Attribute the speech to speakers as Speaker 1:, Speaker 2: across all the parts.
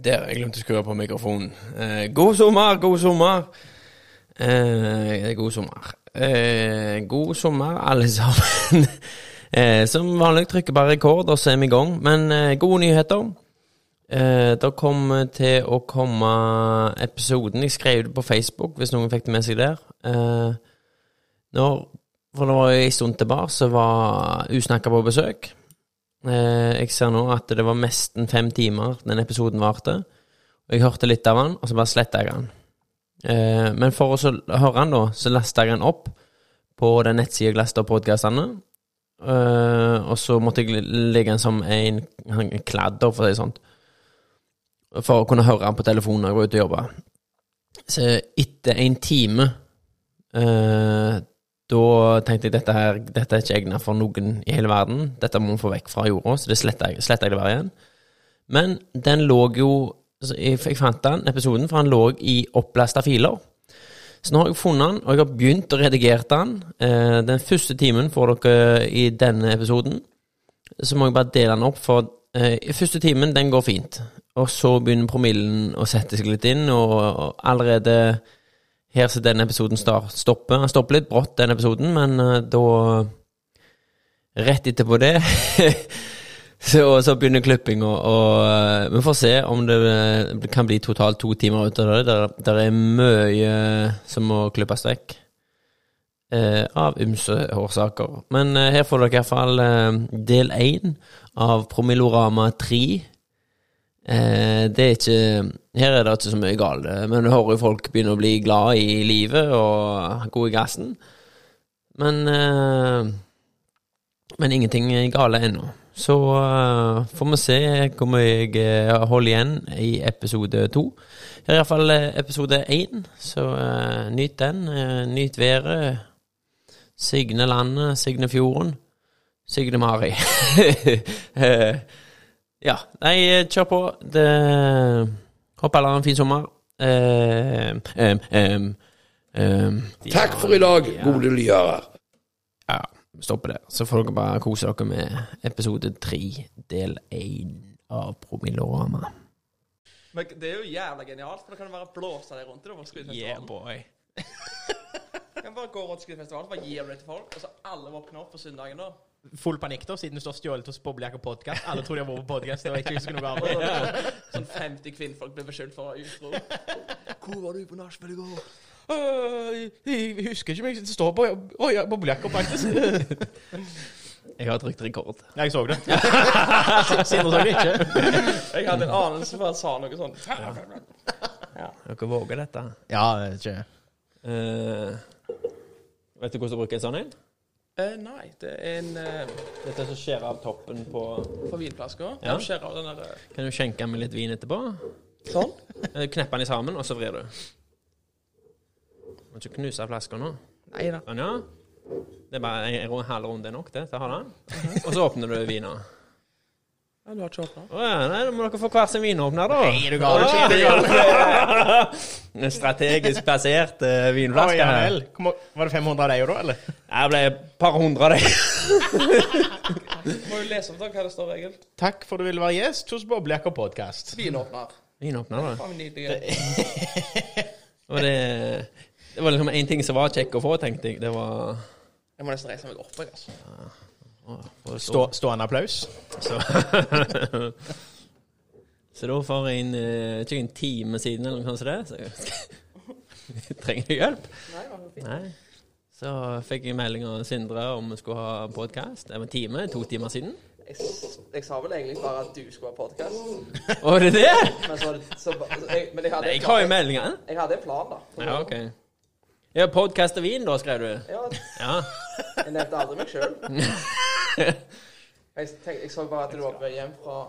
Speaker 1: Der, jeg glemte å skru på mikrofonen. Eh, god sommer, god sommer. Eh, god sommer. Eh, god sommer, alle sammen. eh, som vanlig trykker bare rekord, og så er vi i gang. Men eh, gode nyheter. Eh, det kommer til å komme episoden. Jeg skrev det på Facebook, hvis noen fikk det med seg der. Eh, når, for det var en stund tilbake, så var Usnakka på besøk. Eh, jeg ser nå at det var nesten fem timer den episoden varte. Og jeg hørte litt av den, og så bare sletta jeg den. Eh, men for å så høre den, da, så lasta jeg den opp på den nettsida jeg lasta opp podkastene. Eh, og så måtte jeg legge den som en, en kladder, for å si det sånn. For å kunne høre den på telefonen når jeg var ute og jobba. Så etter en time eh, da tenkte jeg dette her, dette er ikke egnet for noen i hele verden. Dette må vi få vekk fra jorda, så det sletter jeg, sletter jeg det bare igjen. Men den lå jo altså, Jeg jeg fant den episoden, for han lå i opplasta filer. Så nå har jeg funnet den, og jeg har begynt å redigere den. Eh, Den første timen får dere eh, i denne episoden. Så må jeg bare dele den opp, for eh, første timen, den går fint. Og så begynner promillen å sette seg litt inn, og, og allerede her så denne episoden star- stopper. Han stopper litt brått, den episoden, men eh, da Rett etterpå det så, så begynner klippinga, og eh, vi får se om det eh, kan bli totalt to timer ut av det. Der, der er mye som må klippes vekk. eh, av ymse årsaker. Men eh, her får dere i hvert fall eh, del én av Promillorama 3. Eh, det er ikke Her er det ikke så mye galt, eh, men du hører jo folk begynne å bli glad i livet og gode i gassen. Men eh, Men ingenting er gale ennå. Så eh, får vi se hvor mye jeg eh, holder igjen i episode to. Her er iallfall eh, episode én, så eh, nyt den. eh, nyt været. Signe landet, Signe fjorden. Signe Mari. Eh, ja, nei, eh, kjør på. Det Håper alle har en fin sommer. Eh, em, em, em.
Speaker 2: Takk for i dag, gode lyere.
Speaker 1: Ja, vi stopper der. Så får dere bare kose dere med episode tre, del én av Promillorama.
Speaker 3: Men det er jo jævla genialt, for da kan du bare blåse deg rundt i det på skuespillfestivalen.
Speaker 1: boy.
Speaker 3: Du kan bare gå rundt skuespillfestivalen, bare gi det til folk, og så alle våkner opp på søndagen da.
Speaker 4: Full panikk, da, siden du står stjålet hos Boblejakke podcast. Alle tror de har vært på podcast og ikke husker noe annet.
Speaker 3: Sånn 50 kvinnfolk blir beskyldt for å være utro. Hvor var du på nachspiel i går?
Speaker 4: Jeg husker ikke om jeg står på Boblejakke, faktisk.
Speaker 1: Jeg har trykt rekord.
Speaker 4: Nei, jeg så det. Siden så jeg det ikke.
Speaker 3: Jeg hadde en anelse for at jeg sa noe sånn.
Speaker 1: Dere våger dette. Eh,
Speaker 4: Ja, det er ikke
Speaker 1: vet du hvordan du bruker en sånn en?
Speaker 3: Eh, nei, det er en eh,
Speaker 1: Dette som skjærer av toppen på
Speaker 3: på vinflasker.
Speaker 1: Ja.
Speaker 3: Ja. Skjærer av den der eh,
Speaker 1: Kan du skjenke med litt vin etterpå?
Speaker 3: Sånn.
Speaker 1: Eh, Knepper den i sammen, og så vrir du. Må ikke knuse flaska nå.
Speaker 3: Nei da.
Speaker 1: Sånn, ja. Det er bare en, en halv runde er nok det til å ha den. Og så åpner du vina.
Speaker 3: Ja, du har ikke åpna.
Speaker 1: Å ja, nei, da må dere få hver sin vinåpner, da.
Speaker 4: Nei, er du gal? Er du gal?
Speaker 1: En strategisk plassert eh,
Speaker 4: Oi,
Speaker 1: vinflaske.
Speaker 4: ja
Speaker 1: her.
Speaker 4: vel. Hvor må- Var det 500 av deg da, eller?
Speaker 1: Det ble et par hundre av dem.
Speaker 3: Må jo lese opp da hva det står egentlig.
Speaker 4: Takk for du ville være gjest hos Boblejakke podcast.
Speaker 3: Vinåpner.
Speaker 1: Vinåpner, da.
Speaker 3: Faen, nydelig.
Speaker 1: Og det, det var liksom én ting som var kjekk å få, tenkte jeg. Det var
Speaker 3: Jeg må nesten reise meg opp, jeg, altså.
Speaker 1: å
Speaker 4: Stå- Stående applaus.
Speaker 1: Så, så da for en eh, ikke en time siden eller noe sånt som det, så trenger jeg hjelp.
Speaker 3: Nei, det var fint.
Speaker 1: Nei. Så fikk jeg melding av Sindre om vi skulle ha podkast. Det var en time, to timer siden.
Speaker 3: Jeg, s- jeg sa vel egentlig bare at du skulle ha podkast.
Speaker 1: Å, er det det?
Speaker 3: Men, så, så, så, jeg, men jeg,
Speaker 1: Nei,
Speaker 3: hadde en
Speaker 1: jeg
Speaker 3: plan-
Speaker 1: har jo meldingen.
Speaker 3: jeg hadde en plan, da.
Speaker 1: Ja, OK. Ja, podkast og vin, da, skrev du.
Speaker 3: Ja,
Speaker 1: Ja.
Speaker 3: jeg nevnte aldri meg sjøl. Jeg, tenkte- jeg så bare at du var på vei hjem fra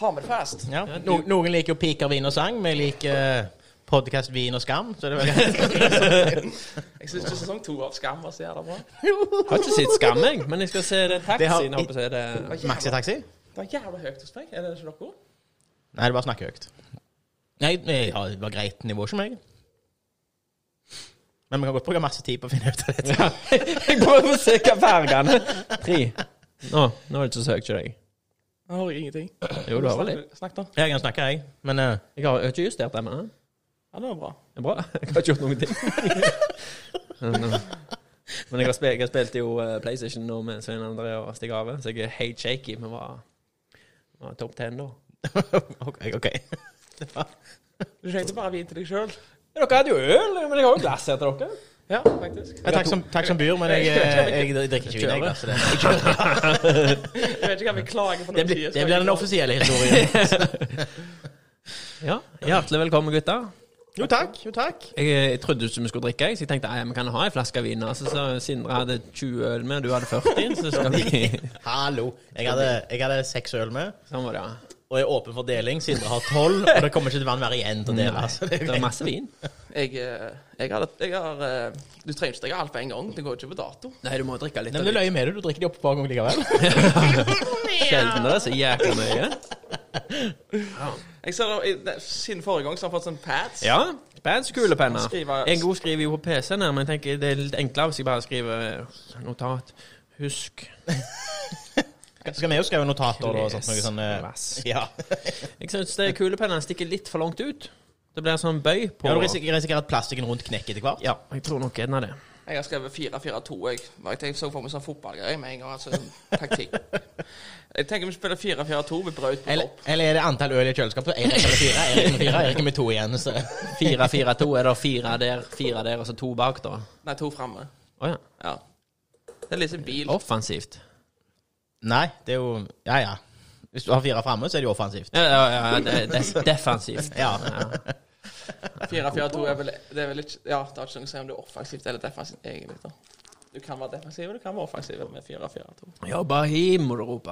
Speaker 3: Hammerfest.
Speaker 4: Ja. No, noen liker jo piker, vin og sang. Vi liker eh, podcast, vin og skam. Så det er vel
Speaker 3: Jeg syns ikke sesong to av Skam var så jævla bra.
Speaker 1: Har ikke sett Skam, jeg, men jeg skal se det
Speaker 4: Det har-
Speaker 1: taxien. Håper jeg det
Speaker 4: Maxitaxi?
Speaker 3: Det var jævla høyt hos meg. Er det ikke dere?
Speaker 4: Nei, det bare snakker høyt. Nei, nei, ja, det var greit nivå som meg. Men vi kan godt bruke masse tid på å finne ut av dette.
Speaker 1: Jeg prøver å se hva fargene Tre. Nå, nå er det ikke så høyt til deg.
Speaker 3: Jeg har ingenting.
Speaker 1: Jo, du har vel litt.
Speaker 3: Snakk, da.
Speaker 4: Jeg kan snakke, jeg. Men eh,
Speaker 1: Jeg har jeg har ikke justert det, men det
Speaker 3: Ja, det var bra.
Speaker 1: er bra. Jeg har ikke gjort noen ting. Men, eh, Men jeg har spilt, jeg spilte jo eh, PlayStation nå med Svein André og Stig Ave, så jeg er helt shaky. Vi var, var topp ten da.
Speaker 4: OK. ok. Det var
Speaker 3: Du trengte bare vin til deg sjøl.
Speaker 1: Dere hadde jo øl, men jeg har jo glass her til dere.
Speaker 3: Ja, faktisk.
Speaker 4: Ja, takk, som, takk som byr, men jeg, jeg, jeg, drikker ikke vin. Jeg, altså, det,
Speaker 3: Jeg vet ikke hva vi klager på.
Speaker 4: det, blir, det blir den offisielle historien.
Speaker 1: Ja, Hjertelig velkommen, gutter.
Speaker 4: Jo takk. jo takk
Speaker 1: Jeg, eh, jeg trodde ikke vi skulle drikke, jeg, så jeg tenkte at vi kan ha en flaske vin. Altså, så Sindre hadde 20 øl med, du hadde 40, så skal vi
Speaker 4: Hallo. Jeg hadde, jeg hadde seks øl med,
Speaker 1: Sånn var det, ja.
Speaker 4: og er åpen for deling. Sindre har tolv, og det kommer ikke til å være mer igjen til å dele. Altså, det,
Speaker 1: Det er masse vin.
Speaker 3: Jeg, eh, jeg har, jeg har eh, Du trenger ikke drikke alt på en gang. Det går ikke på dato.
Speaker 1: Nei, du må drikke litt.
Speaker 4: Nei, men du løy med det. Du drikker de opp et par ganger likevel.
Speaker 1: Sjelden det er så jækla mye.
Speaker 3: Jeg ser da, i- det- Siden forrige gang så har jeg fått sånn pads.
Speaker 1: Ja. Pads, kulepenner.
Speaker 3: Skriver-
Speaker 1: En god skriver jo på PC-en, her, men jeg tenker det er litt enklere hvis jeg bare skriver eh, notat. Husk
Speaker 4: Så skal vi jo skrive notater og sånt. Noe
Speaker 1: Les.
Speaker 4: sånn,
Speaker 1: Les.
Speaker 4: eh, ja.
Speaker 1: Jeg syns kulepennen stikker litt for langt ut. Det blir sånn bøy på
Speaker 4: ja, du risikerer risikerer at plastikken rundt knekker etter hvert.
Speaker 1: Ja, jeg tror nok en av det.
Speaker 3: Jeg har skrevet 4-4-2. Jeg, jeg tenkte- så for meg sånn fotballgreie med en gang. Altså taktikk. Jeg tenker vi spiller 4-4-2 med Braut på
Speaker 4: Eller,
Speaker 3: topp.
Speaker 4: eller er det antall øl i kjøleskapet? Én eller fire? Erik med fire, Erik med to igjen. Så.
Speaker 1: 4-4-2 er det fire der, fire der, og så to bak, da.
Speaker 3: Nei, to framme.
Speaker 1: Å ja.
Speaker 3: Ja. Det er litt som bil.
Speaker 1: Offensivt.
Speaker 4: Nei, det er jo Ja, ja. Hvis du har fire framme, så er det jo offensivt.
Speaker 1: Ja, ja, ja det, det, defensivt.
Speaker 4: Ja.
Speaker 3: 4-4-2 er vel Det er vel ikke Ja, det har ikke noe å si om du er offensivt eller defensivt, egentlig. da. Du kan være defensiv, og du kan være offensiv med 4-4-2.
Speaker 1: Jobba him, må du rope.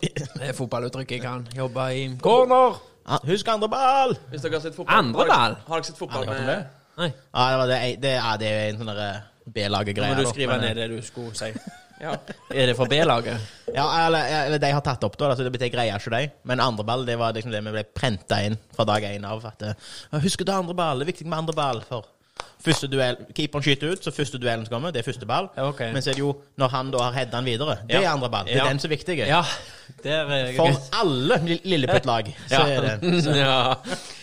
Speaker 1: Det er fotballuttrykket jeg kan. Jobba him. Corner!
Speaker 4: Ah, Husk andre ball!
Speaker 3: Hvis dere har sett fotball
Speaker 1: Andre
Speaker 3: har dere-
Speaker 1: ball?
Speaker 3: Har dere sett fotball
Speaker 4: Har dere hørt om
Speaker 3: med
Speaker 4: det?
Speaker 1: Nei,
Speaker 4: Ja, det, var det, det, ja, det er en sånn
Speaker 1: nå
Speaker 4: B-laget-greie.
Speaker 1: må du
Speaker 4: da,
Speaker 1: skrive
Speaker 4: men-
Speaker 1: ned det du skulle si.
Speaker 3: Ja.
Speaker 1: Er det for B-laget?
Speaker 4: eh, Ja, eller, eller de har tatt opp, da. Altså, det betyr greier ikke de. Men andre ball, det var liksom det vi ble prenta inn fra dag én av. At eh, husk å ta andre ball. Det er viktig med andre ball. For første duell Keeperen skyter ut, så første duellen som kommer, det er første ball.
Speaker 1: Ja, ok.
Speaker 4: Men så er det jo når han da har heada den videre, det
Speaker 1: Ja.
Speaker 4: er andre ball. Det er
Speaker 1: Ja.
Speaker 4: den som er viktig.
Speaker 1: Ja, der er jeg
Speaker 4: For alle li- Lilleputt-lag, så er det
Speaker 1: ja.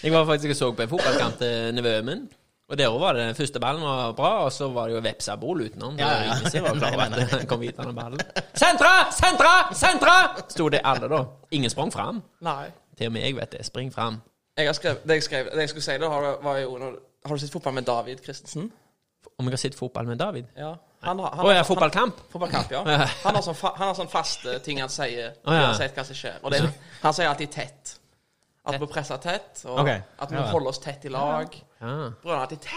Speaker 1: Jeg var faktisk og så på en fotballkamp til nevøen min. Og der også var det første ballen var bra, og så var det jo vepsabol utenom. Det
Speaker 4: Ja,
Speaker 1: var
Speaker 4: ja.
Speaker 1: ingen som var klar over
Speaker 4: Nei, nei,
Speaker 1: at det kom videre ballen. Sentra! Sentra! Sentra! Sto det alle, da. Ingen sprang fram.
Speaker 3: Nei.
Speaker 1: Til og med jeg vet det. Spring fram.
Speaker 3: Jeg har skrevet, det jeg skrev, det jeg skulle si da, har, var jo når, Har du sett fotball med David Christensen?
Speaker 1: Om jeg har sett fotball med David?
Speaker 3: Ja. Han, har- han,
Speaker 1: Å ja, fotballkamp?
Speaker 3: Fotballkamp, ja. Han har sånn, fa han har sånn faste ting han sier.
Speaker 1: Å, ja.
Speaker 3: Uansett hva som skjer. Og det, han sier alltid tett. At vi presser tett, og
Speaker 4: Ok.
Speaker 3: at vi
Speaker 4: Ja, ja.
Speaker 3: holder oss tett i lag.
Speaker 1: Ja.
Speaker 3: Bror, han er alltid tett.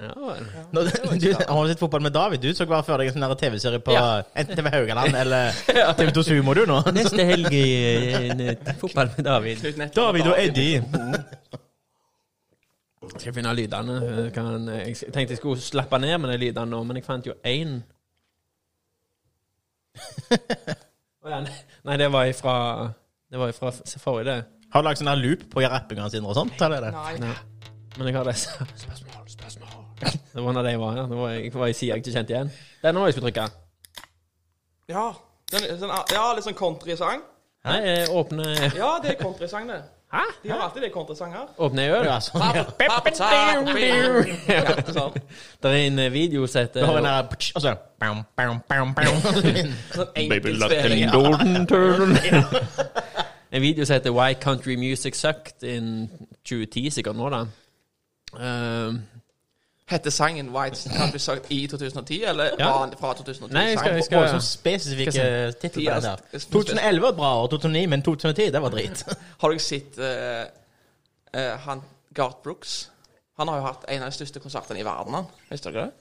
Speaker 1: ja vel.
Speaker 4: Nå, du, Har du sett fotball med David? Du så bare før deg en sånn der TV-serie på
Speaker 1: Ja.
Speaker 4: enten TV Haugaland eller TV2 Sumo, du nå.
Speaker 1: Neste helg i eh, fotball med David.
Speaker 3: Knut Nettopp,
Speaker 4: David og Eddie.
Speaker 1: Skal jeg finne lydene. eh, Kan, jeg s- tenkte jeg skulle slappe ned med de lydene nå, men jeg fant jo én. Å ja, nei- nei, det var ifra Det var ifra f- forrige, det.
Speaker 4: Har du lagd sånn her loop på rappinga sine og sånt? Eller? er det?
Speaker 3: Nei.
Speaker 1: Nei. Men jeg har det. Spørsmål, spørsmål. Det var en av de jeg var ja. Det var, jeg var i sida jeg ikke kjente igjen. Den var jeg skulle trykke.
Speaker 3: Ja. Den, den, ja, litt sånn countrysang.
Speaker 1: Nei, jeg åpne
Speaker 3: Ja, det er countrysang, det.
Speaker 1: Hæ?
Speaker 3: De har alltid det countrysang her.
Speaker 1: Åpne i øl?
Speaker 4: Ja, sånn, ja.
Speaker 3: Ja, sånn.
Speaker 1: Det er en eh, video som heter
Speaker 4: Du har en der putsch, Og så bam, bam, bam, bam.
Speaker 3: Sånn
Speaker 2: Baby
Speaker 3: enkel
Speaker 2: Latin
Speaker 3: spilling. ja.
Speaker 2: Golden Turtle.
Speaker 1: En video som heter Why Country Music Sucked in 2010, sikkert nå, da. Ehm,
Speaker 3: Hette sangen White Country Song i 2010, eller
Speaker 1: Ja.
Speaker 3: var den fra 2010?
Speaker 1: Nei, jeg skal- jeg skal-
Speaker 4: Og så spesifikke titler på den der. 2011 var et bra år, 2009, men 2010, det var drit.
Speaker 3: Har dere sett eh, eh, han Garth Brooks? Han har jo hatt en av de største konsertene i verden. han. Visste dere det?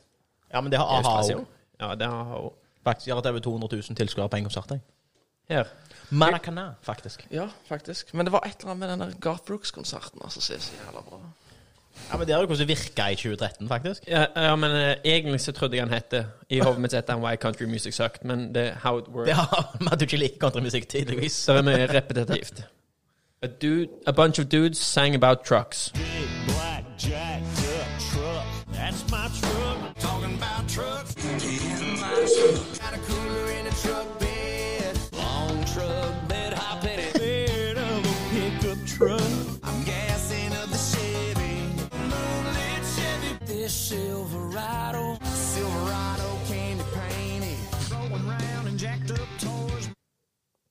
Speaker 4: Ja, men det har a-ha
Speaker 1: Australia.
Speaker 4: òg.
Speaker 1: Ja, det har hun.
Speaker 4: Faktisk gjør at det er over 200 000 tilskuere på en konsert. jeg.
Speaker 1: Her.
Speaker 4: Maracana, faktisk.
Speaker 3: Ja, faktisk. Men det var et eller annet med den der Garth Brooks-konserten altså, som er så jævla bra.
Speaker 4: Ja, men Det er jo hvordan det virka i 2013, faktisk.
Speaker 1: Ja, ja, men eh, egentlig så trodde jeg han hette I hodet mitt heter han Why Country Music Sucked, men det er how it works.
Speaker 4: Det har med at du ikke liker countrymusikk, tydeligvis.
Speaker 1: Det er mye repetitivt. A, dude, a bunch of dudes sang about trucks.
Speaker 5: Big black jacked up truck. That's my truck.
Speaker 6: Talking about trucks. Got a cooler in a truck bed.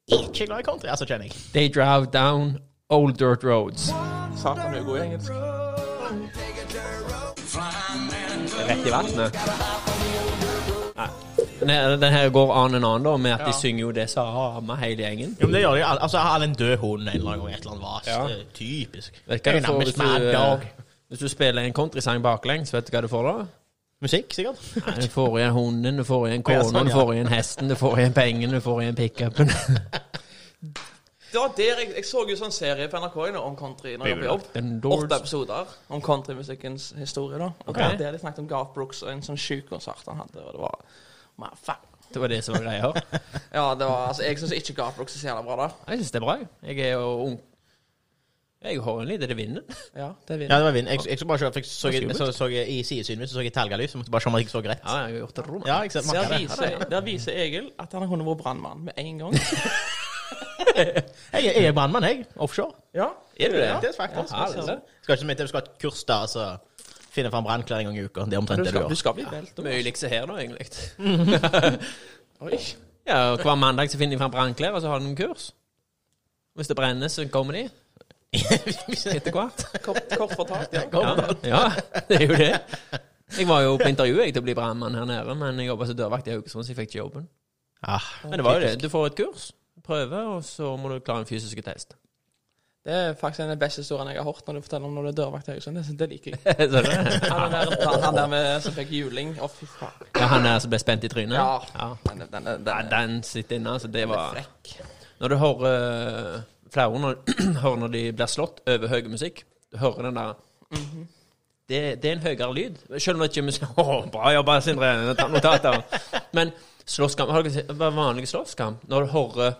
Speaker 4: Ikke glad i country, altså, kjenner jeg.
Speaker 1: They drive down old dirt roads.
Speaker 3: Satan, du er god i engelsk.
Speaker 1: Rett i vannet. Nei. Den her- Den her går an and on, da, med at de
Speaker 3: Ja.
Speaker 1: synger jo det samme hele gjengen.
Speaker 4: Jo, men det gjør de jo. al- Altså, jeg hadde en død hund en eller annen gang, et eller annet vas.
Speaker 1: Ja.
Speaker 4: Det er Typisk.
Speaker 1: Vet du hva du får hvis
Speaker 4: Dynamisk
Speaker 1: du,
Speaker 4: mad dog.
Speaker 1: eh, hvis du spiller en countrysang baklengs? Vet du hva du får da?
Speaker 4: Musikk, sikkert.
Speaker 1: Nei, Du får igjen hunden, du får igjen
Speaker 4: Å, ja,
Speaker 1: kona,
Speaker 4: sånn,
Speaker 1: du
Speaker 4: ja.
Speaker 1: får igjen hesten, du får igjen pengene, du får igjen pickupen.
Speaker 3: Det var der jeg, jeg så jo sånn serie på NRK nå, om country når jeg var på jobb.
Speaker 1: Den
Speaker 3: Åtte
Speaker 1: doors.
Speaker 3: episoder om countrymusikkens historie. da Og
Speaker 1: Ok.
Speaker 3: der Der de snakket om Garth Brooks og en sånn sjuk konsert han hadde. Og det var Man, fuck.
Speaker 1: Det var det som var greia.
Speaker 3: Ja, det var, altså, Jeg syns ikke Garth Brooks er så jævla bra, da.
Speaker 1: Jeg syns det er bra. jeg. Jeg er jo ung. Jeg har en liten vinner.
Speaker 3: Ja, det
Speaker 4: Ja,
Speaker 3: vinner.
Speaker 4: det var vind. Jeg, jeg så bare se, for jeg så, jeg, så, så jeg, I sidesynet mitt så så jeg talgalys, så jeg måtte bare se om jeg så rett.
Speaker 1: Ja, jeg har gjort det rommet.
Speaker 4: Ja, jeg ser
Speaker 3: Der
Speaker 4: merker det.
Speaker 3: viser, der viser Egil at han kunne vært brannmann med en gang.
Speaker 4: Jeg, jeg er brannmann, jeg. Offshore.
Speaker 3: Ja,
Speaker 1: Er du det?
Speaker 3: Ja,
Speaker 4: Det er faktisk.
Speaker 1: Ja, det er det.
Speaker 4: Skal ikke så mye til, vi skal ha et kurs da, så finne fram brannklær en gang i uka. Det er
Speaker 3: Du
Speaker 4: omtrent det du
Speaker 3: skal, du
Speaker 4: gjør.
Speaker 3: skal bli velt.
Speaker 1: Mye likse her, da, egentlig.
Speaker 3: Oi.
Speaker 1: Ja, og Hver mandag så finner de fram brannklær, og så har de en kurs. Hvis det brenner, så kommer de etter hvert.
Speaker 3: Kort, kort fortalt, ja.
Speaker 1: Ja, ja, det er jo det. Jeg var jo på intervju jeg, til å bli brannmann her nede, men jeg jobba som dørvakt i Haugesund, så jeg fikk ikke jobben.
Speaker 4: Ah,
Speaker 1: Men det var jo det. Du får et kurs, prøve, og så må du klare en fysisk test.
Speaker 3: Det er faktisk en av de beste historiene jeg har hørt når du forteller om når du er dørvakt i Haugesund. Det- Det liker jeg.
Speaker 1: Så det,
Speaker 3: Han er der, han- han der med, som fikk juling. Å, fy faen.
Speaker 1: ja, han der som ble spent i trynet?
Speaker 3: Ja.
Speaker 1: ja.
Speaker 3: Den, den, den, den,
Speaker 1: Nei, Den sitter inne, altså. Det
Speaker 3: den er
Speaker 1: var
Speaker 3: frekk.
Speaker 1: Når du hører eh, flere når, hører når de blir slått over høy musikk, du hører den der det, det er en høyere lyd. Selv om det ikke er musikk Å, bra jobba, Sindre. Ta notater. Men slåsskamp Har dere sett hva er vanlig slåsskamp? Når du hører,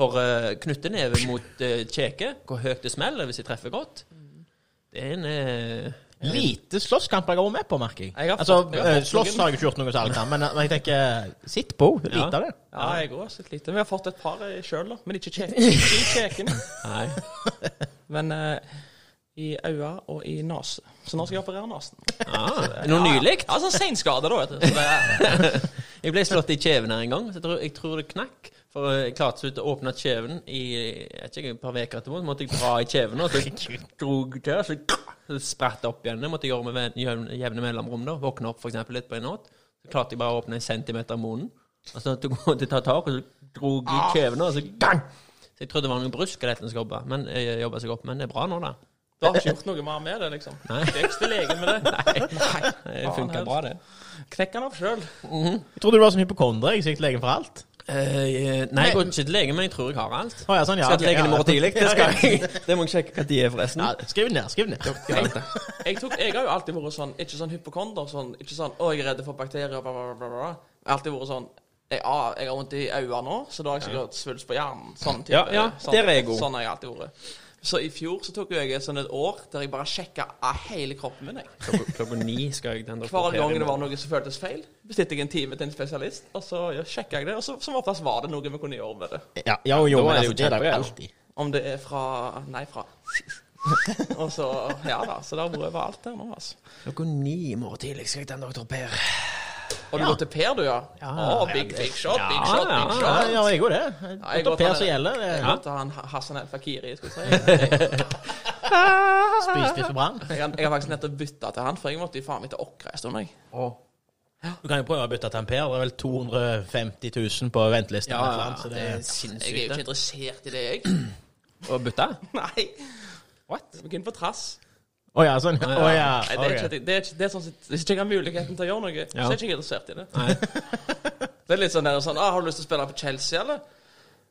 Speaker 1: hører knytteneve mot eh, kjeke, hvor høyt det smeller hvis de treffer godt Det er en eh,
Speaker 4: Lite slåsskamp jeg har vært med på, merker jeg.
Speaker 3: Jeg har
Speaker 4: altså,
Speaker 3: fått- jeg har
Speaker 4: eh,
Speaker 3: fått
Speaker 4: slåss har jeg ikke gjort noe særlig, da, men men jeg tenker Sitt på. Lite
Speaker 1: Ja.
Speaker 4: av det.
Speaker 3: Ja, jeg òg har sett lite. Vi har fått et par sjøl, da. Men ikke kjek- ikke i kjeken.
Speaker 1: Nei.
Speaker 3: Men eh, i øya og i nese. Så nå skal jeg operere nesen.
Speaker 1: Ah, noe nylig?
Speaker 3: Ja, sånn seinskade, da. Vet du. Så det er,
Speaker 1: Jeg ble slått i kjeven her en gang. Så jeg, tror, jeg tror det knakk. For eh, jeg klarte så vidt å åpne kjeven i jeg vet ikke, et par uker etterpå. Så måtte jeg dra i kjeven, og så drog jeg til, så, så spratt det opp igjen. Det måtte jeg gjøre med ven- jevne- jevne mellomrom. da. Våkne opp for eksempel litt på en natt. Så klarte jeg bare å åpne en centimeter av munnen. Og så tok jeg til å ta tak, og så drog jeg i kjeven, og så gang! Så jeg trodde det var noe brusk av dette som jobba, men jeg jobbet seg opp. Men det er bra nå, da.
Speaker 3: du har ikke gjort noe mer med det, liksom.
Speaker 1: Nei.
Speaker 3: Det er ikke til legen med det.
Speaker 1: Nei, det funka bra, det.
Speaker 3: Knekk den opp sjøl.
Speaker 4: Jeg trodde du var så hypokonder. Jeg gikk til legen for alt.
Speaker 1: Eh, nei, jeg går ikke til legen, men jeg tror jeg har alt.
Speaker 4: Å, ja, sånn, ja,
Speaker 1: skal
Speaker 4: ok,
Speaker 1: til legen i
Speaker 4: ja.
Speaker 1: morgen tidlig. Det, skal jeg. det må jeg sjekke hva de er, forresten.
Speaker 4: Ja, skriv ned. skriv ned
Speaker 3: Jeg, tok, jeg har jo alltid vært sånn Ikke sånn hypokonder. Sånn, ikke sånn 'Å, jeg er redd for bakterier', bla, bla, bla. bla. bla. Jeg har alltid vært sånn jeg, ah, jeg har vondt i øynene nå, så da har jeg sikkert svulst på hjernen. Sånn type,
Speaker 1: Ja, ja,
Speaker 3: sånn,
Speaker 1: der er jeg god.
Speaker 3: Sånn har jeg alltid vært. Så i fjor så tok jo jeg et sånn et år der jeg bare sjekka av hele kroppen min. jeg.
Speaker 1: Klokka, klokka ni skal jeg til en
Speaker 3: Hver
Speaker 1: doktor
Speaker 3: gang det
Speaker 1: Perry.
Speaker 3: var noe som føltes feil, bestilte jeg en time til en spesialist, og så ja, sjekka jeg det. Og så, som oftest var det noe vi kunne gjøre med det.
Speaker 4: Ja, ja, jo,
Speaker 1: Da er det jo
Speaker 4: men altså, det er det jo
Speaker 1: kjempe, ja.
Speaker 4: alltid.
Speaker 3: Om det er fra Nei, fra Og så Ja da. Så det har vært overalt her nå, altså.
Speaker 1: Klokka ni i morgen tidlig skal jeg til en doktor Per.
Speaker 3: Og du går til Per, du, ja? Å, big, big shot, big shot,
Speaker 1: Ja,
Speaker 3: big
Speaker 1: ja,
Speaker 4: Ja,
Speaker 3: shot.
Speaker 4: ja, jeg går det. Det
Speaker 3: jeg
Speaker 4: er
Speaker 3: går til
Speaker 4: Per
Speaker 3: han-
Speaker 4: som gjelder.
Speaker 3: Jeg
Speaker 4: det.
Speaker 3: går til han Ha- Hassan El Fakiri, skulle jeg si.
Speaker 4: Spiste for brann.
Speaker 3: Jeg har, jeg har faktisk nettopp bytta til han, for jeg måtte jo faen meg til Åkra en stund, jeg.
Speaker 4: Du kan jo prøve å bytte til en Per. Det er vel 250 000 på ventelisten. eller noe sånt, så det-
Speaker 3: Jeg er jo ikke
Speaker 1: sinnssykt.
Speaker 3: interessert i det, jeg.
Speaker 1: Å bytte?
Speaker 3: Nei.
Speaker 1: What?
Speaker 3: Vi kunne på trass.
Speaker 4: Å ja, sånn. Å ja.
Speaker 3: Nei, det er
Speaker 4: ok.
Speaker 3: ikke, det er ikke, det er sånn, sett- Hvis ikke jeg har muligheten til å gjøre noe, så er jeg ikke interessert i det.
Speaker 1: Nei.
Speaker 3: Det er litt sånn, der, sånn ah, 'Har du lyst til å spille på Chelsea, eller?'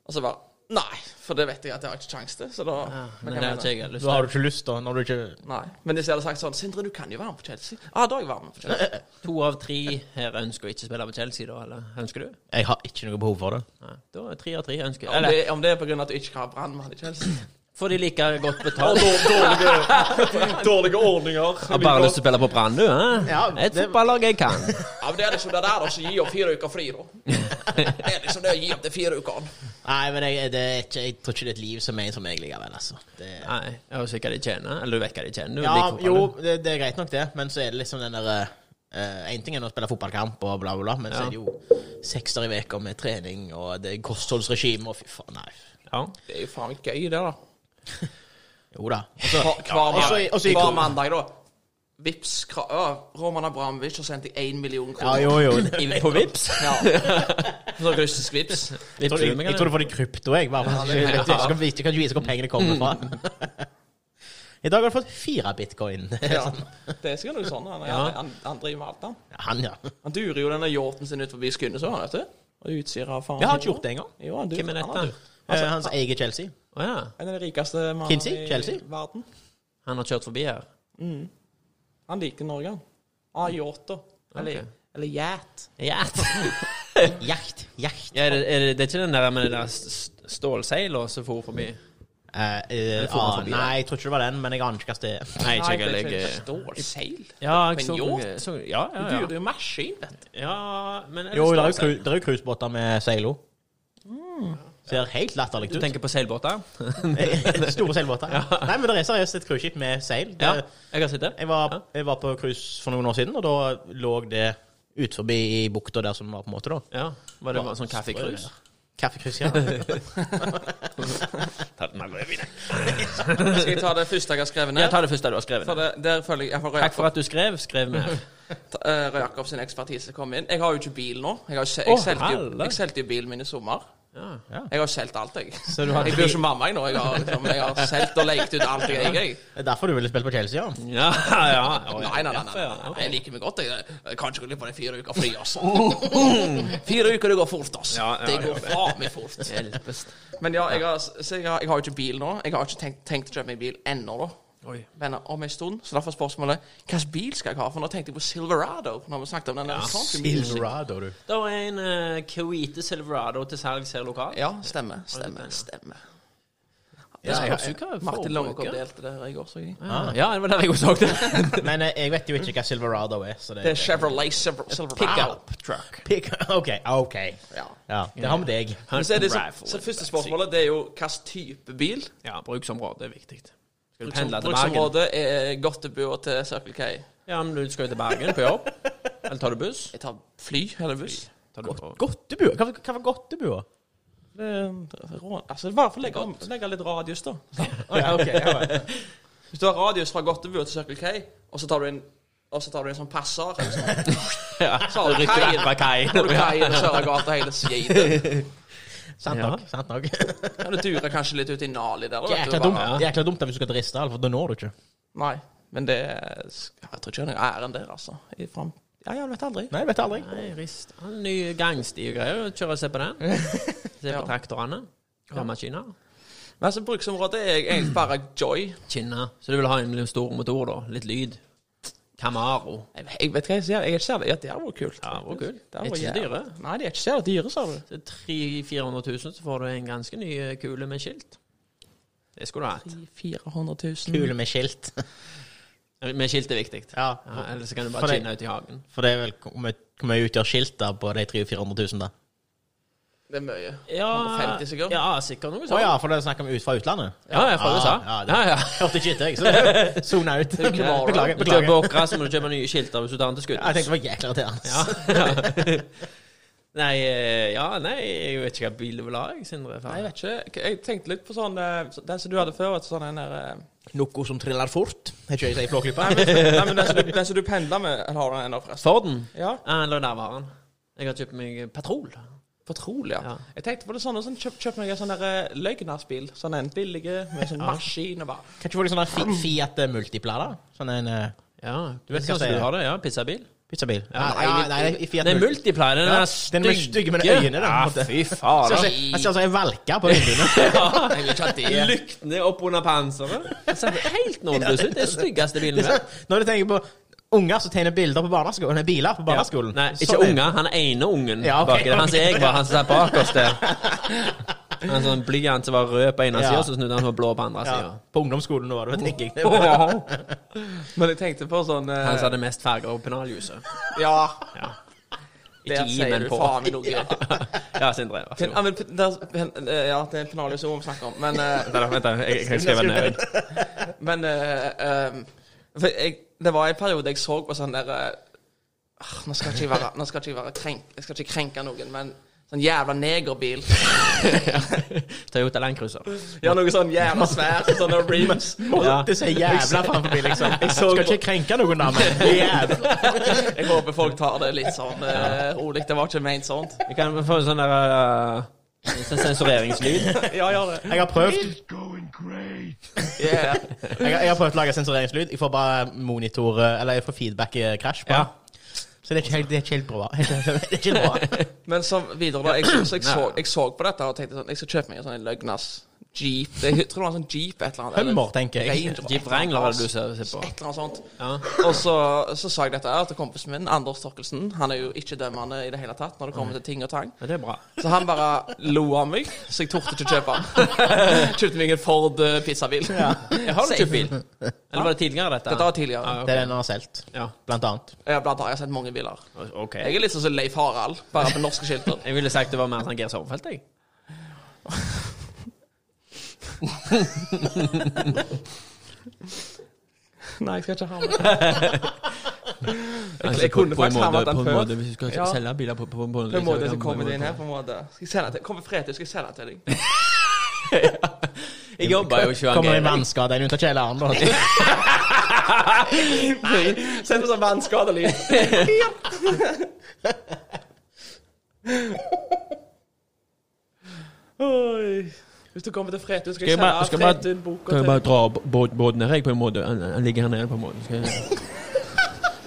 Speaker 3: Og så bare Nei, for det vet jeg at jeg har ikke kjangs til. Så da men
Speaker 1: Men det
Speaker 3: kan jeg
Speaker 1: har
Speaker 3: mene.
Speaker 1: ikke jeg lyst
Speaker 4: Da
Speaker 1: til.
Speaker 4: har du ikke lyst, da, når du ikke
Speaker 3: Nei. Men hvis jeg hadde sagt sånn 'Sindre, du kan jo være med på Chelsea'. Ah, da er jeg varm på Chelsea.
Speaker 1: To av tre her ønsker å ikke spille på Chelsea, da, eller? Ønsker du?
Speaker 4: Jeg har ikke noe behov for det.
Speaker 1: Nei. Da er tre av tre ønsker.
Speaker 3: Om
Speaker 1: Eller,
Speaker 3: det, om det er på grunn av at du ikke kan ha brannmann i Chelsea.
Speaker 1: får de like godt betalt?
Speaker 3: Dårlige ordninger.
Speaker 1: Har bare lyst til å spille på Brann, du? hæ?
Speaker 4: Ja,
Speaker 1: Et
Speaker 4: det-
Speaker 1: fotballag jeg kan.
Speaker 3: Ja, men Det er liksom det der å gi opp fire uker fri, da. Det er liksom det å gi opp de fire ukene.
Speaker 4: Nei, men jeg, det er ikke, jeg tror ikke det er et liv som er for meg likevel, altså. Det,
Speaker 1: Nei, jeg er jo sikker de tjener. Eller du vet hva de tjener. du
Speaker 4: ja,
Speaker 1: liker fotball,
Speaker 4: jo,
Speaker 1: du.
Speaker 4: det, det er greit nok, det, men så er det liksom den derre Én ting er å spille fotballkamp, og bla, bla, bla, men så
Speaker 1: Ja.
Speaker 4: er det jo sekser i uka med trening, og det er kostholdsregime, og fy faen, nei.
Speaker 1: Ja.
Speaker 3: Det er jo faen meg gøy, det, da.
Speaker 4: Jo da. Og så-
Speaker 3: Hver, hver,
Speaker 4: og så- og så-
Speaker 3: mandag, hver mandag, da. Vips, kra, å, Roman Abramovic har sendt deg én million
Speaker 4: Ja,
Speaker 3: kroner.
Speaker 4: jo, jo.
Speaker 1: I- På Vips?
Speaker 3: Ja. Så russisk vips.
Speaker 4: Jeg tror, jeg, jeg tror du får det i krypto, jeg. Bare, for at jeg vet ikke- jeg kan vite- kan ikke vise hvor pengene kommer fra. I dag har du fått fire bitcoin.
Speaker 3: Ja. Det er sikkert noe sånn. Han, er-
Speaker 1: Ja.
Speaker 3: han, han driver med alt, han.
Speaker 4: Han, ja.
Speaker 3: Han durer jo denne yachten sin ut forbi Skunnesen, vet du. Og utsier av faen.
Speaker 4: Jeg har ikke gjort det engang.
Speaker 3: Jo, han durer.
Speaker 1: Hvem er
Speaker 3: Han har
Speaker 1: dette?
Speaker 3: duret.
Speaker 4: Altså, han som eier Chelsea.
Speaker 1: Å ja.
Speaker 3: En av de rikeste
Speaker 4: Kinsey?
Speaker 3: mannene i
Speaker 4: Chelsea?
Speaker 3: verden.
Speaker 1: Han har kjørt forbi her.
Speaker 3: Han liker Norge, han. Av yachter. Eller,
Speaker 1: Ok.
Speaker 3: eller yacht.
Speaker 1: Ja.
Speaker 4: Jakt. Jakt.
Speaker 1: Ja, er det, er det, det er ikke den der med det der s- s- stålseila som for forbi?
Speaker 4: Eh, eh,
Speaker 1: får han
Speaker 4: ah,
Speaker 1: forbi,
Speaker 4: nei, jeg tror ikke det var den, men jeg aner ikke hva det er.
Speaker 1: Nei,
Speaker 3: Nei,
Speaker 1: ikke
Speaker 3: det er
Speaker 1: jeg.
Speaker 3: ikke
Speaker 1: jeg-
Speaker 3: en Stålseil?
Speaker 1: Ja, jeg
Speaker 3: Men
Speaker 1: så,
Speaker 3: yacht?
Speaker 1: så Ja, ja,
Speaker 3: Du, det
Speaker 1: ja.
Speaker 3: er jo maskin, vet du.
Speaker 1: ja men er det Mm.
Speaker 4: Jo, det er jo
Speaker 1: stålseil?
Speaker 4: cru- det er jo cruisebåter med seilo. Ser helt latterlig
Speaker 1: Du
Speaker 4: ut.
Speaker 1: tenker på seilbåter?
Speaker 4: Store seilbåter. Nei, men det er seriøst et cruiseskip med seil. Det-
Speaker 1: Ja, jeg har sett det.
Speaker 4: Jeg var, jeg var på cruise for noen år siden, og da lå det ut forbi i bukta der som det var, på en måte, da.
Speaker 1: Ja, Var det bare sånn kaffekrus?
Speaker 4: Kaffekrus, ja.
Speaker 3: Skal jeg ta det første jeg har skrevet ned?
Speaker 1: Jeg tar det første du har skrevet.
Speaker 3: For det, der føler jeg, jeg får Røe
Speaker 1: Takk
Speaker 3: Jakob-
Speaker 1: for at du skrev. Skrev med.
Speaker 3: Ta- eh, Røe Jakob sin ekspertise kom inn. Jeg har jo ikke bil nå. Jeg, har jo se-
Speaker 1: Å,
Speaker 3: jeg, solgte, jo,
Speaker 1: helle.
Speaker 3: jeg solgte jo bilen min i sommer.
Speaker 1: Ja.
Speaker 3: Jeg har solgt alt, jeg.
Speaker 4: Så du har
Speaker 3: Jeg
Speaker 4: tre-
Speaker 3: blir ikke mamma jeg nå. Jeg har, liksom, jeg har solgt og lekt ut alt jeg eier. jeg.
Speaker 4: Det er derfor du ville spille på Chelsea, ja.
Speaker 1: Ja, ja. Å, ja.
Speaker 3: Nei, nei, nei. nei,
Speaker 1: Ja,
Speaker 3: nei. Jeg liker meg godt. Jeg, jeg kan ikke gå litt på de fire uker fri, altså. Fire uker, det går fort, altså.
Speaker 1: Ja, ja,
Speaker 3: Det
Speaker 1: ja.
Speaker 3: går faen meg fort.
Speaker 1: Hjelpes.
Speaker 3: Men ja, jeg har, så jeg har, jeg har jo ikke bil nå. Jeg har ikke tenkt, tenkt å kjøpe meg bil ennå, da.
Speaker 1: Oi.
Speaker 3: venner om en stund. Så derfor spørsmålet hvilken bil skal jeg ha? For nå tenkte jeg på Silverado. Når vi snakket om den der country music.
Speaker 4: Silverado, du.
Speaker 1: Det var en uh, Kuwaite Silverado til salgs her lokalt.
Speaker 3: Ja, stemmer. Stemmer. stemmer.
Speaker 4: Ja, jeg-
Speaker 1: Spørs jo hva
Speaker 3: Martin
Speaker 1: forbruket-
Speaker 3: Langekop delte det i går. så jeg.
Speaker 1: Ah. Ja, det var der jeg også så det.
Speaker 4: Men eh, jeg vet jo ikke hva Silverado er, så det
Speaker 3: Det er Chevrolet Silver- Silverado.
Speaker 1: Pickup
Speaker 3: truck.
Speaker 4: Pick, OK. ok
Speaker 3: Ja.
Speaker 4: Ja, Det har vi deg.
Speaker 3: Men så, er det så,
Speaker 1: Raffle,
Speaker 3: så første
Speaker 1: backseat.
Speaker 3: spørsmålet det er jo hvilken type bil.
Speaker 1: Ja, bruksområde er viktig. Skal du pendle til Bergen?
Speaker 3: Bruksområdet er Gottebua til Circle K.
Speaker 1: Ja, men du skal jo til Bergen på jobb. Eller tar du buss?
Speaker 3: Jeg tar fly eller buss.
Speaker 1: Tar du på-
Speaker 4: Godtebua? Hva, hva var Godtebua?
Speaker 3: Det er rå- Altså, bare for å legge, om- legge litt radius, da.
Speaker 4: ja, ok, ja, vel.
Speaker 3: Hvis du har radius fra Gottebua til Circle K, og så tar du en, og så tar du en sånn passer eller sånn. Så har du
Speaker 1: Rykker
Speaker 3: kaien.
Speaker 1: rett fra kaien.
Speaker 3: Har du kaien, Søragata, hele skiten.
Speaker 4: Sant
Speaker 1: Ja.
Speaker 4: nok. sant nok
Speaker 3: Ja, det durer kanskje litt ut i Nali der. da, vet du,
Speaker 4: Jækla
Speaker 3: bare-
Speaker 4: dumt, jækla dumt da hvis du skal driste, for da når du ikke.
Speaker 3: Nei, men det Jeg tror ikke det er æren der, altså. I fram... Ja, ja, du vet aldri.
Speaker 4: Nei, vet aldri.
Speaker 1: Nei, rist. Han er ny gangsti og greier. Kjøre og se på den. Se på
Speaker 3: Ja.
Speaker 1: traktorene. Maskiner.
Speaker 3: Men altså, bruksområdet er egentlig bare joy.
Speaker 1: Kinna. Så du vil ha en litt stor motor, da? Litt lyd? Camaro.
Speaker 3: Jeg, jeg vet hva jeg sier. Jeg er ikke særlig Ja, det hadde vært kult.
Speaker 1: Ja, det var kult.
Speaker 3: Det hadde
Speaker 1: Er ikke
Speaker 3: vært
Speaker 1: så
Speaker 3: jævlig.
Speaker 1: dyre.
Speaker 3: Nei, de er ikke særlig dyre, sa du.
Speaker 1: Så 300 400 000, så får du en ganske ny eh, kule med skilt. Det skulle du hatt.
Speaker 3: 400 000.
Speaker 4: Kule med skilt.
Speaker 1: Med skilt er viktig.
Speaker 4: Ja,
Speaker 1: Ja, eller så kan du
Speaker 4: For
Speaker 1: bare
Speaker 4: det-
Speaker 1: kinne ut i hagen.
Speaker 4: For det er vel hvor mye- hvor mye utgjør skilt da på de 300 400 000, da?
Speaker 3: Det er mye.
Speaker 1: Ja,
Speaker 3: 150 sikkert.
Speaker 1: Ja, sikkert noe
Speaker 4: Å
Speaker 1: sånt.
Speaker 4: ja, for det er snakk om ut fra utlandet?
Speaker 1: Ja, jeg er fra
Speaker 4: Ah,
Speaker 1: USA.
Speaker 4: ja, det-
Speaker 1: Ja, ja.
Speaker 4: Hørte ikke etter, jeg. Så sona ut.
Speaker 3: Camaro.
Speaker 4: Beklager.
Speaker 1: Du klør
Speaker 4: beklager.
Speaker 1: på åkra, så må du kjøpe nye skilter hvis du tar den til skudd.
Speaker 4: Jeg tenkte det var jækla irriterende.
Speaker 1: Ja. ja. Nei, eh, ja, nei, jeg vet ikke hva bil du vil ha, jeg, Sindre. faen.
Speaker 3: Nei, jeg vet ikke. Jeg tenkte litt på sånn eh, så- Den som du hadde før, vet du, sånn en der eh,
Speaker 4: Noe som triller fort. Er ikke jeg sier flåklypa?
Speaker 3: Nei, men, nei, men den, som du, den som du pendler med, eller har du den ennå, forresten?
Speaker 1: Forden?
Speaker 3: Ja.
Speaker 1: Ja, eller der var han. Jeg har kjøpt meg Patrol.
Speaker 3: Patrol, ja.
Speaker 1: Ja.
Speaker 3: Jeg tenkte på det sånn, og sånn kjøp, kjøp meg en sånn der eh, løgnersbil. Sånn en billig med sånn maskin og bare
Speaker 4: Kan ikke få litt sånn der Fi- Fiat eh, Multipla, da? Sånn en eh,
Speaker 1: Ja, du vet
Speaker 4: Hva
Speaker 1: hva
Speaker 4: sier
Speaker 1: du
Speaker 4: jeg?
Speaker 1: har det? Ja, Pizzabil?
Speaker 4: pizzabil?
Speaker 1: Ja,
Speaker 4: nei,
Speaker 1: nei,
Speaker 4: nei, nei, Fiat
Speaker 1: Det er
Speaker 4: Multipla.
Speaker 1: multiplier, den
Speaker 4: Ja,
Speaker 1: der
Speaker 4: den med stygge med de øynene, den, på en
Speaker 1: Ja,
Speaker 4: måte.
Speaker 1: fy
Speaker 4: Jeg
Speaker 1: faen.
Speaker 4: ser- Jeg ser jeg valker på vinduene.
Speaker 3: Jeg vil ikke at det er
Speaker 1: Lykten er opp under panseret. Den ser helt nådeløs ut. Det er den styggeste bilen
Speaker 4: Det er
Speaker 1: der.
Speaker 4: sånn- Når du tenker på unger som tegner bilder på barneskolen, nei, biler på barneskolen
Speaker 1: Nei, ikke
Speaker 4: Sånn er-
Speaker 1: unger. Han ene ungen
Speaker 4: Ja, ok,
Speaker 1: bak i det. Han som
Speaker 4: ok.
Speaker 1: jeg var, han som satt bak oss der. En sånn blyant som var rød på ene
Speaker 4: Ja.
Speaker 1: sida, så snudde han seg blå på andre
Speaker 4: Ja,
Speaker 1: sida.
Speaker 4: på ungdomsskolen nå, da tenker jeg.
Speaker 3: Men jeg tenkte på sånn eh,
Speaker 1: Han som hadde mest farger og pennaljuset.
Speaker 3: Ja.
Speaker 1: Ja.
Speaker 3: Der
Speaker 1: i,
Speaker 3: sier
Speaker 1: men
Speaker 3: du
Speaker 1: på.
Speaker 3: faen meg noe.
Speaker 1: ja, Sindre. Vær så god.
Speaker 3: Ja, men der, eh, ja, det er en penale som vi snakker om, men eh,
Speaker 1: Vent, da, vent da, jeg, jeg skriver den ned.
Speaker 3: Men eh, ehm, for jeg, det var en periode jeg så på sånn der eh, Ah, Nå skal ikke jeg være, nå skal ikke jeg være krenk, jeg skal ikke krenke noen, men sånn jævla negerbil.
Speaker 1: Toyota Land Cruiser.
Speaker 3: Ja, noe sånn jævla svært. Sånne rims.
Speaker 1: Ja.
Speaker 4: Det sier jævla framfor meg, liksom. Jeg
Speaker 3: så-
Speaker 4: skal ikke krenke noen av meg. Jævla.
Speaker 3: Jeg håper folk tar det litt sånn eh, rolig. Det var ikke ment sånn.
Speaker 1: Vi kan få en sånn der eh, en sånn sensureringslyd.
Speaker 3: Ja, gjør det.
Speaker 4: Jeg har prøvd
Speaker 3: Yeah.
Speaker 4: jeg har, jeg har prøvd å lage sensureringslyd. Jeg får bare monitor Eller jeg får feedback-krasj. på
Speaker 1: Ja.
Speaker 4: den. Så det er ikke helt, det er ikke helt bra. Helt, det er ikke helt bra.
Speaker 3: Men så videre, da. Jeg, så, jeg, så, jeg så på dette og tenkte sånn Jeg skal kjøpe meg en sånn løgnas jeep. Jeg tror det var en sånn jeep et eller annet. eller-
Speaker 4: Hummer, tenker jeg.
Speaker 3: Range Rover,
Speaker 1: Jeep Wrangler er det du ser, ser på.
Speaker 3: Et eller annet sånt.
Speaker 1: Ja.
Speaker 3: Og så, så sa jeg dette her til kompisen min, Anders Torkelsen. Han er jo ikke dømmende i det hele tatt når det kommer til ting og tang.
Speaker 1: Men det er bra.
Speaker 3: Så han bare lo av meg, så jeg torde ikke kjøpe den. Kjøpte meg en Ford eh, pizzabil.
Speaker 1: Jeg har ikke bil. Eller var det tidligere, dette?
Speaker 3: Dette var tidligere.
Speaker 1: Ah,
Speaker 4: Det er den jeg har solgt,
Speaker 1: Ja.
Speaker 4: blant annet.
Speaker 3: Ja, Blant annet har jeg sett mange biler.
Speaker 1: OK.
Speaker 3: Jeg er litt sånn som Leif Harald, bare med norske skilter.
Speaker 1: Jeg ville sagt det var mer sånn Geir Sorgfeldt, jeg.
Speaker 3: Nei, jeg skal ikke ha det.
Speaker 1: Altså,
Speaker 3: Altså, jeg kunne faktisk ha vært den før.
Speaker 1: hvis du skal
Speaker 3: Ja.
Speaker 1: selge biler på, på, på, på
Speaker 3: På en måte
Speaker 1: så
Speaker 3: så
Speaker 1: kan-
Speaker 3: kommer det inn her, på en måte. Skal jeg sende til Kom på fredag, skal jeg sende til deg.
Speaker 1: Jeg jobber jo ikke
Speaker 4: Kommer i
Speaker 1: engang.
Speaker 4: vannskade inn under kjelleren. da.
Speaker 3: Send på sånn vannskadelyd. Oi. Hvis du kommer til Fretun, skal
Speaker 1: Skal jeg
Speaker 3: jeg
Speaker 1: bare,
Speaker 3: sende
Speaker 1: skal jeg bare,
Speaker 3: Fretun boka
Speaker 1: kan jeg
Speaker 3: til
Speaker 1: bare dra b- båt- båten her, jeg, på en måte? Han, han ligger her nede, på en måte. Skal jeg...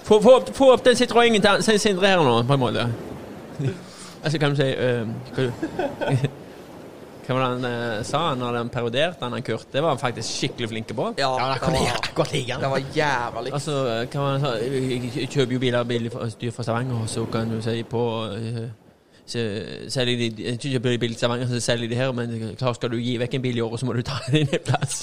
Speaker 1: få, få, opp, få opp den citroengen til han- Sindre her nå, på en måte. Altså, kan du si eh, hva- Hva var det han eh, sa når han parodierte han, han Kurt? Det var han faktisk skikkelig flink på.
Speaker 3: Ja,
Speaker 4: Ja, da
Speaker 3: det
Speaker 4: kan jeg
Speaker 3: var,
Speaker 4: akkurat ligge
Speaker 3: det
Speaker 4: den.
Speaker 3: var jævlig.
Speaker 1: Altså, hva var det han sa? Jeg- jeg- Jeg kjøper jo biler billig fra, dyr fra Stavanger, og så kan du si på eh, så selger de, jeg kjøper de bil i Stavanger, så selger de her, men klar, skal du gi vekk en bil i året, så må du ta den inn i plass.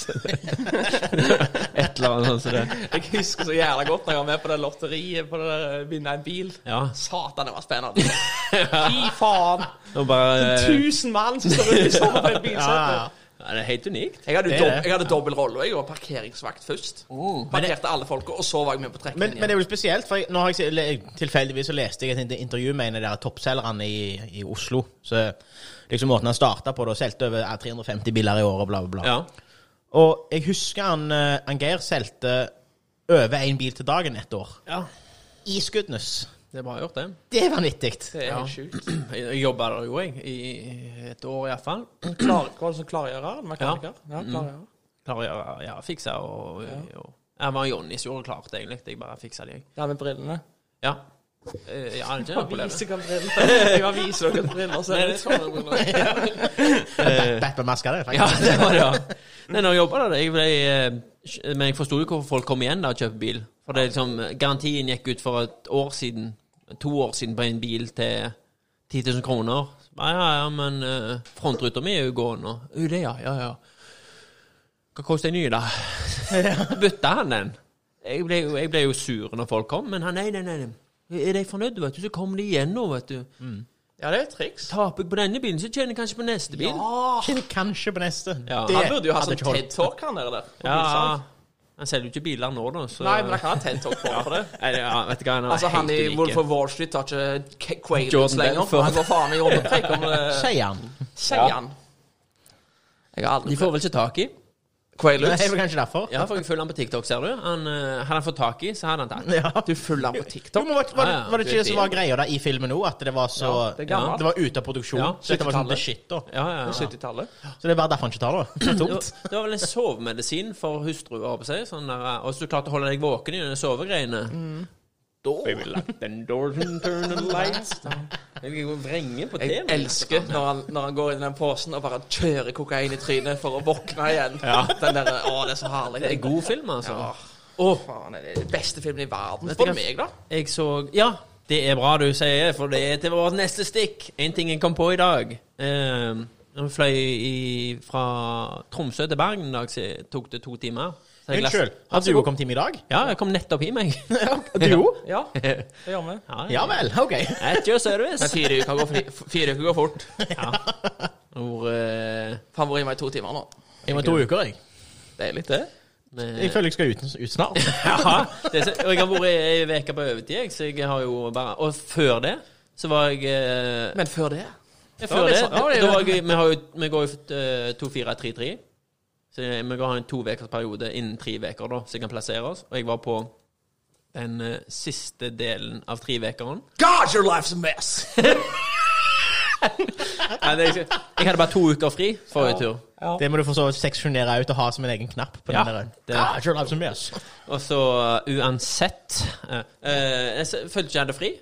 Speaker 1: Et eller annet sånt som det.
Speaker 3: Jeg husker så jævla godt når jeg var med på det lotteriet på det der, eh, vinne en bil.
Speaker 1: Ja.
Speaker 3: Satan, det var spennende. Fy faen.
Speaker 1: Og bare, eh,
Speaker 3: Tusen mann som står ute i sommer på en
Speaker 4: Ja, ja.
Speaker 3: bilsete.
Speaker 1: ja, det er helt unikt.
Speaker 3: Jeg hadde,
Speaker 4: Det
Speaker 3: jo
Speaker 4: er
Speaker 3: dob
Speaker 4: det. Mm.
Speaker 3: jeg hadde dobbel rolle. og Jeg var parkeringsvakt først. Parkerte alle folka, og så var jeg med på
Speaker 4: Men, men det
Speaker 3: trekningen.
Speaker 4: er jo spesielt, for jeg, nå har jeg, eller jeg, tilfeldigvis så leste jeg et inter- intervju med en av de der toppselgerne i, i Oslo. Så liksom måten han starta på, da solgte over eh, 350 biler i året, bla, bla, bla.
Speaker 1: Ja.
Speaker 4: Og jeg husker han, eh, han Geir solgte over én bil til dagen et år. I Skudenes.
Speaker 1: Det er bra gjort, det.
Speaker 4: Det er vanvittig.
Speaker 3: Det er helt sjukt.
Speaker 1: Jeg jobba der jo, jeg. I et år iallfall.
Speaker 3: Klar, hva er det som klargjører? Mekaniker? Ja,
Speaker 4: Mm.
Speaker 3: klargjører.
Speaker 1: Klarer å gjøre- ja, fikse og, og Jeg var Johnny som gjorde klart, egentlig. Jeg bare fiksa det, jeg.
Speaker 3: Ja, med brillene.
Speaker 1: Ja. Eh, Ja, ikke noe problem.
Speaker 3: Vise dere briller. Jeg har vist dere briller, så er det sånne briller.
Speaker 4: Batman-maska, det.
Speaker 1: Ja,
Speaker 4: faktisk.
Speaker 1: det var det, ja. Nei, når jeg jobba der, jeg ble, eh, men jeg forsto jo hvorfor folk kom igjen da og kjøpte bil. For det er liksom, garantien gikk ut for et år siden, to år siden på en bil til 10 000 kroner. Ja, ja, ja, men eh, frontruta mi er jo gående. Jo, det, ja. Ja, ja. Hva koster en ny, da? Bytta han den? Jeg ble, jo- jeg ble jo sur når folk kom, men han nei, nei, nei. nei. Er de fornøyd, vet du, så kommer de igjen nå, vet du.
Speaker 3: Ja, det er et triks.
Speaker 1: Taper jeg på denne bilen, så tjener jeg kanskje på neste bil.
Speaker 4: Kjenner Kanskje på neste.
Speaker 1: Ja.
Speaker 4: Det
Speaker 3: Han burde jo ha
Speaker 4: hadde
Speaker 3: sånn
Speaker 4: ikke holdt.
Speaker 3: TED-talk, han der. der, på
Speaker 1: Ja,
Speaker 3: bilsalg.
Speaker 1: han selger jo ikke biler nå, da. Så...
Speaker 3: Nei, men han kan ha TED-talk for for det.
Speaker 1: Nei, det- ja, vet du hva, han er
Speaker 3: Altså, han
Speaker 1: helt
Speaker 3: i
Speaker 1: unik.
Speaker 3: Wolf of Wall Street tar ikke K- Quaaludes
Speaker 1: Jordan
Speaker 3: lenger.
Speaker 1: Belfort.
Speaker 3: for Han går faen meg rundt og preker om det.
Speaker 4: Sier han.
Speaker 3: Sier han. Jeg har
Speaker 1: De
Speaker 3: aldri
Speaker 1: får vel ikke tak i?
Speaker 4: Det
Speaker 3: Quaaludes.
Speaker 4: er vel kanskje derfor.
Speaker 1: Ja, for jeg følger han på TikTok, ser du. Han, eh, hadde han fått tak i, så hadde han tatt.
Speaker 4: Ja.
Speaker 3: Du følger han på
Speaker 4: Jo,
Speaker 3: TikTok.
Speaker 4: men var, var,
Speaker 1: Ja, ja,
Speaker 4: var
Speaker 1: du
Speaker 4: det ikke
Speaker 1: er
Speaker 4: det som var greia da i filmen òg, at det var så
Speaker 3: Ja, det er gammelt.
Speaker 4: var ute av produksjon?
Speaker 1: Ja,
Speaker 4: så det var
Speaker 3: 70-tallet.
Speaker 4: sånn the shit, da.
Speaker 1: Ja, ja, ja.
Speaker 3: 70-tallet.
Speaker 4: Så det er bare derfor han ikke tar det. det. er
Speaker 1: Det
Speaker 4: dumt.
Speaker 1: var, det var vel en sovemedisin for hustruer, holdt på å si. Sånn der, eh, og så klarte å holde deg våken i de sovegreiene.
Speaker 3: Mm.
Speaker 1: Da Vi vil lock them doors and turn the lights down. Jeg vrenger på
Speaker 3: Jeg
Speaker 1: temaet.
Speaker 3: elsker når han, når han går inn i den posen og bare kjører kokain i trynet for å våkne igjen. Den der, Å, det er så herlig.
Speaker 1: Det er god film, altså.
Speaker 3: Ja.
Speaker 1: Åh,
Speaker 3: Faen, det er den beste filmen i verden.
Speaker 1: Vet du
Speaker 3: For
Speaker 1: hva-
Speaker 3: meg, da.
Speaker 1: Jeg så Ja, det er bra du sier det, for det er til vårt neste stikk. En ting jeg kom på i dag. Eh, Når vi fløy i, fra Tromsø til Bergen en dag, så tok det to timer. Så jeg
Speaker 4: Unnskyld.
Speaker 1: leste-
Speaker 4: Har du òg kommet hjem i dag?
Speaker 1: Ja, jeg kom nettopp hjem, jeg.
Speaker 4: Du òg?
Speaker 3: Ja, det gjør vi.
Speaker 4: Ja vel. OK.
Speaker 1: At your service.
Speaker 3: Men fire uker går, fri- fire uker går fort.
Speaker 1: Hvor, eh,
Speaker 3: Faen, hvor er vi i to timer nå?
Speaker 4: Jeg var to uker, jeg.
Speaker 3: Det er litt det.
Speaker 1: Med,
Speaker 4: Jeg føler jeg skal ut, ut snart.
Speaker 1: ja, det er, så- og jeg har vært ei uke på overtid, jeg, så jeg har jo bare Og før det så var jeg eh,
Speaker 3: Men før det
Speaker 1: Ja,
Speaker 3: Ja,
Speaker 1: Før
Speaker 3: det
Speaker 1: det,
Speaker 3: er sant. Ja, det er
Speaker 1: da
Speaker 3: jo-
Speaker 1: var jeg, vi, har jo, vi går jo eh, 2-4-3-3. Så jeg- vi har en to ukers periode innen tre uker, da, så jeg kan plassere oss. Og jeg var på den eh, siste delen av trevekeren.
Speaker 3: God, your life's a mess!
Speaker 1: Nei, det er ikke- Jeg hadde bare to uker fri forrige tur.
Speaker 4: Det må du for så vidt seksjonere ut og ha som en egen knapp. på
Speaker 1: Ja,
Speaker 4: den der.
Speaker 1: det-
Speaker 4: Ah, sure, love some yes.
Speaker 1: Og så eh, uansett eh, eh, Jeg s- følte ikke jeg hadde fri.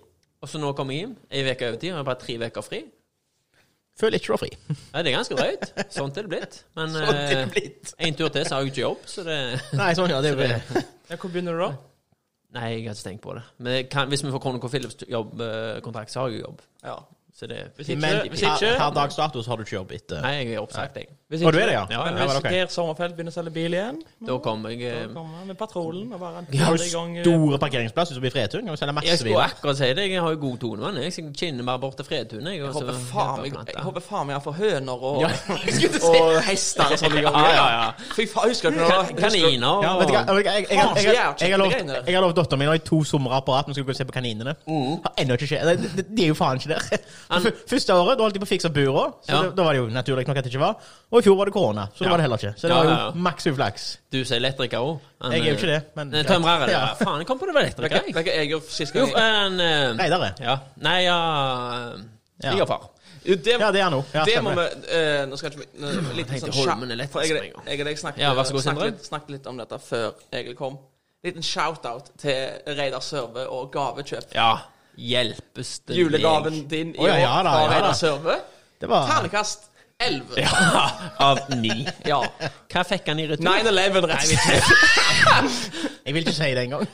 Speaker 1: Og så nå kom jeg hjem ei uke overtid, og jeg har bare tre uker fri.
Speaker 4: Føler ikke du har fri.
Speaker 1: Ja, det er ganske drøyt. Sånt er det blitt.
Speaker 3: Sånn
Speaker 1: Men
Speaker 4: Sånt er det
Speaker 1: eh,
Speaker 4: blitt.
Speaker 1: en tur til, så har jeg ikke jobb, så det
Speaker 4: Nei, sånn, ja, det er jo
Speaker 3: Ja, hvor begynner du da?
Speaker 1: Nei, jeg har ikke tenkt på det. Men jeg kan, hvis vi får Kronoco Philips jobbkontrakt, eh, så har jeg jo jobb.
Speaker 3: Ja.
Speaker 1: Så det
Speaker 3: Hvis ikke,
Speaker 4: Men
Speaker 3: hvis ikke,
Speaker 4: per per dags dato så har du ikke jobb etter
Speaker 1: Nei, jeg er oppsagt, jeg.
Speaker 3: hvis
Speaker 4: Å, du er det, ja?
Speaker 1: Ja,
Speaker 3: Men
Speaker 1: ja,
Speaker 3: hvis
Speaker 4: vel, ok.
Speaker 3: Geir Sommerfeld begynner å selge bil igjen,
Speaker 1: Da kommer jeg
Speaker 3: da
Speaker 1: eh,
Speaker 3: kommer han med patruljen og bare
Speaker 4: Har
Speaker 3: kjører
Speaker 4: du
Speaker 3: i gang eh,
Speaker 4: store parkeringsplasser utover i Fredtun? Kan du selge
Speaker 1: Jeg
Speaker 4: masse
Speaker 1: skulle
Speaker 4: biler?
Speaker 1: akkurat si det. Jeg har jo god tonemann. Jeg Jeg kinner bare bort til Fredtun. Jeg, og
Speaker 3: Jeg
Speaker 1: så-
Speaker 3: håper faen meg- jeg håper faen meg jeg får høner og,
Speaker 1: Ja,
Speaker 3: og hester og sånn i gang.
Speaker 1: Ja, ja, ja.
Speaker 3: Fy faen, husker du
Speaker 1: Kan- Kaniner og
Speaker 4: Ja, vet du hva? Jeg- jeg- jeg- jeg- jeg- jeg- Jeg har lovt-
Speaker 3: Faen, så jævlig
Speaker 4: jeg har lovt datteren min nå i to somre på rad at vi skulle gå og se på kaninene.
Speaker 1: Mm.
Speaker 4: Har ennå ikke skjedd. Det- det- De er jo faen ikke der. F- Første året da holdt de på å fikse bura, så
Speaker 1: Ja.
Speaker 4: det- da var det jo naturlig nok at det ikke var. Og i fjor var det korona, så da
Speaker 1: Ja.
Speaker 4: var det heller ikke. Så det
Speaker 1: Ja,
Speaker 4: var
Speaker 1: ja, ja.
Speaker 4: jo maks uflaks.
Speaker 1: Du som er elektriker òg.
Speaker 4: Jeg er jo ikke det, men
Speaker 1: Tømrer er det.
Speaker 4: Ja.
Speaker 1: ja. Faen, jeg kom på det var elektriker. jeg.
Speaker 3: Vet du hva jeg gjorde sist
Speaker 1: Jo,
Speaker 3: gang?
Speaker 1: en eh,
Speaker 4: Reidar er.
Speaker 1: Ja. Nei, ja eh, Svigerfar.
Speaker 3: Jo, det,
Speaker 4: Ja, det er han nå. Ja,
Speaker 3: det må vi
Speaker 4: stemmer.
Speaker 3: eh, Nå skal ikke vi nå- Litt
Speaker 1: tenkte
Speaker 3: sånn
Speaker 1: Holmen er lett
Speaker 3: for jeg,
Speaker 1: å sprenge.
Speaker 3: jeg, jeg, snakket,
Speaker 1: Ja, vær så god,
Speaker 3: snakket,
Speaker 1: Sindre.
Speaker 3: litt, snakket litt om dette før Egil kom. Liten shout-out til Reidar Sørve og gavekjøp.
Speaker 1: Ja. Hjelpes det meg.
Speaker 3: Julegaven din i
Speaker 4: Å, ja,
Speaker 3: år
Speaker 4: ja da,
Speaker 3: fra
Speaker 4: ja da.
Speaker 3: Reidar Sørve.
Speaker 4: Det var
Speaker 3: Ternekast 11.
Speaker 1: Ja, Av ni.
Speaker 3: Ja.
Speaker 1: Hva fikk han i retur?
Speaker 3: 9-11, rett og slett.
Speaker 4: Jeg vil ikke si det engang.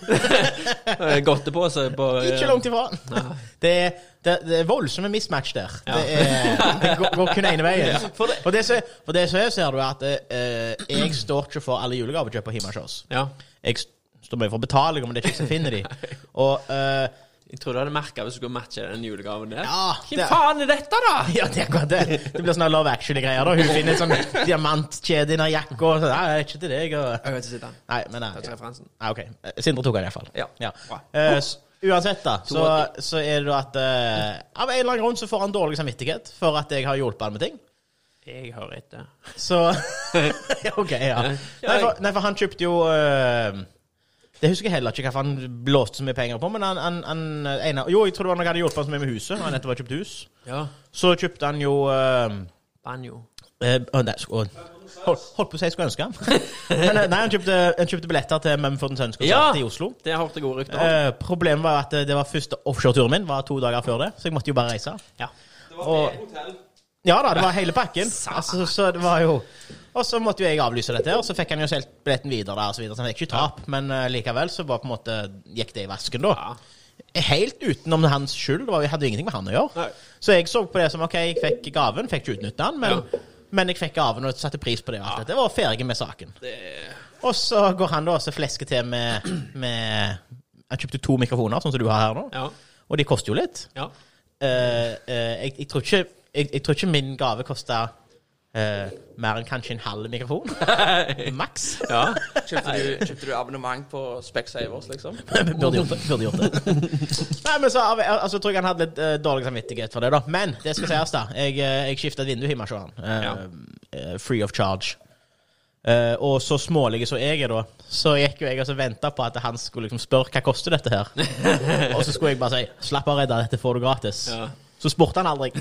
Speaker 1: Eh, Godtepose på eh,
Speaker 4: Ikke langt ifra. Det er, det, det er voldsomme mismatch der. Det, er, det går, går kun ene veien. Og det som for det som er, ser du at eh, jeg står ikke for alle julegavekjøp hjemme hos oss.
Speaker 1: Ja.
Speaker 4: Jeg st- står mye for betaling om det er ikke jeg som finner de. Og eh,
Speaker 1: Jeg tror du hadde merka hvis du skulle matche den julegaven der.
Speaker 4: Ja,
Speaker 1: Hvem
Speaker 4: det-
Speaker 1: faen er dette, da?
Speaker 4: ja, det er akkurat det. Det blir sånne Love Actually-greier. da Hun finner et sånn diamantkjede under jakka. Og sånn, nei, det er ikke til deg. Og...
Speaker 1: Jeg vet ikke sitte den.
Speaker 4: Nei, men eh, nei.
Speaker 1: Takk til referansen.
Speaker 4: Ja, ok. Eh, Sindre tok den iallfall.
Speaker 3: Ja.
Speaker 4: Ja. Eh, s- uansett, da, så, så er det jo at eh, Av en eller annen grunn så får han dårlig samvittighet for at jeg har hjulpet han med ting.
Speaker 1: Jeg hører etter.
Speaker 4: Så Ja, OK, ja. Nei for, nei, for han kjøpte jo eh, Det husker jeg heller ikke hva han blåste så mye penger på, men han, han, han eh, ene, Jo, jeg tror det var når jeg hadde hjulpet han så mye med huset. og Han nettopp hadde kjøpt hus.
Speaker 1: Ja.
Speaker 4: Så kjøpte han jo eh,
Speaker 1: Banjo.
Speaker 4: Eh, å, nei, sk- å, hold, holdt på å si jeg skulle ønske ham. Men, eh, nei, han kjøpte, han kjøpte billetter til Mumford Sons-konsert
Speaker 1: Ja!
Speaker 4: i Oslo.
Speaker 1: Det har jeg hørt gode rykter om.
Speaker 4: Eh, problemet var jo at det var første offshoreturen min var to dager før det, så jeg måtte jo bare reise.
Speaker 1: Ja.
Speaker 4: Og, ja da, det var hele pakken. Altså, så det var jo Og så måtte jo jeg avlyse dette, og så fikk han jo solgt billetten videre der, og så videre. Så han fikk ikke tap, men eh, likevel så bare på en måte gikk det i vasken, da. Helt utenom hans skyld. Det var, jeg hadde jo ingenting med han å gjøre. Så jeg så på det som OK, jeg fikk gaven, fikk ikke utnytte den, men, men jeg fikk gaven og satte pris på det. og Alt dette var ferdig med saken. Og så går han da også flesker til med, med Han kjøpte to mikrofoner, sånn som du har her nå.
Speaker 1: Ja.
Speaker 4: Og de koster jo litt.
Speaker 1: ja.
Speaker 4: Eh, eh, jeg, jeg, tror ikke, jeg, jeg tror ikke min gave kosta eh, mer enn kanskje en halv mikrofon. Maks.
Speaker 1: ja.
Speaker 3: Kjøpte du, kjøpte du abonnement på Specsavers, liksom?
Speaker 4: Burde gjort det. Burde gjort det. Nei, men så av- altså, tror jeg han hadde litt eh, dårlig samvittighet for det, da. Men det skal sies, da. Jeg, eh, jeg skifta et vindu hjemme hos han. Eh, eh, free of charge. Eh, og så smålig som jeg er, da, så gikk jo jeg og venta på at han skulle liksom spørre hva koster dette her. og så skulle jeg bare si 'slapp av, Reidar, dette får du gratis'.
Speaker 1: Ja.
Speaker 4: Så spurte han aldri.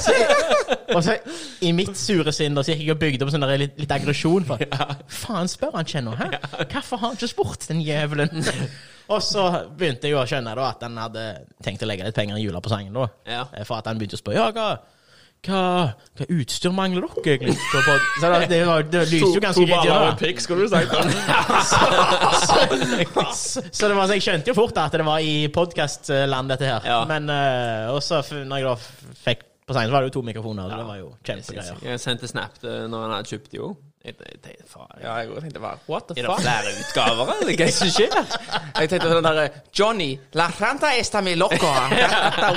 Speaker 4: så jeg, og så i mitt sure sinn da, så gikk jeg og bygde opp sånn der litt, litt aggresjon. For, Faen, spør han ikke nå, hæ? Hvorfor har han ikke spurt, den jævelen? og så begynte jeg jo å skjønne da at han hadde tenkt å legge litt penger i jula på sangen. da
Speaker 1: Ja.
Speaker 4: Eh, For at han begynte å spørre ja, hva, hva, hva utstyr mangler dere egentlig? på pod-?» Så da, det, var, det lyste jo ganske riktig. da.
Speaker 3: pikk, skulle du sagt.
Speaker 4: Så, så det var, så jeg skjønte jo fort da, at det var i podkastland, dette her.
Speaker 1: Ja.
Speaker 4: Men uh, også f- når jeg da f- fikk på scenen, så var det jo to mikrofoner. og Det var jo kjempegreier.
Speaker 1: Jeg sendte snap til når han hadde kjøpt jo. Jeg tenkte faen
Speaker 3: Ja, jeg også tenkte bare What the
Speaker 1: Er det
Speaker 3: fuck?
Speaker 1: flere utgaver, eller hva er det som skjer?
Speaker 3: Jeg tenkte på den eh, derre Johnny, la renta esta mi loco.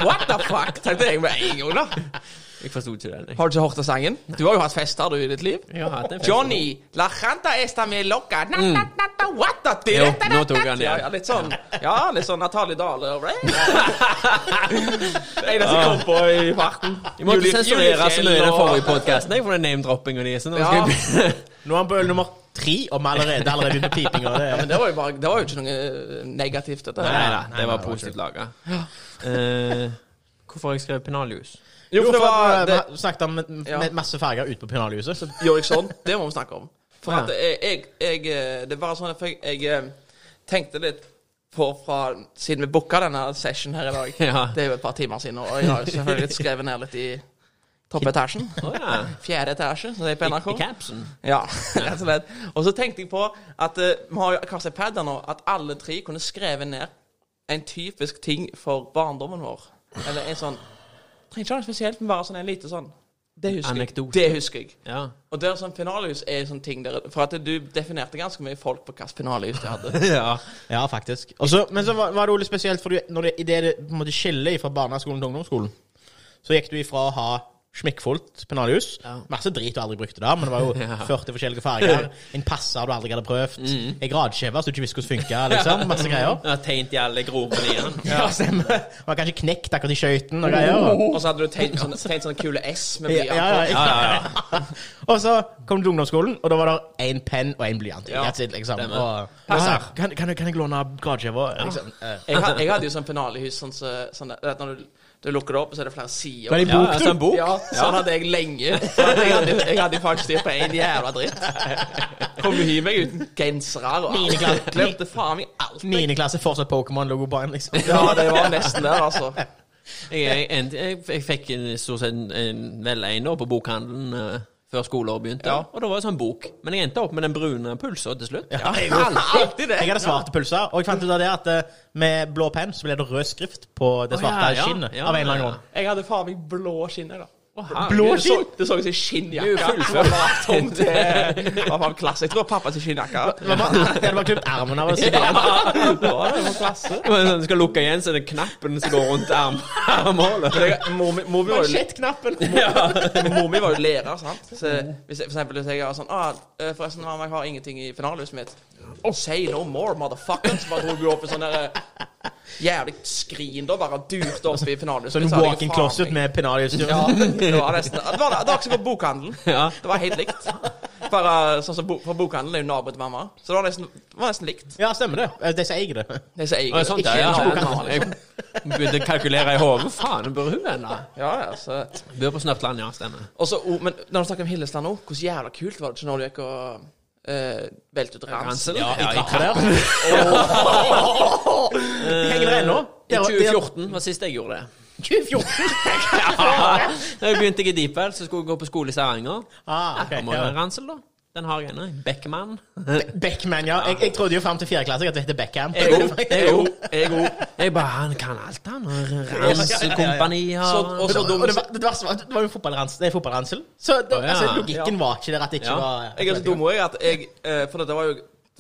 Speaker 3: What the fuck? Tenkte jeg med en gang, da.
Speaker 1: Jeg forsto ikke den. Jeg.
Speaker 3: Har du ikke hørt den sangen? Du har jo hatt fester du i ditt liv.
Speaker 1: Jeg har hatt en fest.
Speaker 3: Johnny, la janta esta me loca na, na, na, na, what the
Speaker 1: Jo, nå tok han
Speaker 3: ja,
Speaker 1: igjen.
Speaker 3: ja, litt sånn Ja, litt sånn Natalie Dahl og right? Det eneste jeg kom på i farten.
Speaker 1: Ah. Jeg måtte
Speaker 3: Julie-
Speaker 1: sensurere så mye i den
Speaker 3: og-
Speaker 1: forrige podkasten for den name-droppinga de så nå skal
Speaker 3: Ja.
Speaker 1: jeg
Speaker 4: Nå er han på øl nummer tre, og vi allerede allerede begynte pipinga. Det
Speaker 3: Ja, men
Speaker 4: er
Speaker 3: det var jo bare Det var jo ikke noe eh, negativt, dette.
Speaker 1: Nei
Speaker 3: her.
Speaker 1: da,
Speaker 4: nei,
Speaker 1: det var
Speaker 4: nei,
Speaker 1: positivt laga. Eh, hvorfor har jeg skrevet pinaljus?
Speaker 3: Jo, for det var det,
Speaker 4: Vi snakket om med, med masse farger ut på pennalhuset. Så
Speaker 3: Gjør jeg sånn? Det må vi snakke om. For
Speaker 1: Ja.
Speaker 3: at jeg, jeg, jeg eh, Det var sånn at jeg, jeg eh, tenkte litt på fra Siden vi booka denne session her i dag.
Speaker 1: Ja.
Speaker 3: Det er jo et par timer siden, og jeg har jo selvfølgelig skrevet ned litt i toppetasjen.
Speaker 1: Å ja.
Speaker 3: Fjerde etasje, som det er på
Speaker 1: I,
Speaker 3: NRK.
Speaker 1: I capsen.
Speaker 3: Ja, rett og slett. Og så tenkte jeg på at eh, vi har jo kanskje padder nå, at alle tre kunne skrevet ned en typisk ting for barndommen vår. Eller en sånn Trenger ikke ha noe spesielt, men bare sånn en lite sånn Det husker
Speaker 1: Anekdote.
Speaker 3: jeg. Det husker jeg.
Speaker 1: Ja.
Speaker 3: Og der sånn finalehus er sånn ting der For at du definerte ganske mye folk på hvilket finalehus de hadde.
Speaker 1: ja.
Speaker 4: Ja, faktisk. Og så- men så var, var det jo litt spesielt, for du, når det, i det det på en måte skiller fra barneskolen til ungdomsskolen, så gikk du ifra å ha smekkfullt pennalhus
Speaker 1: Ja.
Speaker 4: Masse drit du aldri brukte da, men det var jo 40 forskjellige farger. En passer du aldri hadde prøvd.
Speaker 1: Mm.
Speaker 4: En gradskive som du ikke visste hvordan funka. Liksom. Masse greier.
Speaker 1: Jeg har tegnet i alle gropene i den.
Speaker 4: Ja, stemmer. Det var kanskje knekt akkurat i skøyten og greier.
Speaker 3: Og så hadde du tegnet sånne, tegnet sånne sånn kule S med
Speaker 4: Oh. Ja,
Speaker 3: blyant.
Speaker 4: ja, ja,
Speaker 1: Oh, Ja, ja, ja.
Speaker 4: Og så kom du til ungdomsskolen, og da var det én penn og én blyant.
Speaker 3: Ja,
Speaker 4: That's it, liksom.
Speaker 1: stemmer.
Speaker 4: Og,
Speaker 1: Passer.
Speaker 4: kan, kan, jeg- kan jeg låne gradskiva? Liksom. Eh,
Speaker 3: Jeg, had- jeg hadde jo sånn finalehus sånn, så, sånn der, at når du, du lukker det opp, så er det flere sider.
Speaker 4: Var det i
Speaker 1: Ja,
Speaker 4: bok,
Speaker 1: altså en bok.
Speaker 3: Ja, sånn hadde jeg lenge. Sånn jeg, hadde, jeg hadde faktisk styr på én jævla dritt. Kom jo hjem meg uten gensere og
Speaker 4: Niende klasse.
Speaker 3: alt. Glemte faen meg alt. jeg.
Speaker 4: Niende klasse, fortsatt Pokémon-logo på en, liksom.
Speaker 3: Ja, det var nesten der, altså.
Speaker 1: Jeg, jeg, en- jeg, jeg fikk en- stort sett en, en, vel en år på bokhandelen eh, før skoleåret begynte.
Speaker 3: Ja.
Speaker 1: Og da var det sånn bok. Men jeg endte opp med den brune pulsa til slutt.
Speaker 4: Ja, jeg,
Speaker 3: Alltid det.
Speaker 4: jeg hadde svarte pulser, og jeg fant ut av det at eh, med blå penn så ble det rød skrift på det
Speaker 1: Å,
Speaker 4: svarte
Speaker 1: ja, ja.
Speaker 4: skinnet.
Speaker 1: Ja,
Speaker 4: Av en eller
Speaker 1: ja,
Speaker 4: annen
Speaker 1: ja.
Speaker 4: grunn.
Speaker 3: Jeg hadde faen meg blå skinner, da.
Speaker 4: Blå
Speaker 3: Det så-
Speaker 4: skinn?
Speaker 3: Det så ut som en skinnjakke.
Speaker 1: Du er fullført.
Speaker 3: Det var lagt om til det var faen klasse. Jeg tror pappa sin skinnjakke.
Speaker 4: Det var bare- Jeg hadde bare klippet armen av oss.
Speaker 3: Ja, det var det, det var klasse.
Speaker 1: Det var sånn, Du skal lukke igjen, så er det knappen som går rundt arm- armhålet.
Speaker 3: Jeg- Mor mi- mor mi var jo le-
Speaker 4: Shit-knappen.
Speaker 3: mor mi var jo lærer, sant. Så hvis jeg, for eksempel hvis jeg har sånn ah, eh, 'Forresten, mamma, jeg har ingenting i finalehuset mitt.' Oh. Say no more, motherfucker. Så bare dro hun opp i sånn der eh, jævlig skrin da, bare durte opp i finalehuset.
Speaker 4: Sånn
Speaker 3: mitt, så hadde jeg
Speaker 4: walk-in
Speaker 3: faen
Speaker 4: closet
Speaker 3: meg-
Speaker 4: med pennalutstyr.
Speaker 3: Ja, det var nesten Det var, det var ikke som på bokhandelen.
Speaker 1: Ja.
Speaker 3: Det var helt likt. Bare sånn som bo, For bokhandelen er jo naboen til mamma, så det var nesten, det var nesten likt.
Speaker 4: Ja, stemmer det. Eh, De som eier det.
Speaker 3: Det som jeg,
Speaker 1: Og sånt,
Speaker 3: ikke
Speaker 1: ja,
Speaker 3: naboen til
Speaker 1: ja.
Speaker 3: mamma,
Speaker 1: Jeg
Speaker 3: liksom.
Speaker 1: begynte å kalkulere i hodet. Faen, hvor bor hun hen, da?
Speaker 3: ja, ja, så
Speaker 1: Bor på Snørtland, ja. Stemmer.
Speaker 3: Og så, oh, men når du snakker om Hillesland òg, hvordan jævla kult var det ikke når du gikk og eh, velte ut ransen?
Speaker 1: Ransel? Ja,
Speaker 4: I
Speaker 1: i
Speaker 4: trappa der. Henger det ennå?
Speaker 1: I
Speaker 4: Der- der-
Speaker 1: 2014 var sist jeg gjorde det. 2014? ja. Da jeg begynte jeg i Deepwell, så skulle jeg gå på skole i Stavanger.
Speaker 4: Ah, ok,
Speaker 1: Da må
Speaker 4: ja.
Speaker 1: jeg ha en ransel, da. Den har jeg ennå. Beckman.
Speaker 4: Beckman, ja. Jeg, jeg trodde jo fram til fjerde klasse at det heter Beckham.
Speaker 1: E Jeg òg. E Jeg bare Han kan alt, han. Ransekompaniet
Speaker 3: Så,
Speaker 1: og
Speaker 3: og så dum
Speaker 4: Og det, var, det, verste var, at det var jo fotballransel. Det er fotballransel. Så det,
Speaker 1: Å, ja.
Speaker 4: altså, logikken var ikke der at det ikke
Speaker 1: Ja.
Speaker 4: var
Speaker 3: Jeg er så dum òg at jeg eh, For dette var jo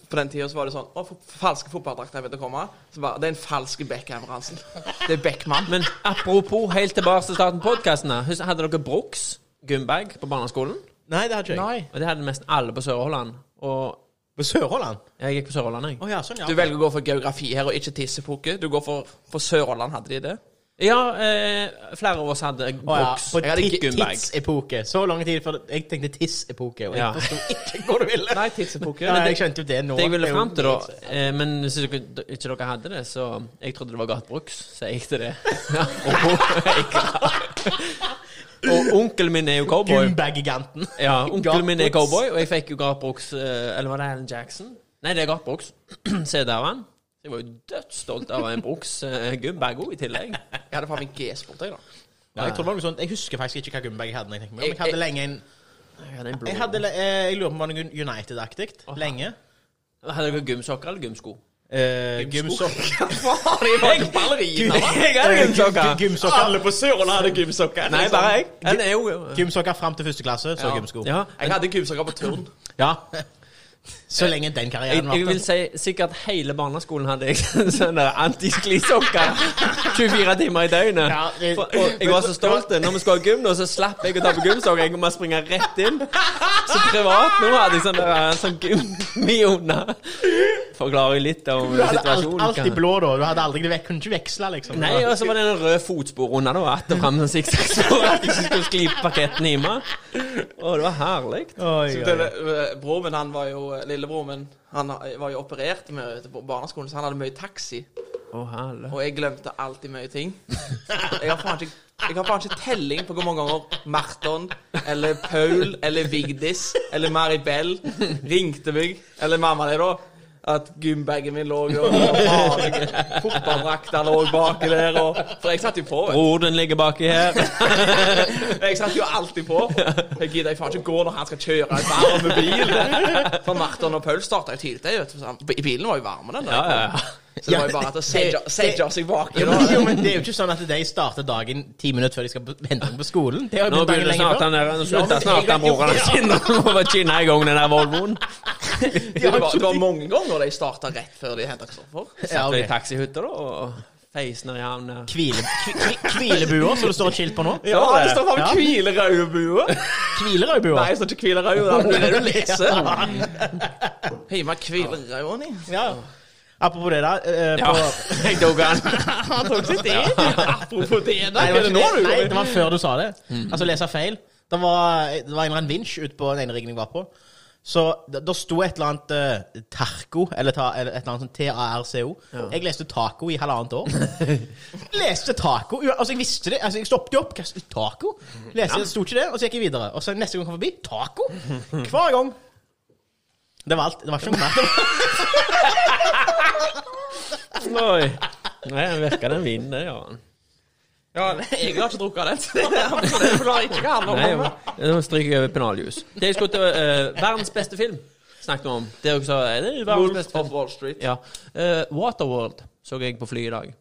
Speaker 3: på den tida så var det sånn Å, for- falske fotballdrakter er ved å komme. Så bare Det er en falsk Beckham-ransen. Det er Beckman.
Speaker 1: Men apropos helt tilbake til starten på podkasten. Hadde dere Brooks gymbag på barneskolen?
Speaker 4: Nei, det hadde ikke jeg.
Speaker 3: Nei.
Speaker 1: Og det hadde nesten alle på Sør-Holland. Og
Speaker 4: På Sør-Holland?
Speaker 1: jeg gikk på Sør-Holland, jeg.
Speaker 4: Å ja, sånn, ja.
Speaker 3: Du velger å gå for geografi her og ikke tissepukke. Du går for For Sør-Holland hadde de det.
Speaker 1: Ja, eh, flere av oss hadde
Speaker 4: Å ja,
Speaker 1: Brooks.
Speaker 4: på
Speaker 1: Jeg hadde
Speaker 4: ti-
Speaker 1: gymbag.
Speaker 4: tidsepoke. Så lang tid før Jeg tenkte tissepoke, og jeg
Speaker 1: Ja.
Speaker 4: forsto ikke hvor du ville.
Speaker 3: Nei, tissepukke.
Speaker 4: Nei,
Speaker 3: Men
Speaker 4: jeg skjønte jo det nå.
Speaker 1: Det jeg ville
Speaker 4: er jo
Speaker 1: fram til, da
Speaker 4: dritfett.
Speaker 1: eh, Men hvis dere, ikke dere hadde det, så Jeg trodde det var Gat Brooks, så jeg gikk til det. Og- og onkelen min er jo
Speaker 4: sånn
Speaker 1: cowboy.
Speaker 4: Gymbag-giganten.
Speaker 1: Ja, onkelen min er
Speaker 4: Gat Brooks.
Speaker 1: cowboy, og jeg fikk jo Gat Brooks eh, Eller var det Alan Jackson? Nei, det er Gat Brooks. CD-en. Jeg var jo dødsstolt av en Brooks eh, gymbag òg, i tillegg.
Speaker 3: Jeg hadde faen meg G-sport, jeg, da.
Speaker 4: Ja, jeg, tror det var noe sånt. jeg husker faktisk ikke hva gymbag jeg hadde. når Jeg, tenkte meg om. jeg hadde lenge en
Speaker 1: Jeg hadde en blå
Speaker 4: Jeg, hadde, le- eh, jeg lurer på om det var noe United-aktig. Lenge.
Speaker 1: Hadde dere gymsokker eller gymsko?
Speaker 4: Eh, Gymsokker.
Speaker 3: Faen, jeg var ikke ballerina, da.
Speaker 1: Jeg hadde
Speaker 4: Gym- Gymsokker.
Speaker 3: på Sørlandet hadde gymsokker.
Speaker 1: Nei, bare jeg. Den er jo
Speaker 4: Gymsokker fram til første klasse, så gymsko.
Speaker 1: Ja.
Speaker 3: Jeg hadde gymsokker på turn.
Speaker 4: Ja. Så lenge den
Speaker 1: Jeg,
Speaker 4: karrieren
Speaker 1: jeg vil
Speaker 4: varte.
Speaker 1: si sikkert hele barneskolen hadde jeg sånn sånne antisklisokker 24 timer i døgnet.
Speaker 4: Ja, det-
Speaker 1: For- og jeg var så stolt. Når vi skulle ha gym, nå, så slapp jeg å ta på gymsokker. Jeg måtte springe rett inn. Så privat nå hadde jeg sånn der, sånn gummi under. Forklarer jo litt om
Speaker 4: Du hadde alt,
Speaker 1: situasjonen.
Speaker 4: alltid
Speaker 1: kan-
Speaker 4: blå, da. Du hadde aldri, du vek- kunne ikke veksle, liksom.
Speaker 1: Nei, og så var det en rød fotspor under, da. Att og fram sånn sikksakkspor. At jeg ikke skulle skli parketten i meg. Å, det var herlig.
Speaker 4: Oi,
Speaker 3: Så
Speaker 4: oi, oi.
Speaker 3: det, eh, Broren min, han var jo Lillebroren min, han eh, var jo operert med på barneskolen, så han hadde mye taxi.
Speaker 1: Å, herlig.
Speaker 3: Og jeg glemte alltid mye ting. Jeg har faen ikke jeg har faen ikke telling på hvor mange ganger Marton eller Paul eller Vigdis eller Maribel ringte meg, eller mamma di, da, at gymbagen min lå jo og faen, Fotballdrakta lå baki der og For jeg satt jo på. vet du.
Speaker 1: Broren din ligger baki her.
Speaker 3: Jeg satt jo alltid på. Jeg gidder jeg faen ikke gå når han skal kjøre en varm bil. For Marton og Paul starta jo tidlig. det, vet du, så han- Bilen var jo varm. den der.
Speaker 1: Ja, ja, ja.
Speaker 3: Så det var jo bare at å sedge sedge seg baki.
Speaker 4: Jo,
Speaker 3: da.
Speaker 4: men- jo, men det er jo ikke sånn at de starter dagen ti minutter før de skal på- hente dem på skolen. Det har jo
Speaker 1: Nå
Speaker 4: begynt dagen
Speaker 1: begynner
Speaker 4: lenger
Speaker 1: snart
Speaker 4: før.
Speaker 1: han der Nå slutter snart den broren sin å få kinne i gang den der Volvoen.
Speaker 3: Det var, det var mange ganger de starta rett før de henta Kristoffer.
Speaker 4: Ja,
Speaker 1: Satt
Speaker 4: ok.
Speaker 1: i taxihytta da og feisner i havn der.
Speaker 4: Hvile, kvi- kvi- hvilebuer, som det står et skilt på nå.
Speaker 3: Ja, det står bare
Speaker 4: Ja.
Speaker 3: hvilerødbue. Nei,
Speaker 4: Hvilerødbuer.
Speaker 3: det står ikke hvilerød.
Speaker 1: sånn
Speaker 3: Det er det du leser. Hjemme hvilerødene.
Speaker 4: Ja. Apropos det, da. eh,
Speaker 1: Ja,
Speaker 4: på,
Speaker 1: jeg tok han.
Speaker 3: Han tok sitt eget. Apropos det, da.
Speaker 4: Nei,
Speaker 3: Hva er det
Speaker 4: det var,
Speaker 3: nå
Speaker 4: ikke
Speaker 3: du
Speaker 4: det. Nei,
Speaker 3: går
Speaker 4: det
Speaker 3: i?
Speaker 4: var før du sa det. Altså, lese feil. Det var, det var en eller annen vinsj ute på den ene riggen jeg var på. Så da da sto et eller annet eh, Tarco, eller, ta, eller et eller annet sånn T-A-R-C-O. Jeg leste taco i halvannet år. leste taco. Jo, Altså, jeg visste det. Altså, jeg stoppet jo opp. Hva- Taco? Leste, det sto ikke det, og så gikk jeg videre. Og så neste gang jeg kom forbi taco! Hver gang. Det var alt. Det var ikke noe mer.
Speaker 1: Oi. Nei, han virker den vinen, det gjør han.
Speaker 3: Ja, Jeg har ikke drukket den. så Det forklarer ikke hva
Speaker 1: Nei,
Speaker 3: handler om.
Speaker 1: nå stryker jeg over penaljuice. Det jeg skulle til eh, Verdens beste film snakket vi om. Det er også er det verdens beste
Speaker 3: Wolf of
Speaker 1: film.
Speaker 3: Wall Street.
Speaker 1: Ja. Eh, Waterworld så jeg på flyet i dag.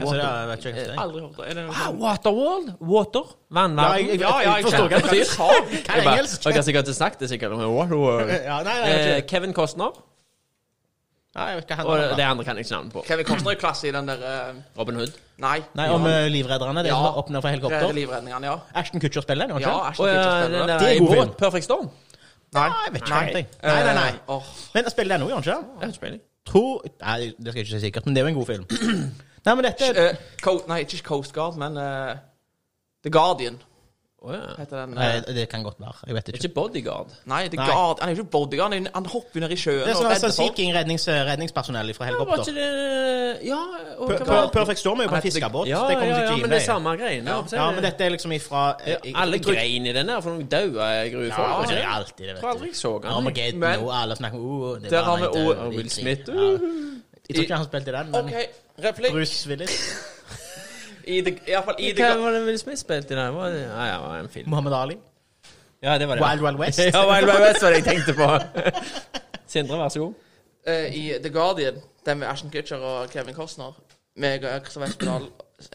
Speaker 4: Altså, det er- jeg vet ikke hva jeg skal si.
Speaker 3: Aldri hørt det. Er det.
Speaker 1: Ah, Waterworld? Water?
Speaker 4: Ja, jeg-
Speaker 1: Vannverden?
Speaker 4: jeg-
Speaker 3: Ja, ja, jeg
Speaker 4: forstår hva
Speaker 3: skjønner hva du
Speaker 4: det
Speaker 3: sa.
Speaker 4: Hva
Speaker 1: Jeg
Speaker 4: er
Speaker 1: bare-
Speaker 4: engelsk?
Speaker 1: Og jeg har sikkert ikke sagt det sikkert om Waterworld.
Speaker 4: Ja, nei, nei, jeg vet
Speaker 1: Eh,
Speaker 4: ikke.
Speaker 1: Kevin Costner,
Speaker 4: Nei, jeg vet ikke hva
Speaker 1: og
Speaker 4: han
Speaker 1: det andre kan jeg ikke navnet på.
Speaker 3: Kevin Costner i klasse i den der eh,
Speaker 1: Robin Hood.
Speaker 3: Nei.
Speaker 4: Nei, om eh, livredderne. Det
Speaker 3: Ja.
Speaker 4: som var opp ned fra
Speaker 3: Det er
Speaker 4: helikopter.
Speaker 3: Livredningene, ja.
Speaker 4: Ashton Kutcher spiller den,
Speaker 3: Ja,
Speaker 4: ikke?
Speaker 3: Ashton
Speaker 1: Å ja, eh,
Speaker 3: Kutcher
Speaker 1: den
Speaker 3: spiller
Speaker 1: der
Speaker 3: det.
Speaker 4: Det er
Speaker 1: i
Speaker 4: god
Speaker 1: båt.
Speaker 4: film.
Speaker 1: Perfect Storm.
Speaker 3: Nei,
Speaker 4: Nei, jeg vet ikke. Nei.
Speaker 3: Eh,
Speaker 4: Nei, nei, nei.
Speaker 3: åh.
Speaker 4: Men spiller den òg, gjør han ikke? det?
Speaker 1: Jeg har ikke peiling.
Speaker 4: Tror Nei, det skal jeg ikke si sikkert, men det er jo en god film. Nei, men dette
Speaker 3: Eh, Co nei, ikke Coast Guard, men eh, The Guardian
Speaker 1: Å ja.
Speaker 3: heter den.
Speaker 4: Nei,
Speaker 3: eh.
Speaker 4: det kan godt være. Jeg vet ikke.
Speaker 1: Ikke Bodyguard.
Speaker 3: nei, The
Speaker 4: Nei.
Speaker 3: Guard Han er jo ikke bodyguard, han, er- han hopper jo ned i sjøen
Speaker 4: Det er
Speaker 3: og
Speaker 4: sånn,
Speaker 3: redder
Speaker 4: sånn Sea
Speaker 3: folk.
Speaker 4: King rednings, redningspersonell fra
Speaker 1: Var ikke
Speaker 4: helikopter.
Speaker 1: det Ja, og
Speaker 4: Per-
Speaker 1: hva
Speaker 4: Per-
Speaker 1: var det?
Speaker 4: Perfect Storm er jo på en fiskebåt.
Speaker 1: Ja,
Speaker 4: Det kommer
Speaker 1: ja,
Speaker 4: til
Speaker 1: ja,
Speaker 4: Gmail.
Speaker 1: men det er samme greiene.
Speaker 4: Ja, men dette er liksom ifra jeg- jeg-
Speaker 1: Alle
Speaker 4: jeg tror-
Speaker 1: grein i den der, for noen daua gruefolk.
Speaker 4: Ja,
Speaker 1: ikke
Speaker 4: det
Speaker 1: det?
Speaker 4: er alltid det,
Speaker 1: Jeg tror
Speaker 4: vet
Speaker 1: aldri
Speaker 4: du.
Speaker 1: jeg så han.
Speaker 4: Armageddon
Speaker 3: Men-
Speaker 4: og alle snakker om oh, det
Speaker 3: Der
Speaker 4: var
Speaker 3: har vi
Speaker 4: litt,
Speaker 3: også
Speaker 4: eh,
Speaker 1: Will
Speaker 4: litt
Speaker 1: Smith.
Speaker 4: krig. Ja. Jeg tror ikke han spilte i den, men
Speaker 3: OK, replikk.
Speaker 4: Bruce Willis.
Speaker 3: I the, i hvert fall i The
Speaker 1: Hva
Speaker 3: Guard-
Speaker 1: var det Will Smith spilte i den? Var det- Ja, ja, det var en film.
Speaker 4: Muhammad Ali.
Speaker 1: Ja, det var det.
Speaker 4: Wild Wild West.
Speaker 1: ja, Wild Wild West var det jeg tenkte på. Sindre, vær så god.
Speaker 3: eh, I The Guardian, den med Ashton Kutcher og Kevin Costner Meg og Kristian Westerdal,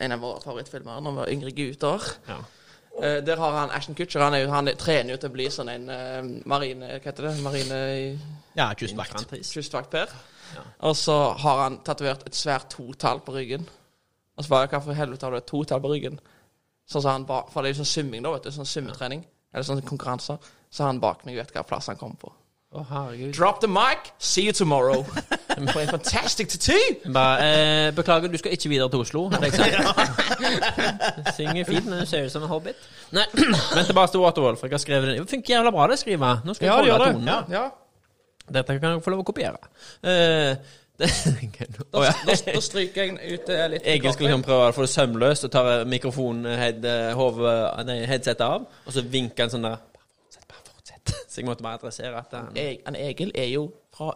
Speaker 3: en av våre favorittfilmer når vi var yngre gutter
Speaker 1: Ja.
Speaker 3: Eh, Der har han Ashton Kutcher. Han, er, jo- han er- trener jo til å bli sånn en eh, marine Hva heter det? Marine i
Speaker 4: Ja, kystvakt.
Speaker 3: kystvaktper. Og så har han tatovert et svært totall på ryggen. Og så bare, hva for helvete har du et totall på ryggen? Sånn sa han ba- For det er jo sånn summing, da, vet du. Sånn summetrening. Eller sånn konkurranser. Så har han bak meg vet hva plass han kom på.
Speaker 1: Å, herregud.
Speaker 3: Drop the mic, see you tomorrow. For en fantastic tattoo!
Speaker 1: Bare, eh, beklager, du skal ikke videre til Oslo. hadde jeg sagt. Synger fint, men du ser ut som en hobbit. Nei, vent tilbake til Waterworld, for jeg har skrevet den. Det funker jævla bra, det skrivet. Nå skal jeg holde tonen.
Speaker 4: Ja.
Speaker 3: Ja.
Speaker 1: Dette kan jeg få lov å kopiere. Eh, det, Å, ja.
Speaker 3: Da, da stryker jeg ut eh, litt.
Speaker 1: Egil skulle liksom prøve å få det sømløst, og eh, tar mikrofonheadsetet eh, av, og så vinker han sånn der Bare fortsett, bare fortsett. Så jeg måtte bare adressere at han
Speaker 3: Jeg, han Egil er jo fra,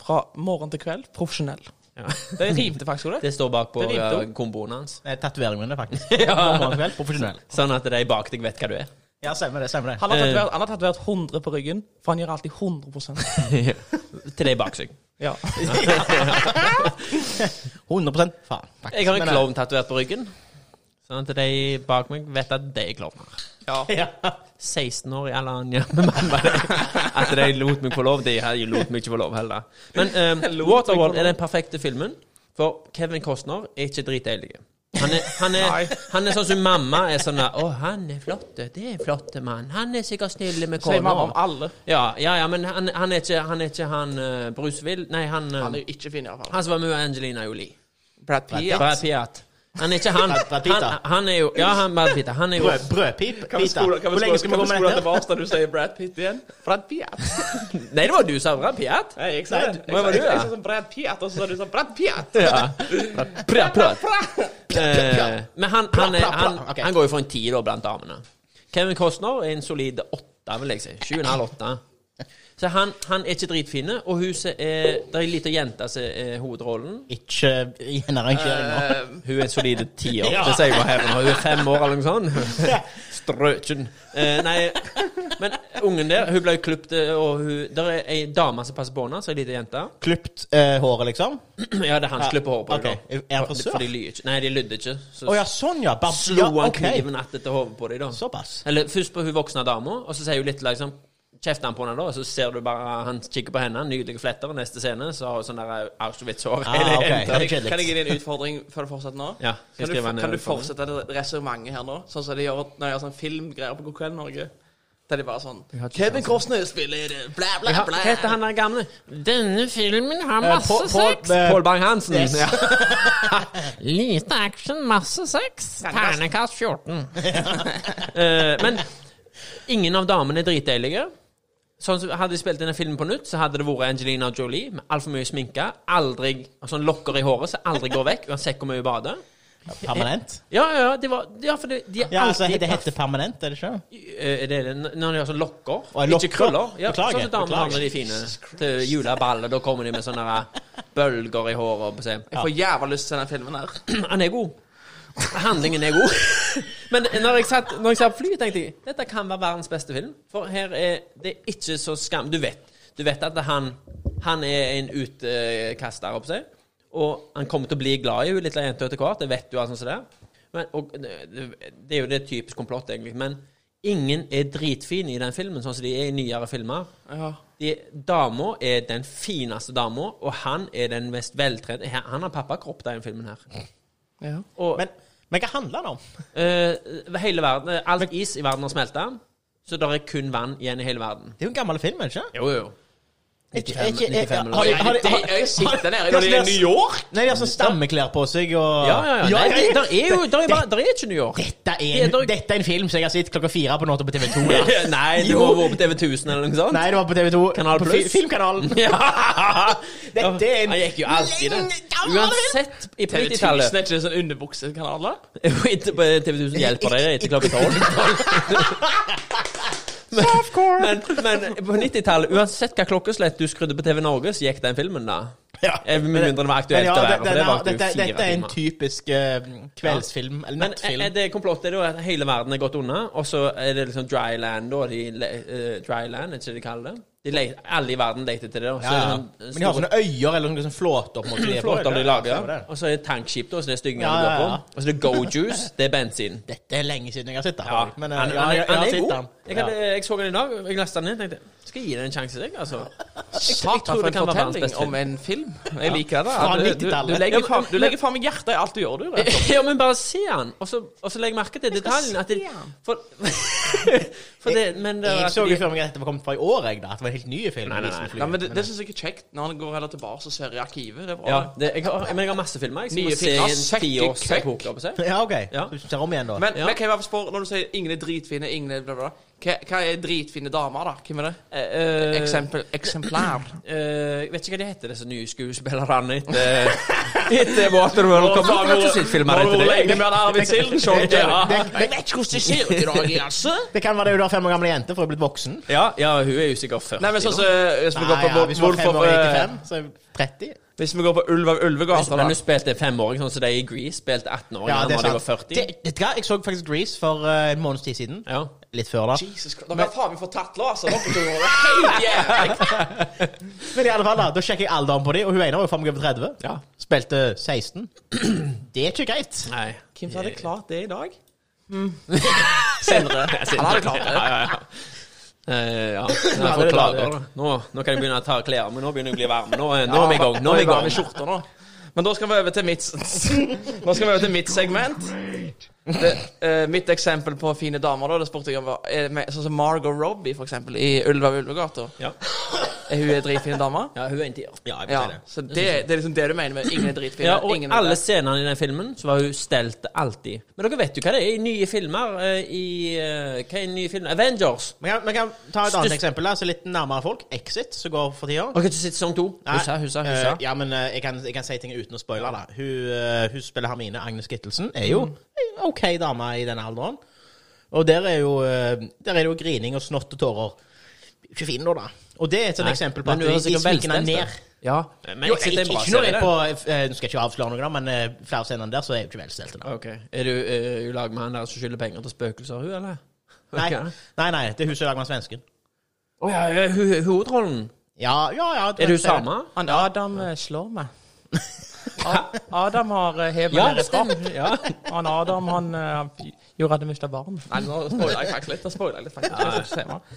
Speaker 3: fra morgen til kveld profesjonell.
Speaker 1: ja.
Speaker 3: Det rimte faktisk også det.
Speaker 1: Det står bak på
Speaker 3: Det rimte
Speaker 1: eh,
Speaker 3: opp.
Speaker 1: komboen hans.
Speaker 4: Det er Tatoveringen min, det, faktisk. ja. Profesjonell.
Speaker 1: Sånn at de bak deg vet hva du er.
Speaker 4: Ja, stemmer det. stemmer det
Speaker 3: Han har
Speaker 1: Eh.
Speaker 3: tatovert- han har tatovert 100 på ryggen, for han gjør alltid 100
Speaker 1: Til de bak seg.
Speaker 3: Ja.
Speaker 4: 100 faen. faktisk.
Speaker 1: Jeg har en
Speaker 4: Men, eh,
Speaker 1: klovn tatovert på ryggen. Sånn at de bak meg vet at de er klovner.
Speaker 3: Ja.
Speaker 4: Ja.
Speaker 1: 16 år i Alanya. At de lot meg få lov. De hadde jo lot meg ikke få lov heller. Men um, Waterworld er den perfekte filmen, for Kevin Costner er ikke dritdeilig. Han er, han, er, han er sånn som mamma er sånn der, 'Å, han er flott. Det er en flott mann. Han er sikkert snill med
Speaker 3: Sier mamma om
Speaker 1: kona.'
Speaker 3: alle.
Speaker 1: Ja, ja, ja, men han, han er ikke han, er ikke han eh, Bruce Will Nei, han, eh,
Speaker 3: Han er jo ikke fin, iallfall.
Speaker 1: han som var med Angelina Jolie.
Speaker 3: Brad Pitt.
Speaker 1: Brad Piat. Han er ikke han.
Speaker 4: Brad Pitt, da.
Speaker 1: Han, han er jo Ja, han Brad Pitt. Han er jo
Speaker 4: Brød, brødpip?
Speaker 3: Kan vi
Speaker 4: Pita.
Speaker 3: skole, kan vi
Speaker 4: Hvor
Speaker 3: skole,
Speaker 4: lenge skal
Speaker 3: kan vi
Speaker 4: vi gå med
Speaker 3: skole
Speaker 4: dette?
Speaker 3: tilbake da du sier Brad Pitt igjen? Brad Pitt.
Speaker 1: Nei, det var du som sa Brad Piat.
Speaker 3: Nei, jeg sa det.
Speaker 1: hva var det,
Speaker 3: Jeg sa- Jeg
Speaker 1: da?
Speaker 3: sa sånn Brad Pitt, og så sa du sånn Brad Pitt.
Speaker 1: Ja. Prat, prat. Eh, Men han, han, er,
Speaker 4: Prat, prat,
Speaker 1: han,
Speaker 4: prat. Ok.
Speaker 1: han går jo for en ti da blant damene. Kevin Costner er en solid åtte, vil jeg si. Sju og en halv åtte. Så han, han er ikke dritfine, og huset er Det er ei lita jente som er hovedrollen.
Speaker 4: Ikke gjenarrangering nå.
Speaker 1: Hun er en solid tiår.
Speaker 4: Ja.
Speaker 1: Det sier jo herren. Hun er fem år eller noe sånt. Strøken. Eh, nei, men ungen der, hun ble jo klipt, og hun Der er ei dame som passer på henne, så ei lita jente.
Speaker 4: Klipt eh, håret, liksom?
Speaker 1: Ja, det er han som klipper håret på
Speaker 4: Ok.
Speaker 1: henne.
Speaker 4: Er han
Speaker 1: For,
Speaker 4: frisør?
Speaker 1: for de lyver ikke. Nei, de lydde ikke. Så
Speaker 4: Å ja, sånn, ja. Bare
Speaker 1: slo
Speaker 4: ja,
Speaker 1: han
Speaker 4: ok.
Speaker 1: kniven etter til hodet på dem, da.
Speaker 4: Såpass.
Speaker 1: Eller først på hun voksne dama, og så sier hun litt liksom Kjefter han på henne da, og så ser du bare han kikker på henne, nydelige fletter, og neste scene så har hun sånn der Auschwitz-hår.
Speaker 4: Ah,
Speaker 1: Eller-
Speaker 4: ok.
Speaker 3: Kan jeg,
Speaker 4: det er kjedelig.
Speaker 3: kan jeg gi deg en utfordring før du fortsetter nå?
Speaker 1: Ja, skal jeg
Speaker 3: kan, du,
Speaker 1: skrive
Speaker 3: for-
Speaker 1: ned
Speaker 3: kan du
Speaker 1: utfordringen?
Speaker 3: fortsette det resonnementet her nå? Sånn som de gjør når de gjør sånn filmgreier på God kveld Norge. Der de bare sånn
Speaker 1: har ikke
Speaker 3: Kevin Costner spiller bla, bla,
Speaker 1: Ja,
Speaker 3: bla.
Speaker 1: Hva heter han der gamle? Denne filmen har
Speaker 4: Eh,
Speaker 1: masse
Speaker 4: Paul- Paul-
Speaker 1: sex.
Speaker 4: eh,
Speaker 1: Pål Bang-Hansen.
Speaker 4: yes.
Speaker 1: Ja. Lite action, masse sex. Ternekast 14. Eh, men ingen av damene er dritdeilige. Sånn som Hadde de spilt denne filmen på nytt, så hadde det vært Angelina Jolie med altfor mye sminke. Aldri, sånn lokker i håret som aldri går vekk, uansett hvor mye hun bader.
Speaker 4: Permanent?
Speaker 1: Ja, ja, ja, det var, ja for det, de er
Speaker 4: Ja, altså,
Speaker 1: alltid
Speaker 4: det heter permanent, er det ikke?
Speaker 1: Eh, det er det, n- når de har sånn lokker,
Speaker 4: Å, en
Speaker 1: ikke
Speaker 4: lokker.
Speaker 1: krøller. Ja, Sånn
Speaker 4: Beklager,
Speaker 1: som damer
Speaker 4: beklager.
Speaker 1: har når de er fine til juleballet. Da kommer de med sånne der bølger i håret. og på seg.
Speaker 3: Jeg får jævla lyst til å se den filmen her.
Speaker 1: Han er god. Handlingen er god. Men når jeg satt, når jeg satt på flyet, tenkte jeg dette kan være verdens beste film. For her er det er ikke så skam... Du vet, du vet at han, han er en utkaster, holdt på å si. Og han kommer til å bli glad i henne, lille jenta, etter hvert. Det vet du. alt sånt som det. Men, og, det det er jo det typisk komplott, egentlig. Men ingen er dritfine i den filmen, sånn som de er i nyere filmer.
Speaker 3: Ja.
Speaker 1: De, dama er den fineste dama, og han er den mest veltrente. Han har pappakropp, den filmen her.
Speaker 3: Ja.
Speaker 1: Og
Speaker 4: Men, men hva handler den om?
Speaker 1: eh, hele verden eh, Alt is i verden har smelta, så det er kun vann igjen i hele verden.
Speaker 4: Det er jo en gammel film, er det ikke?
Speaker 1: Jo, jo.
Speaker 4: Ikke- ikke-
Speaker 1: 95 eller noe.
Speaker 4: har de- har de-
Speaker 3: Det-
Speaker 4: har-
Speaker 3: jeg sitter nede
Speaker 4: har-
Speaker 3: når de er i New York.
Speaker 4: Nei, de har sånn stammeklær på seg og
Speaker 1: Ja, ja, ja. Nei, det, der er jo der er,
Speaker 4: det-
Speaker 1: bare, der er ikke New York.
Speaker 4: Dette er,
Speaker 1: Det er
Speaker 4: en,
Speaker 1: dere-
Speaker 4: dette er en film som jeg har sett klokka fire på natta på TV2. Ja.
Speaker 1: Nei, du må være på TV 1000 eller noe sånt.
Speaker 4: Nei, det var på TV2.
Speaker 1: Kanal
Speaker 4: på
Speaker 1: Plus.
Speaker 4: fi- Filmkanalen.
Speaker 1: Ja.
Speaker 4: Dette er en
Speaker 1: Han gikk jo alltid i det.
Speaker 4: gammel
Speaker 1: Uansett, i
Speaker 3: TV 1000 er
Speaker 1: polititallet
Speaker 3: ikke en sånn underbuksekanal, da?
Speaker 1: TV 1000 hjelper deg etter klokka tolv. Men, men på 90-tallet, uansett hva klokkeslett du skrudde på TV Norge, så gikk den filmen, da.
Speaker 4: Ja.
Speaker 1: Eh, Med mindre den var
Speaker 4: Men
Speaker 1: aktuelt
Speaker 4: ja,
Speaker 1: å være,
Speaker 4: den-
Speaker 1: for det
Speaker 4: den har-
Speaker 1: varte jo
Speaker 4: dette,
Speaker 1: fire
Speaker 4: dette er en
Speaker 1: timer.
Speaker 4: typisk eh, kveldsfilm, eller
Speaker 1: Men
Speaker 4: nattfilm.
Speaker 1: er er det komplottet da at hele verden er gått unna, og så er det liksom dry land, da? De, le- eh, dry land, er ikke det de kaller det? De le, alle i verden leter etter det. da. Så
Speaker 4: ja,
Speaker 1: er
Speaker 4: ja.
Speaker 1: det sånn
Speaker 4: Men de har sånne øyer eller noen sånne flåter på en måte. de er på,
Speaker 1: flåter de
Speaker 4: eller? Ja,
Speaker 1: lager,
Speaker 4: det er det.
Speaker 1: og så er det tankskip, da, så det er styggingen
Speaker 4: Ja,
Speaker 1: du
Speaker 4: ja,
Speaker 1: går
Speaker 4: ja.
Speaker 1: på. Og så er det go-juice, det er bensin.
Speaker 4: Dette er lenge siden jeg har sett det.
Speaker 1: Ja,
Speaker 4: Men, eh,
Speaker 1: han,
Speaker 4: ja,
Speaker 1: han, er-
Speaker 4: jeg-
Speaker 1: han
Speaker 4: jeg har
Speaker 1: er
Speaker 4: sett
Speaker 1: god.
Speaker 4: den.
Speaker 1: Jeg, hadde, jeg så den i dag, jeg leste den ned og tenkte Skal jeg gi den en sjanse, jeg? Altså.
Speaker 3: Satan,
Speaker 1: tror
Speaker 3: for
Speaker 1: det kan være
Speaker 3: en
Speaker 1: verdens
Speaker 3: fortelling
Speaker 1: beste film.
Speaker 3: om en film. Jeg liker det.
Speaker 4: Fra
Speaker 3: Du- du- Du
Speaker 4: 90-tallet.
Speaker 1: Ja,
Speaker 3: legger
Speaker 1: men-
Speaker 3: faen- du legger faen meg hjertet i alt du gjør, du. rett og slett.
Speaker 1: Ja, men bare se den, og så, og så legg merke til
Speaker 3: skal
Speaker 1: detaljen. At det,
Speaker 3: se den.
Speaker 1: for, for det, men det,
Speaker 4: Jeg
Speaker 1: at
Speaker 4: så jo
Speaker 1: de-
Speaker 4: før meg at dette var kommet fra i år, jeg, da. At det var en helt ny film.
Speaker 1: Nei, nei,
Speaker 4: Liksom,
Speaker 1: nei.
Speaker 4: fly.
Speaker 3: Nei, men Det, det syns jeg er kjekt, når han går heller tilbake og ser i arkivet. Det er bra.
Speaker 1: Ja,
Speaker 3: det.
Speaker 1: det, jeg har, men jeg har masse filmer. Jeg som må
Speaker 3: Nye
Speaker 1: se
Speaker 3: filmer. Eh,
Speaker 1: en
Speaker 3: Sekk i
Speaker 1: tiårsepoke. holdt på å si.
Speaker 4: Ja, ok.
Speaker 1: Ja.
Speaker 4: Så vi ser om igjen, da.
Speaker 3: Men,
Speaker 1: Ja.
Speaker 3: men hva er spør, når du sier ingen er dritfine, ingen er bla, bla, bla. Hva, hva er dritfine damer, da? Hvem er det?
Speaker 1: Eh,
Speaker 3: Eksempel, eksemplar.
Speaker 1: eh, Jeg vet ikke hva de heter, disse nye skuespillerne etter, etter Waterworld. Kom, har ikke sett filmer etter det.
Speaker 3: med Arvid Sildenskjold.
Speaker 4: Jeg vet ikke hvordan det ser ut i dag, altså. Det kan være det hun har fem år gamle jente, for hun er blitt voksen.
Speaker 1: Ja, ja, hun er jo sikkert 40.
Speaker 3: Nei, men sånn som Hvis vi går
Speaker 4: Nei,
Speaker 3: på
Speaker 4: ja, hvis hun var
Speaker 3: Wolf
Speaker 4: fem
Speaker 3: of
Speaker 4: år, ikke
Speaker 3: eh,
Speaker 4: fem, så er hun 30.
Speaker 3: Hvis vi går på Ulv av Ulvegata,
Speaker 1: Men
Speaker 3: da.
Speaker 1: hun spilte femåring, sånn som de i Grease spilte 18-åring
Speaker 4: Ja,
Speaker 1: da
Speaker 4: det
Speaker 1: de
Speaker 4: er
Speaker 1: var
Speaker 4: sant.
Speaker 1: 40.
Speaker 4: Det, vet du hva, jeg så faktisk Grease for eh, en måneds tid siden.
Speaker 1: Ja.
Speaker 4: Litt før, da.
Speaker 3: Jesus Christ. Dere har faen meg fått tatt laser nå på to år. Det er helt jævlig.
Speaker 4: Men i alle fall, da Da sjekker jeg alderen på dem, og hun ene var jo faen meg over 30.
Speaker 1: Ja.
Speaker 4: Spilte 16. Det er ikke greit.
Speaker 1: Nei.
Speaker 3: Hvem som hadde klart det i dag? Sindre. Han hadde klart det.
Speaker 1: Ja, ja, ja. Eh, ja. Nå, jeg får
Speaker 4: det
Speaker 1: klage,
Speaker 4: bare-
Speaker 1: da. Nå, nå kan jeg begynne å ta av klærne, men nå begynner jeg å bli varm. Nå, er- nå er vi i gang. Nå er vi i
Speaker 3: varme
Speaker 1: gang.
Speaker 3: skjorter nå. Men da skal vi over til mitt Nå skal vi over til mitt segment. Det, eh, mitt eksempel på fine damer, da. Det spurte jeg om var er det med- Sånn som Margot Robbie, for eksempel, i Ulva og Ulvegata.
Speaker 1: Ja.
Speaker 3: Er hun en dritfin dame?
Speaker 1: ja, hun er en tier. Ja, jeg vil
Speaker 3: Ja.
Speaker 1: si det.
Speaker 3: Så det, det er liksom det du mener med ingen er dritfine?
Speaker 1: Ja, og
Speaker 3: ingen er
Speaker 1: alle
Speaker 3: det.
Speaker 1: scenene i den filmen så var hun stelt alltid. Men dere vet jo hva det er i nye filmer. eh, I, eh, hva er i nye filmer? Avengers.
Speaker 4: Vi kan, vi kan ta et annet
Speaker 1: Størst-
Speaker 4: eksempel, da, så litt nærmere folk. Exit, som går for tida.
Speaker 1: Har dere ikke sett sesong to?
Speaker 4: Nei,
Speaker 1: Husa, husa,
Speaker 4: eh,
Speaker 1: husa.
Speaker 4: ja, men eh, jeg, kan, jeg kan si ting uten å spoile. da Hun, eh, hun spiller Hermine Agnes Kittelsen. Er
Speaker 1: Mm.
Speaker 4: jo en OK dame i den alderen. Og der er jo, eh, der er det jo grining og snott og tårer. Ikke fin nå, da. Og det er et sånt
Speaker 1: Nei,
Speaker 4: eksempel på
Speaker 1: men
Speaker 4: at
Speaker 1: hun
Speaker 4: de,
Speaker 1: er
Speaker 4: de
Speaker 1: sikkert
Speaker 4: sminker
Speaker 1: velstelt,
Speaker 4: henne
Speaker 1: da.
Speaker 4: ned.
Speaker 1: Ja. Eh, Men
Speaker 4: Jo,
Speaker 1: Exit er
Speaker 4: ikke,
Speaker 1: en bra
Speaker 4: ikke når jeg
Speaker 1: serie.
Speaker 4: er på eh, Nå skal jeg ikke avsløre noe, da, men eh, flere scener der så er hun ikke velstelt. da.
Speaker 1: Ok. Er du eh, i lag med han der som skylder penger til spøkelser, hun, eller?
Speaker 4: Nei,
Speaker 1: Ok.
Speaker 4: nei, nei, det er hun som lager med svensken.
Speaker 1: Å ja, ja, ho- hovedrollen.
Speaker 4: Ja, ja, ja
Speaker 1: Er du samme?
Speaker 3: Han Adam eh, slår meg. A- Adam har eh, hevet ned et trapp.
Speaker 1: stemmer. Ja.
Speaker 3: Han Adam, han eh, gjorde at jeg mista barn. Nei, nå spoiler jeg faktisk litt. Nå spoiler jeg litt faktisk. Jeg skal ikke se meg.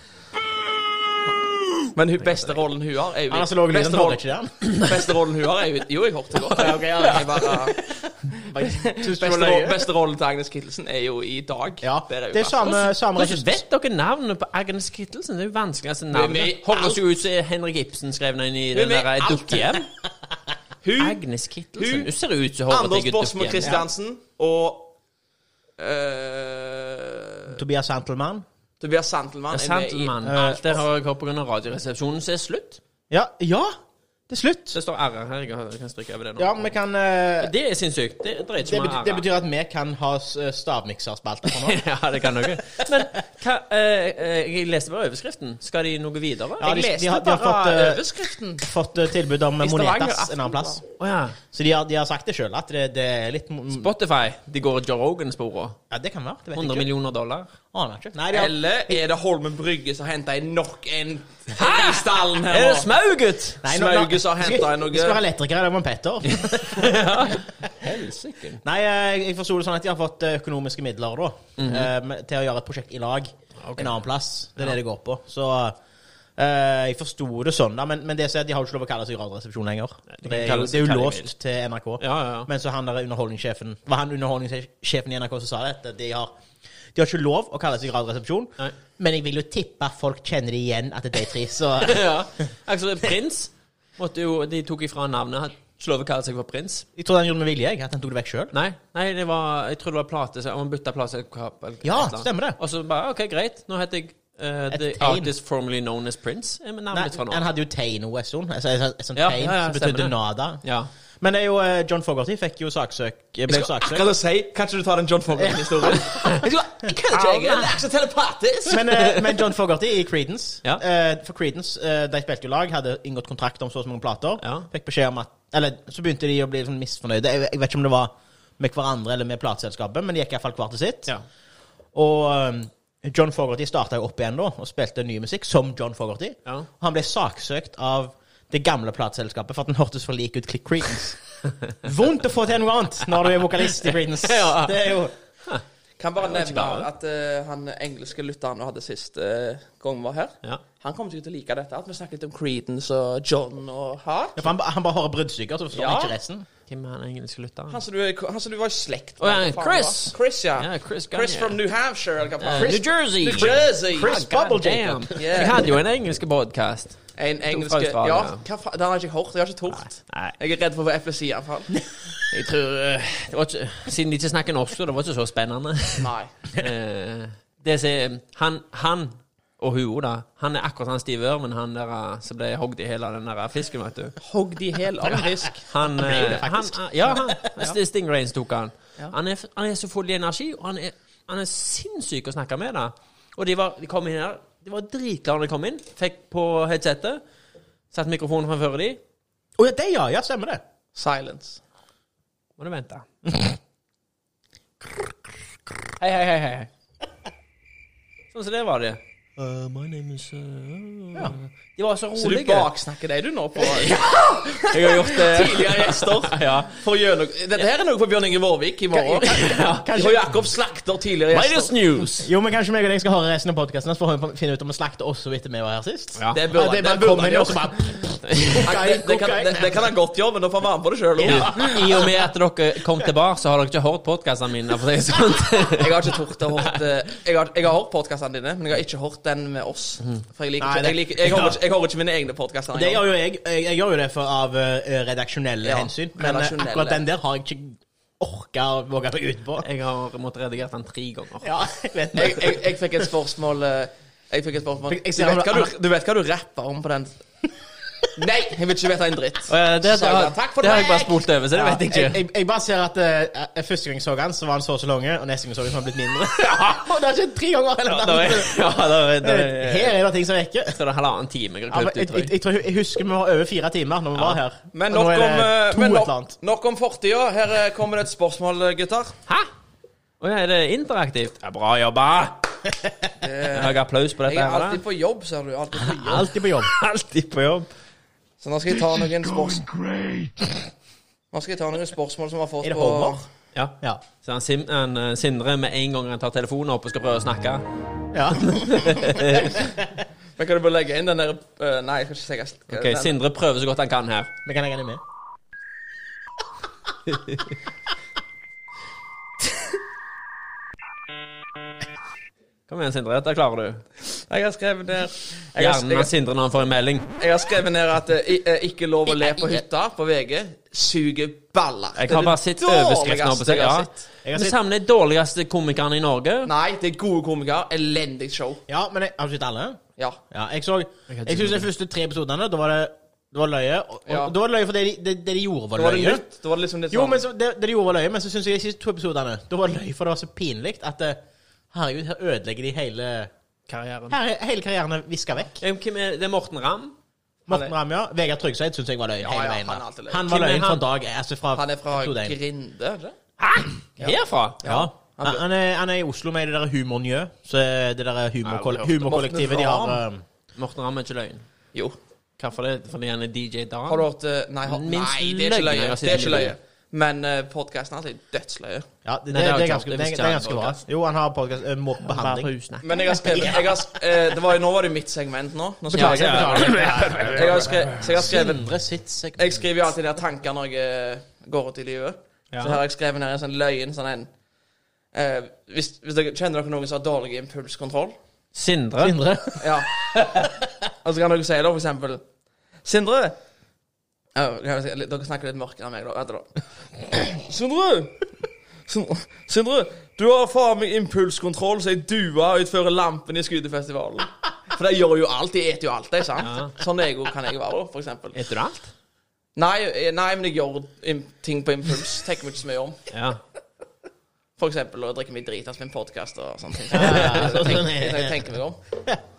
Speaker 3: Men hun beste rollen hun har, er jo
Speaker 4: Han har så laget lyden,
Speaker 3: beste,
Speaker 4: hører
Speaker 3: rollen,
Speaker 4: ikke den?
Speaker 3: beste rollen hun har, er jo Jo, jeg hørte det godt. Jeg bare, beste,
Speaker 4: var
Speaker 3: roll-
Speaker 4: løye.
Speaker 3: beste rollen til Agnes Kittelsen er jo i dag.
Speaker 4: Ja,
Speaker 3: Der er hun
Speaker 4: det er
Speaker 3: best.
Speaker 4: samme, samme
Speaker 1: Hvordan
Speaker 4: regissør.
Speaker 1: vet dere navnet på Agnes Kittelsen? Det er jo vanskelig. Altså,
Speaker 3: med
Speaker 1: navnet
Speaker 3: i
Speaker 1: høres jo ut som Henrik Ibsen skrev den i
Speaker 3: er
Speaker 1: den
Speaker 3: med i
Speaker 1: der
Speaker 3: alt.
Speaker 1: dukkehjem.
Speaker 3: Hun,
Speaker 1: Agnes Kittelsen.
Speaker 3: Hun-
Speaker 1: Hun ser ut som håret
Speaker 3: Anders
Speaker 1: til
Speaker 3: Båsmo
Speaker 1: guttehjem.
Speaker 3: Christiansen og eh,
Speaker 4: Tobias Santelmann.
Speaker 3: Tobias Santelmann er Eh, med i
Speaker 1: Santelmann. Alt det har jeg hørt pga. Radioresepsjonen, så er slutt.
Speaker 4: Ja, ja, det er slutt.
Speaker 1: Det står RR her. Jeg kan- jeg kan stryke over det nå.
Speaker 4: Ja, vi kan eh,
Speaker 1: Det er sinnssykt. Det det dreier
Speaker 4: det,
Speaker 1: ikke meg
Speaker 4: betyr,
Speaker 1: om
Speaker 4: det
Speaker 1: RR.
Speaker 4: betyr at vi kan ha s- stavmikserspalte for nå.
Speaker 1: Ja, det kan dere. Men hva, eh, eh, jeg leste bare overskriften. Skal de noe videre?
Speaker 4: Ja,
Speaker 1: Å
Speaker 4: de,
Speaker 3: Jeg leste
Speaker 4: de, har, de har
Speaker 3: bare
Speaker 4: fått, eh,
Speaker 3: overskriften.
Speaker 4: fått eh, tilbud om
Speaker 3: I Stavanger,
Speaker 4: monetas en annen plass.
Speaker 1: ja.
Speaker 4: Så de har, de har sagt det sjøl, at det, det er litt mo-
Speaker 1: Spotify. De går Joe Rogan-sporet.
Speaker 4: Ja, det kan være. Det vet
Speaker 1: 100
Speaker 4: jeg ikke.
Speaker 1: millioner dollar.
Speaker 4: Aner ikke. Nei, de har,
Speaker 3: Eller er det Holmen Brygge som henter inn nok en Hæ? i stallen her
Speaker 1: Er det
Speaker 3: nå?
Speaker 1: smauget?
Speaker 4: nei, nå- nå-
Speaker 3: Smauge som har hentet inn
Speaker 4: Vi skal ha
Speaker 3: noe
Speaker 4: elektriker i dag med Petter.
Speaker 1: Helsike.
Speaker 4: Nei, eh, jeg forsto det sånn at de har fått eh, økonomiske midler da,
Speaker 1: Mhm.
Speaker 4: eh, til å gjøre et prosjekt i lag en annen plass. Det er det det går på. Så eh, jeg forsto det sånn, da. Men, men det som er at de har jo ikke lov å kalle seg Radioresepsjonen lenger.
Speaker 1: de kan
Speaker 4: Det er jo,
Speaker 1: kalle
Speaker 4: det
Speaker 1: seg
Speaker 4: er
Speaker 1: hva
Speaker 4: jo
Speaker 1: de
Speaker 4: låst til NRK.
Speaker 1: Ja, ja, ja.
Speaker 4: Men så han der underholdningssjefen Var han underholdningssjefen i NRK som sa det? At de har, de har ikke lov å kalle seg Radioresepsjon,
Speaker 1: Nei.
Speaker 4: men jeg vil jo tippe folk kjenner det igjen at det er de tre. Så
Speaker 1: ja. Altså, Prins måtte jo De tok ifra navnet. Han Skulle lov å kalle seg for prins.
Speaker 4: jeg tror han gjorde det med vilje, jeg, at han tok det vekk sjøl.
Speaker 1: Nei, nei det var, jeg tror det var plate. Så man bytta plateselskap. eller
Speaker 4: Ja,
Speaker 1: et eller annet.
Speaker 4: stemmer det.
Speaker 1: Og så bare OK, greit. Nå heter jeg eh,
Speaker 4: Et
Speaker 1: The
Speaker 4: tegn.
Speaker 1: Artist Formerly Known as Prince. Er med navnet mitt fra nå.
Speaker 4: Han hadde jo Tein-OS-on, altså et sånt- et sånt
Speaker 1: Ja,
Speaker 4: tegn
Speaker 1: ja, ja,
Speaker 4: som
Speaker 1: stemmer
Speaker 4: betydde
Speaker 1: det.
Speaker 4: nada.
Speaker 1: Ja.
Speaker 4: Men det er jo eh, John Fogerty fikk jo saksøk eh, Ble saksøkt.
Speaker 3: Akkurat å si Kan ikke du ta den John Fogland-historien? Jeg skulle- jeg kan ikke, jeg. Det er ikke så telepatisk.
Speaker 4: Men, eh, men John Fogerty i Creedence
Speaker 1: Ja.
Speaker 4: eh, For Creedence, eh, de spilte jo lag, hadde inngått kontrakt om så og så mange plater.
Speaker 1: Ja.
Speaker 4: Fikk beskjed om at Eller så begynte de å bli sånn misfornøyde. Jeg, jeg vet ikke om det var med hverandre eller med plateselskapet, men de gikk iallfall hver til sitt.
Speaker 1: Ja.
Speaker 4: Og eh, John Fogerty starta jo opp igjen da og spilte ny musikk som John Fogerty.
Speaker 1: Ja.
Speaker 4: Og han ble saksøkt av det gamle plateselskapet for at den hørtes for lik ut Click Creedence. Vondt å få til noe annet når du er vokalist i Creedence.
Speaker 1: Ja.
Speaker 4: Det er jo
Speaker 3: Kan bare nevne
Speaker 1: bare.
Speaker 3: at eh, han engelske lytteren vi hadde sist eh, gang vi var her,
Speaker 1: Ja.
Speaker 3: han kommer sikkert til å like dette. At vi snakket litt om Creedence og John og Hart.
Speaker 4: Ja, for han, ba- han bare hører bruddstykker, så forstår
Speaker 3: Ja.
Speaker 4: han ikke resten.
Speaker 1: Hvem er han engelske lytteren?
Speaker 3: Han som du, han som du var i slekt
Speaker 1: Å, ja,
Speaker 3: hva faen
Speaker 1: Chris.
Speaker 3: det var. Chris, ja.
Speaker 1: Ja, Chris Gagne.
Speaker 3: Chris from New Hampshire, eller hva
Speaker 1: Eh,
Speaker 3: faen.
Speaker 1: New Jersey.
Speaker 3: New Jersey.
Speaker 4: Chris
Speaker 1: God
Speaker 4: Bubble
Speaker 1: damn.
Speaker 4: Jacob.
Speaker 3: Yeah.
Speaker 1: Jeg hadde jo en engelsk podcast
Speaker 3: En engelsk
Speaker 1: fra Australia.
Speaker 3: Ja, hva faen? Den har jeg ikke hørt. Jeg har ikke tort.
Speaker 1: Nei.
Speaker 3: Jeg er redd for å få eplesianfall.
Speaker 1: Jeg tror eh, det var ikke, Siden de ikke snakker norsk, så det var ikke så spennende.
Speaker 3: Nei.
Speaker 1: Eh, det som han, han og hun da, han er akkurat han Steve Irwin, han der eh, som ble hogd i hele den der fisken, vet du.
Speaker 3: Hogg de hel av en fisk.
Speaker 1: Han,
Speaker 4: ble jo det,
Speaker 1: eh, han
Speaker 4: faktisk.
Speaker 1: Ja, han. St- Stingrays tok han. Han er, han er så full i energi, og han er, han er sinnssyk å snakke med. da. Og de, var, de kom inn her, de var dritglade da de kom inn. Fikk på headsetet, satt mikrofonen framfor de,
Speaker 4: Å ja, det ja, ja, stemmer det.
Speaker 3: Silence.
Speaker 1: må du vente. Hei, hei, hei. hei. Sånn som det var det. Uh, my name is uh,
Speaker 4: Ja.
Speaker 1: De var så rolige.
Speaker 3: Så du baksnakker deg, du, nå? På eh,
Speaker 1: Jeg har gjort uh, det.
Speaker 3: tidligere gjester?
Speaker 1: ja.
Speaker 3: For gjennom... Dette her er noe for Bjørn Inge Vårvik i morgen. Og Jakob slakter tidligere
Speaker 1: Minus
Speaker 3: gjester.
Speaker 1: news.
Speaker 4: Jo, men kanskje meg og deg skal høre resten av podkasten, så får vi finne ut om vi slakter oss og etter vi var her sist.
Speaker 1: Ja.
Speaker 3: Det
Speaker 4: Ja,
Speaker 3: burde
Speaker 4: det
Speaker 3: det
Speaker 4: er bare
Speaker 3: burde
Speaker 4: kommer
Speaker 3: han
Speaker 4: inn og
Speaker 3: gjøre.
Speaker 4: så bare
Speaker 3: Det, det, kan, det, det kan han godt gjøre, men da får han være med på det sjøl.
Speaker 1: I og med at dere kom tilbake, så har dere ikke hørt podkastene mine. For det sånn. er sånt.
Speaker 3: Jeg har ikke tort å hørt eh, Jeg har, jeg har hørt podkastene dine, men jeg har ikke hørt den med oss. For jeg liker
Speaker 4: Mhm.
Speaker 3: ikke Jeg,
Speaker 4: Nei, det-
Speaker 3: liker, jeg, hører, ikke, jeg hører ikke mine egne podkaster
Speaker 4: Det
Speaker 3: engang.
Speaker 4: gjør jo jeg. Jeg, jeg gjør jo det for, av eh, redaksjonelle
Speaker 3: Ja,
Speaker 4: hensyn, men eh,
Speaker 3: redaksjonelle.
Speaker 4: akkurat den der har jeg ikke orka å våge meg ut på.
Speaker 1: Jeg har måttet redigere den tre ganger.
Speaker 4: Ja, jeg vet
Speaker 3: Jeg,
Speaker 4: det.
Speaker 3: jeg, jeg fikk et spørsmål eh, Jeg fikk et spørsmål
Speaker 4: Fikk- jeg
Speaker 3: Du
Speaker 4: ser
Speaker 3: vet hva
Speaker 4: han-
Speaker 3: du, du, vet hva du rapper om på den Nei, jeg vil ikke vite en dritt.
Speaker 1: Og, eh, det,
Speaker 3: Så sa jeg bare, Takk for
Speaker 1: det har jeg bare
Speaker 3: meg!
Speaker 1: spolt over, så det vet jeg
Speaker 4: Jeg,
Speaker 1: ikke.
Speaker 4: jeg, jeg bare ser at eh, eh, første gang jeg så han, så var han så og så lang, og neste gang jeg så han, så var han blitt mindre. og det har skjedd tre ganger! Eller
Speaker 1: Da
Speaker 4: noe.
Speaker 1: er- Ja, da er- da er-
Speaker 4: Her er det ting som vekker.
Speaker 1: Så det er halvannen time jeg
Speaker 4: Ja,
Speaker 1: har
Speaker 4: men
Speaker 1: klippet
Speaker 4: jeg,
Speaker 1: ut.
Speaker 4: jeg,
Speaker 1: tror jeg.
Speaker 4: jeg, tror, jeg husker vi var over fire timer når vi var her.
Speaker 3: Men
Speaker 4: Og
Speaker 3: nok
Speaker 4: nå er
Speaker 3: om,
Speaker 4: det
Speaker 3: eh,
Speaker 4: to
Speaker 3: men
Speaker 4: et eller annet.
Speaker 3: nok, nok om fortida. Her eh, kommer det et spørsmål, eh, gutter.
Speaker 1: Hæ? Å ja, er det interaktivt? Ja, bra jobba! Jeg har applaus på dette.
Speaker 3: Jeg er
Speaker 1: her, da.
Speaker 3: alltid på jobb, ser du. Alltid på jobb.
Speaker 4: Alltid på jobb.
Speaker 1: Alltid på jobb.
Speaker 3: Så nå skal jeg ta noen spørsmål Nå skal jeg ta noen spørsmål som har fått
Speaker 4: Er det
Speaker 3: på
Speaker 4: Håvard?
Speaker 1: Ja.
Speaker 4: Ja.
Speaker 1: Så han, Sim, han eh, Sindre med en gang han tar telefonen opp og skal prøve å snakke.
Speaker 4: ja.
Speaker 3: Men kan du bare legge inn den der eh, Nei, jeg skal ikke si
Speaker 1: Ok, Sindre prøver så godt han kan her.
Speaker 4: Vi kan legge den med.
Speaker 1: Kom igjen, Sindre. Dette klarer du.
Speaker 3: Jeg har skrevet ned jeg har,
Speaker 1: Hjernen
Speaker 3: jeg,
Speaker 1: av Sindre når han får en melding.
Speaker 3: jeg har skrevet ned at eh, i- eh, 'ikke lov å le på hytta' på VG suger baller.
Speaker 1: Jeg
Speaker 3: Det er
Speaker 1: har
Speaker 3: det
Speaker 1: bare sett
Speaker 3: dårligste
Speaker 1: overskriften. oppe, så-
Speaker 3: jeg har
Speaker 1: Ja.
Speaker 3: sett.
Speaker 4: Jeg har
Speaker 1: Du
Speaker 4: sett-
Speaker 1: savner de dårligste komikerne i Norge.
Speaker 3: Nei, det er gode komikere. Elendig show.
Speaker 4: ja, men jeg, har du sett alle?
Speaker 3: Ja.
Speaker 4: Ja, jeg så Jeg syns de første tre episodene, da var det det var løye. Og, og,
Speaker 3: Ja.
Speaker 4: Da var det løye for det de, det, det de gjorde, var
Speaker 3: Da var det
Speaker 4: løye.
Speaker 3: nytt. Da var det liksom litt
Speaker 4: Jo,
Speaker 3: sånn
Speaker 4: men så, det, det de gjorde, var løye, men så syns jeg de siste to episodene Da var det løye, for det var så pinlig at eh, Herregud, her ødelegger de hele
Speaker 1: Karrieren.
Speaker 4: her, er- Hele karrieren er viska vekk.
Speaker 1: Eh, Hvem er det? er Morten Ramm?
Speaker 4: Morten Ramm, ja. Vegard Tryggeseid syns jeg var løye hele
Speaker 3: ja,
Speaker 4: veien.
Speaker 3: han er
Speaker 4: da.
Speaker 3: alltid løye.
Speaker 4: Han
Speaker 1: Hvem
Speaker 4: var
Speaker 1: er
Speaker 4: løyen fra
Speaker 1: han?
Speaker 4: dag altså fra
Speaker 3: Han er fra
Speaker 4: episode én.
Speaker 3: Grinde, er det det?
Speaker 1: Herfra?
Speaker 4: Ja. Han, han, er, han er i Oslo med det der Humornjø. Så eh, det der
Speaker 1: Ja,
Speaker 4: humorkoll-
Speaker 1: jeg
Speaker 4: humorkollektivet de har um,
Speaker 1: Morten Ramm er ikke løgn.
Speaker 3: Jo.
Speaker 1: Hvorfor det? Fordi han er DJ Dan?
Speaker 3: Har du hørt eh, Nei, har, nei
Speaker 1: Minst
Speaker 3: det er ikke
Speaker 1: løgn jeg
Speaker 3: løye.
Speaker 1: har sett
Speaker 3: Det er ikke
Speaker 1: i
Speaker 3: løye.
Speaker 1: livet.
Speaker 3: Men uh, podkasten hans er dødsløye.
Speaker 4: Ja, det, det,
Speaker 1: Nei, det har jeg
Speaker 4: det er
Speaker 1: ikke
Speaker 4: ganske,
Speaker 1: hørt.
Speaker 4: det,
Speaker 1: Det
Speaker 4: er-
Speaker 1: visste
Speaker 4: det er
Speaker 1: jeg
Speaker 4: ganske bra.
Speaker 1: podcast.
Speaker 4: Jo, han har podkast uh, Mobbehandling.
Speaker 3: Men jeg har skrevet jeg har, sk- eh, Det var jo Nå var det mitt segment nå. nå skal
Speaker 1: Ja,
Speaker 3: jeg,
Speaker 1: ja.
Speaker 3: jeg har skrevet, så jeg har skrevet
Speaker 4: Sindre sitt segment.
Speaker 3: Jeg skriver jo alltid ned tanker når jeg eh, går ut i livet. Så her har jeg skrevet ned en sånn løgn sånn en eh, hvis, hvis dere kjenner dere noen som har dårlig impulskontroll
Speaker 1: Sindre?
Speaker 4: Sindre.
Speaker 3: Ja. Og så kan dere si da, for eksempel Sindre Au, kan jeg si- Dere snakker litt mørkere enn meg, da. Vent, da. Sindre! Sindre! Sindre, du har faen meg impulskontroll som ei due utfører lampen i skuddefestivalen. For de gjør jo alt. De eter jo alt, de, sant? Sånn er jeg jo, kan jeg være, da, for eksempel.
Speaker 1: Spiser du alt?
Speaker 3: Nei, eh, nei men jeg gjør im ting på impuls. Tenker meg ikke så mye om.
Speaker 1: Ja.
Speaker 3: For eksempel å drikke meg dritas med en podkast og sånne ting. Så jeg tenker, jeg tenker meg om.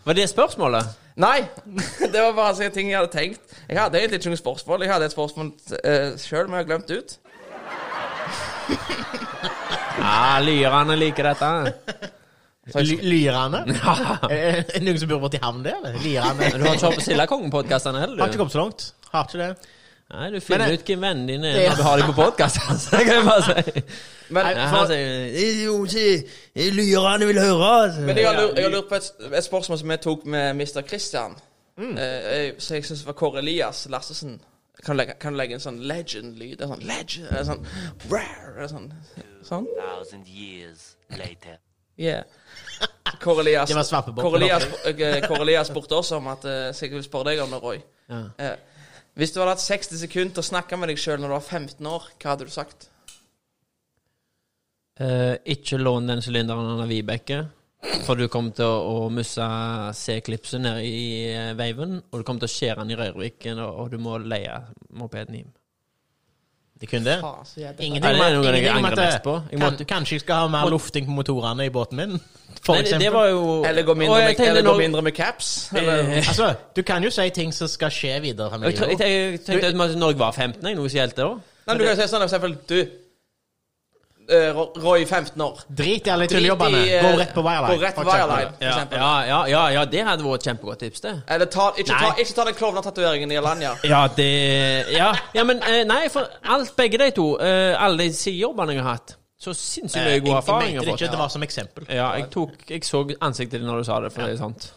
Speaker 1: Var det spørsmålet?
Speaker 3: Nei! Det var bare sånne ting jeg hadde tenkt. Jeg hadde egentlig ikke noe spørsmål. Jeg hadde et spørsmål uh, sjøl, men jeg har glemt det ut.
Speaker 1: Ja, lyrene liker dette.
Speaker 4: Ly- Lyrane? Er er det noen som bor borti havn der? eller? Lyrane.
Speaker 1: Men Du har ikke hørt på Sildakongen-podkastene
Speaker 4: Har ikke
Speaker 1: heller, du?
Speaker 4: kommet så langt. Har ikke det.
Speaker 1: Nei, du finner
Speaker 4: Men, eh,
Speaker 1: ut hvem vennene dine er
Speaker 4: det-
Speaker 1: når du har dem på podkast. Det kan jeg bare si.
Speaker 3: Men,
Speaker 1: Nei,
Speaker 3: for-
Speaker 1: han sier Lyrene vil høre. altså.
Speaker 3: men jeg har lurt, jeg har lurt på et, et spørsmål som jeg tok med Mr. Christian. Eh, jeg- så jeg syns var Kåre Elias Lassesen. Kan du legge, kan du legge en sånn legend-lyd? En sånn legend En sånn rar en sånn, sånn?
Speaker 6: thousand years later.
Speaker 3: Yeah. Kåre Elias
Speaker 4: Det var svampebob.
Speaker 3: Kåre Elias, eh, Kåre Elias spurte også om at eh, Så jeg vil spørre deg om det, Roy.
Speaker 1: Ja.
Speaker 3: Eh, hvis du hadde hatt 60 sekunder til å snakke med deg sjøl når du var 15 år, hva hadde du sagt?
Speaker 1: Eh, ikke lån den sylinderen av Vibeke, for du kommer til å, å miste C-klipset ned i eh, veiven, og du kommer til å skjære den i Røyrviken, og, og du må leie mopeden hjem.
Speaker 4: Det kunne det.
Speaker 3: Faen, så jævlig.
Speaker 1: Nei,
Speaker 4: Ingenting
Speaker 1: det er
Speaker 4: om
Speaker 1: noe
Speaker 4: at-
Speaker 1: jeg
Speaker 4: ingenting om
Speaker 1: angrer
Speaker 4: at det-
Speaker 1: mest på. Jeg
Speaker 4: kan,
Speaker 1: måtte-
Speaker 4: kanskje jeg skal ha mer lufting på motorene i båten min? For
Speaker 1: Nei, det, det var jo
Speaker 3: Eller gå mindre,
Speaker 1: Og jeg
Speaker 3: med,
Speaker 1: tenkte
Speaker 3: eller gå
Speaker 1: nå-
Speaker 3: mindre med caps? Eller?
Speaker 1: Eh,
Speaker 4: Altså, du kan jo si ting som skal skje videre. frem i
Speaker 1: Jeg,
Speaker 4: livet.
Speaker 1: tro- jeg, jeg tenkte at når jeg var 15, jeg, noe som gjaldt det òg.
Speaker 3: Nei, men du kan jo si sånn for eksempel Du eh, Ro- Roy 15 år.
Speaker 4: Drit i alle
Speaker 3: Drit i,
Speaker 4: tullejobbene. Gå
Speaker 3: eh,
Speaker 4: rett på wireline.
Speaker 3: Gå rett på
Speaker 4: for eksempel.
Speaker 3: wireline, for
Speaker 1: Ja,
Speaker 3: eksempel.
Speaker 1: ja, ja, ja, ja, det hadde vært et kjempegodt tips, det.
Speaker 3: Eller ta, ikke, ta,
Speaker 1: Nei.
Speaker 3: ikke ta den klovnetatoveringen i Alanya.
Speaker 1: Ja, det Ja, ja men eh, nei, for alt, begge de to, eh, alle de sidejobbene jeg har hatt, så sinnssykt mye
Speaker 4: Eh, Jeg-
Speaker 1: god
Speaker 4: Jeg
Speaker 1: erfaring
Speaker 4: mente
Speaker 1: jeg
Speaker 4: det
Speaker 1: har
Speaker 4: ikke,
Speaker 1: fått.
Speaker 4: det var som eksempel.
Speaker 1: Ja, jeg tok Jeg så ansiktet ditt når du sa det, for det sånn. er sant.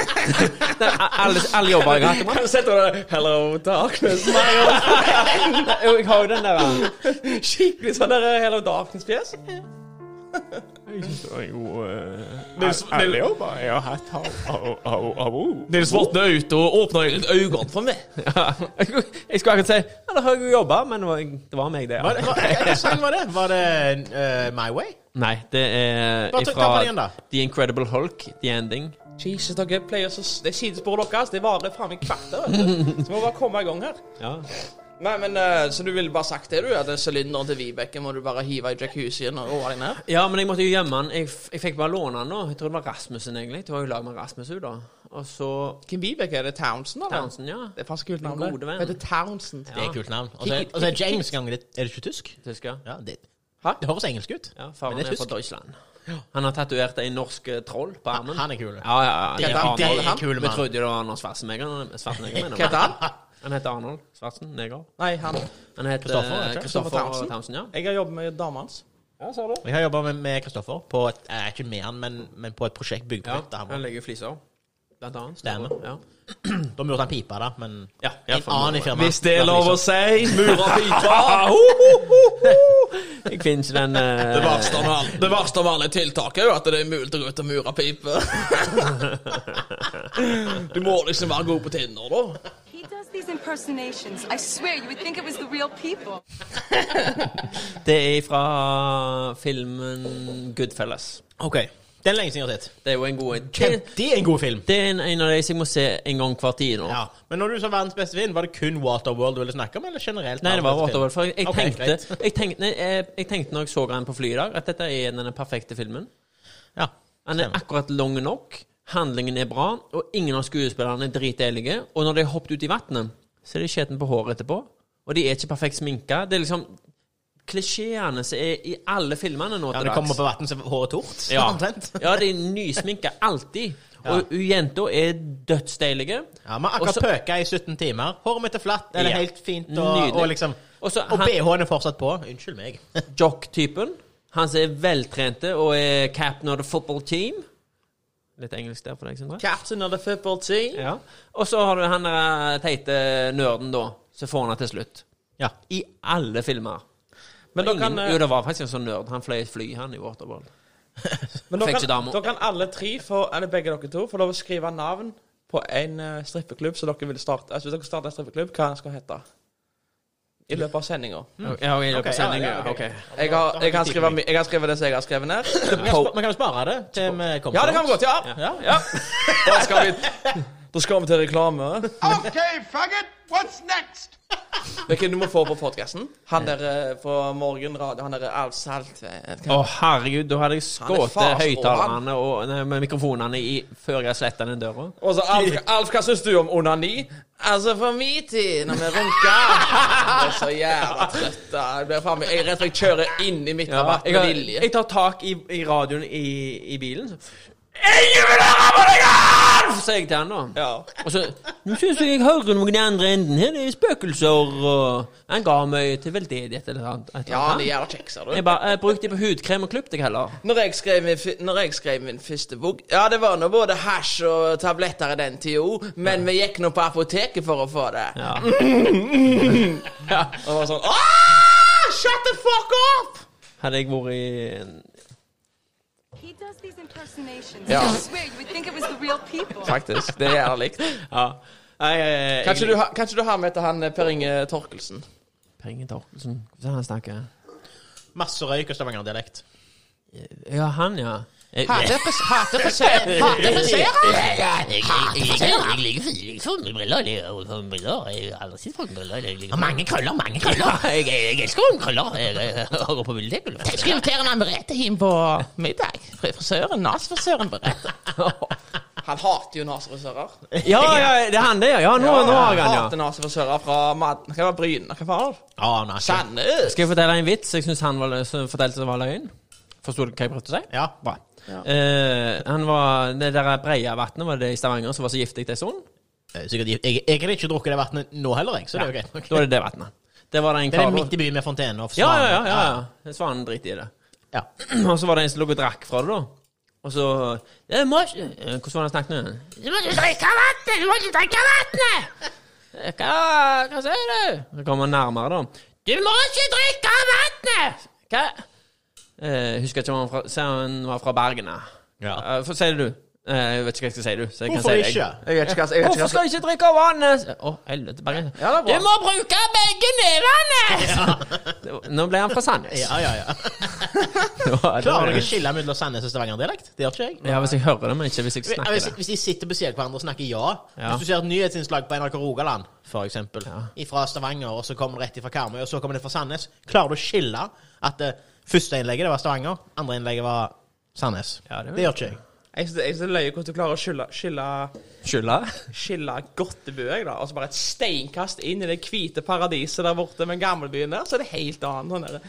Speaker 3: Ja, ja.
Speaker 1: Nei, a- alle, alle jobber jeg har hatt
Speaker 3: Kan du sette deg der, Hello, darkness, my old
Speaker 1: Jo, Jeg har jo den der eh,
Speaker 3: Skikkelig sånn der eh, Hello Darkness-fjes.
Speaker 7: eh, Alle jobber jeg har hatt, har- har- har- har vært.
Speaker 3: Nils våkner ut og åpner øynene for meg.
Speaker 1: ja. Jeg skulle akkurat si Ja, da har jeg jo jobba, men det var, det var meg, det.
Speaker 4: Hva,
Speaker 1: Ja.
Speaker 4: hva, hva sang var det? Var det eh, My Way?
Speaker 1: Nei, det er
Speaker 4: Bare trykk
Speaker 1: ifra
Speaker 4: ta på den igjen, da.
Speaker 1: The Incredible Hulk, The Ending.
Speaker 3: Jesus, dere pleier så Det sidesporet deres altså. det varer faen meg kvarter. vet du. Så må vi bare komme i gang her.
Speaker 1: Ja.
Speaker 3: Nei, men eh, Så du ville bare sagt det, du? At sylinderen til Vibeke må du bare hive i jacuzzien og roe deg ned?
Speaker 1: Ja, men jeg måtte jo gjemme den. Jeg, f- jeg fikk bare låne den nå. Jeg tror det var Rasmussen, egentlig. Det var jo lag med Rasmus ut, da. Og så
Speaker 3: Hvem Vibeke? Er det Townsend, eller?
Speaker 1: Townsend, ja.
Speaker 3: Det er faktisk kult navn.
Speaker 1: Gode venn.
Speaker 3: det. Heter Townsend.
Speaker 4: Det er et kult navn. Og så og så er det ikke engelsk engang. Er det ikke tysk?
Speaker 1: Tysker.
Speaker 4: Ja, det,
Speaker 3: Hæ?
Speaker 4: det høres engelsk ut.
Speaker 1: Ja, faren
Speaker 4: Men det
Speaker 1: er,
Speaker 4: er
Speaker 1: fra
Speaker 4: tysk.
Speaker 1: Deutschland. Han har tatovert en norsk eh, troll på armen.
Speaker 4: Han er kul.
Speaker 1: Ja, ja, ja.
Speaker 4: Det
Speaker 1: Det
Speaker 4: er-
Speaker 1: er
Speaker 4: det
Speaker 1: Arnold.
Speaker 4: er en kul
Speaker 1: Vi
Speaker 4: mann.
Speaker 1: trodde det var Arnold Schwarzenegger. men- Schwarzenegger mener
Speaker 3: Hva heter
Speaker 1: jeg.
Speaker 3: han?
Speaker 1: Han heter Arnold Schwarzenegger.
Speaker 3: Nei, han.
Speaker 1: Han heter
Speaker 4: Kristoffer,
Speaker 1: eh,
Speaker 4: heter han?
Speaker 1: Kristoffer
Speaker 3: Kristoffer
Speaker 1: Townsend, ja.
Speaker 3: Jeg har jobbet med dama hans.
Speaker 1: Ja, ser du.
Speaker 4: Jeg har jobba med, med Kristoffer på et eh, Ikke med han, men, men på et prosjekt bygd på
Speaker 1: Ja,
Speaker 4: hytta.
Speaker 1: han
Speaker 4: her.
Speaker 1: legger jo fliser. Blant annet.
Speaker 4: Stemmer.
Speaker 1: Ja.
Speaker 4: Da burde han pipe, da, men
Speaker 1: Ja, ja,
Speaker 4: en
Speaker 1: for
Speaker 4: annen i
Speaker 1: noe.
Speaker 4: firmaet.
Speaker 3: si, murer pipa.
Speaker 1: Jeg finner ikke den eh,
Speaker 3: Det verste av alle, det verste av alle tiltak er jo at det er mulig å gå ut og mure pipe. Du må liksom være god på Tinder, da.
Speaker 8: He does these impersonations. I swear, you would think it was the real people.
Speaker 1: Det er fra filmen Goodfellas.
Speaker 4: OK. Den er lenge siden jeg har sett.
Speaker 1: Det er jo en god Det,
Speaker 4: Det er en god film.
Speaker 1: det er en, en av de som jeg må se en gang hver tid nå.
Speaker 4: Ja. Men når du sa verdens beste film, var det kun Waterworld du ville snakke om, eller generelt?
Speaker 1: Nei, det var
Speaker 4: verdens
Speaker 1: Waterworld.
Speaker 4: beste film?
Speaker 1: For jeg, jeg,
Speaker 4: Ok,
Speaker 1: tenkte,
Speaker 4: greit.
Speaker 1: jeg, tenkte, nei, jeg, jeg tenkte når jeg så den på flyet i dag, at dette er den perfekte filmen.
Speaker 4: Ja.
Speaker 1: Den er
Speaker 4: Stemmer.
Speaker 1: akkurat lang nok, handlingen er bra, og ingen av skuespillerne er dritelige. Og når de har hoppet ut i vannet, så er de skjetne på håret etterpå. Og de er ikke perfekt sminka. Det er liksom klisjeene som er i alle filmene nå
Speaker 4: Ja,
Speaker 1: til
Speaker 4: det kommer
Speaker 1: dags.
Speaker 4: på vann som håret tort,
Speaker 1: Ja.
Speaker 4: omtrent.
Speaker 1: ja, de er nysminka alltid. Og hun jenta er dødsdeilige.
Speaker 4: Ja, Vi har
Speaker 1: Og
Speaker 4: akkurat
Speaker 1: så-
Speaker 4: pøka i 17 timer. Håret mitt er flatt, eller
Speaker 1: Ja.
Speaker 4: helt fint, og,
Speaker 1: Nydelig.
Speaker 4: og liksom
Speaker 1: Og så
Speaker 4: Og
Speaker 1: han-
Speaker 4: BH-en er fortsatt på. Unnskyld meg.
Speaker 1: jock-typen. Han som er veltrente og er captain of the football team. Litt engelsk der for deg, Sindre.
Speaker 3: Captain of the football team.
Speaker 1: Ja. Og så har du han der eh, teite nerden, da, som får han til slutt.
Speaker 4: Ja.
Speaker 1: I alle filmer.
Speaker 3: Men
Speaker 1: Ingen,
Speaker 3: dere kan, eh,
Speaker 1: jo, det var faktisk en sånn nerd. Han fløy et fly, han, i Waterworld.
Speaker 3: men dere
Speaker 1: fikk ikke
Speaker 3: kan,
Speaker 1: damer.
Speaker 3: dere kan alle tre, få, eller begge dere to, få lov å skrive navn på en eh, strippeklubb som dere vil starte. Altså, hvis dere starter en strippeklubb, hva den skal hete? I løpet av sendinga.
Speaker 1: Ja, ok, dere
Speaker 4: Ok,
Speaker 1: sender
Speaker 4: ja,
Speaker 1: en
Speaker 4: ja,
Speaker 1: gang. ok.
Speaker 4: ok.
Speaker 3: Jeg, har- jeg, kan skrive mi- jeg kan skrive det som jeg har skrevet ned.
Speaker 4: Vi kan spa- vi kan jo spare det til vi kommer
Speaker 3: Ja,
Speaker 4: til
Speaker 3: det kan vi godt.
Speaker 4: oss.
Speaker 3: Ja.
Speaker 4: Ja.
Speaker 3: ja. Da skal vi, da skal vi til reklame.
Speaker 5: Okay, faggot, what's next?
Speaker 3: Hvilken du må få på podkasten? Han der eh, fra Morgenradio, han der eh, Alf Salt
Speaker 1: Å, herregud, da hadde jeg skutt
Speaker 3: Han er fars
Speaker 1: høyttalerne og nei, med mikrofonene i før jeg sletta den døra.
Speaker 3: Og så Altså, Alf, Alf, hva syns du om onani? Altså, for min tid, når vi runker Jeg er så jævla trøtt. da. Jeg blir faen meg Jeg er redd for jeg kjører inn i mitt rabatt
Speaker 1: jeg,
Speaker 3: med
Speaker 1: har-
Speaker 3: vilje.
Speaker 1: jeg tar tak i, i radioen i, i bilen. så- Ingen vil høre på deg! Alf! sier jeg til han da.
Speaker 3: Ja.
Speaker 1: Og så Nå syns jeg jeg hører noen i den andre enden her. Det er spøkelser og Han ga meg til veldedighet eller noe annet.
Speaker 3: ja, han er jævla kjekk, ser
Speaker 1: Jeg
Speaker 3: du.
Speaker 1: bare jeg brukte det på hudkrem og klippet deg heller.
Speaker 3: Når jeg, skrev min, fi- når jeg skrev min første bok Ja, det var nå både hasj og tabletter i den tida, men vi gikk nå på apoteket for å få det.
Speaker 1: Ja.
Speaker 3: Og det var sånn Aah! Shut the fuck up!
Speaker 1: Hadde jeg vært i
Speaker 8: He does these impersonations.
Speaker 3: Yeah.
Speaker 8: I swear, you would think it was the real people.
Speaker 3: Faktisk. Det er jævla likt.
Speaker 1: Ja. Nei, jeg-
Speaker 3: Kanskje du,
Speaker 1: jeg-
Speaker 3: ha- kanskje du har med til han eh, Per Inge Torkelsen?
Speaker 1: Penger Torkelsen. Hvordan er det han snakker?
Speaker 4: Masse røyk og stavangerdialekt.
Speaker 1: Ja, han, ja. Jeg-
Speaker 3: Hater friserer!
Speaker 9: Jeg liker briller. Jeg liker briller. Jeg har aldri sett folk med briller. Jeg liker- mange krøller, mange krøller. Jeg, jeg, jeg elsker jo krøller. Jeg, jeg, jeg går på biblioteket.
Speaker 3: Jeg skal invitere han Merete hjem på middag. Frisøren, Nas-frisøren Merete. Han hater jo nazifrisører.
Speaker 1: Ja, ja, det er han det, ja. ja nå, nå har han, ja.
Speaker 3: Hater nazifrisører fra Mad... Hva var Bryne? Hva faen?
Speaker 4: Ja, nei, ikke-
Speaker 3: Sandnes!
Speaker 1: Skal jeg fortelle en vits jeg syns han var, som fortalte var løgn? Forsto du hva jeg prøvde å si?
Speaker 4: ja, bra.
Speaker 1: Eh, han var, Det der Breiavatnet var det i Stavanger som var så giftig til sånn?
Speaker 4: Eh, Sikkert, jeg, jeg, jeg har ikke drukket det vannet nå heller, jeg, så det er jo greit. nok.
Speaker 1: Da er det det vatnet. Det var det en
Speaker 4: Det er
Speaker 1: kar
Speaker 4: midt i byen med fontene og
Speaker 1: Ja, ja,
Speaker 4: svaner.
Speaker 1: ja. ja, ja. Svanen driter i det.
Speaker 4: Ja.
Speaker 1: Og så var det en som lå og drakk fra det, da. Og så «Jeg må ikke- eh, Hvordan var det han snakket nå? Du må ikke drikke vannet! Du må ikke drikke vannet! Eh, Hva, hva sier du? Så kom han nærmere, da. Du må ikke drikke vannet! Hva? Eh, husker ikke om han, fra, sier han var fra Bergen. da.
Speaker 4: Ja.
Speaker 1: Eh, for, sier du? Eh, jeg vet ikke hva jeg skal si, du. Så jeg kan
Speaker 4: Hvorfor
Speaker 1: si deg.
Speaker 4: ikke?
Speaker 1: Jeg vet ikke hva, jeg vet ikke Hvorfor skal jeg ikke drikke vannet? Å, helvete, Bergen. du må bruke begge nevene! Det var- Nå ble han fra Sandnes.
Speaker 4: Ja, ja, ja.
Speaker 1: Det var- det var-
Speaker 4: Klarer dere å skille mellom Sandnes og Stavanger-dialekt? Det gjør ikke jeg.
Speaker 1: Ja, hvis jeg hører det, men ikke hvis jeg snakker
Speaker 4: Hvis,
Speaker 1: det.
Speaker 4: hvis de sitter ved siden av hverandre og snakker ja,
Speaker 1: Ja.
Speaker 4: Hvis du ser et nyhetsinnslag på NRK Rogaland for eksempel,
Speaker 1: Ja.
Speaker 4: fra Stavanger, og så kommer det rett fra Karmøy, og så kommer det fra Sandnes, klarer du å skille at det første innlegget det var Stavanger, andre innlegget var Sandnes?
Speaker 1: Ja, det
Speaker 4: det,
Speaker 1: vil
Speaker 4: gjør ikke jeg.
Speaker 3: Jeg syns det jeg synes det er løye hvordan du klarer å skille, skille,
Speaker 1: Skylda?
Speaker 3: skille Gottebø, jeg, da. Og så bare et steinkast inn i det hvite paradiset der borte med gamlebyen der, så er det helt annet. Sånn der.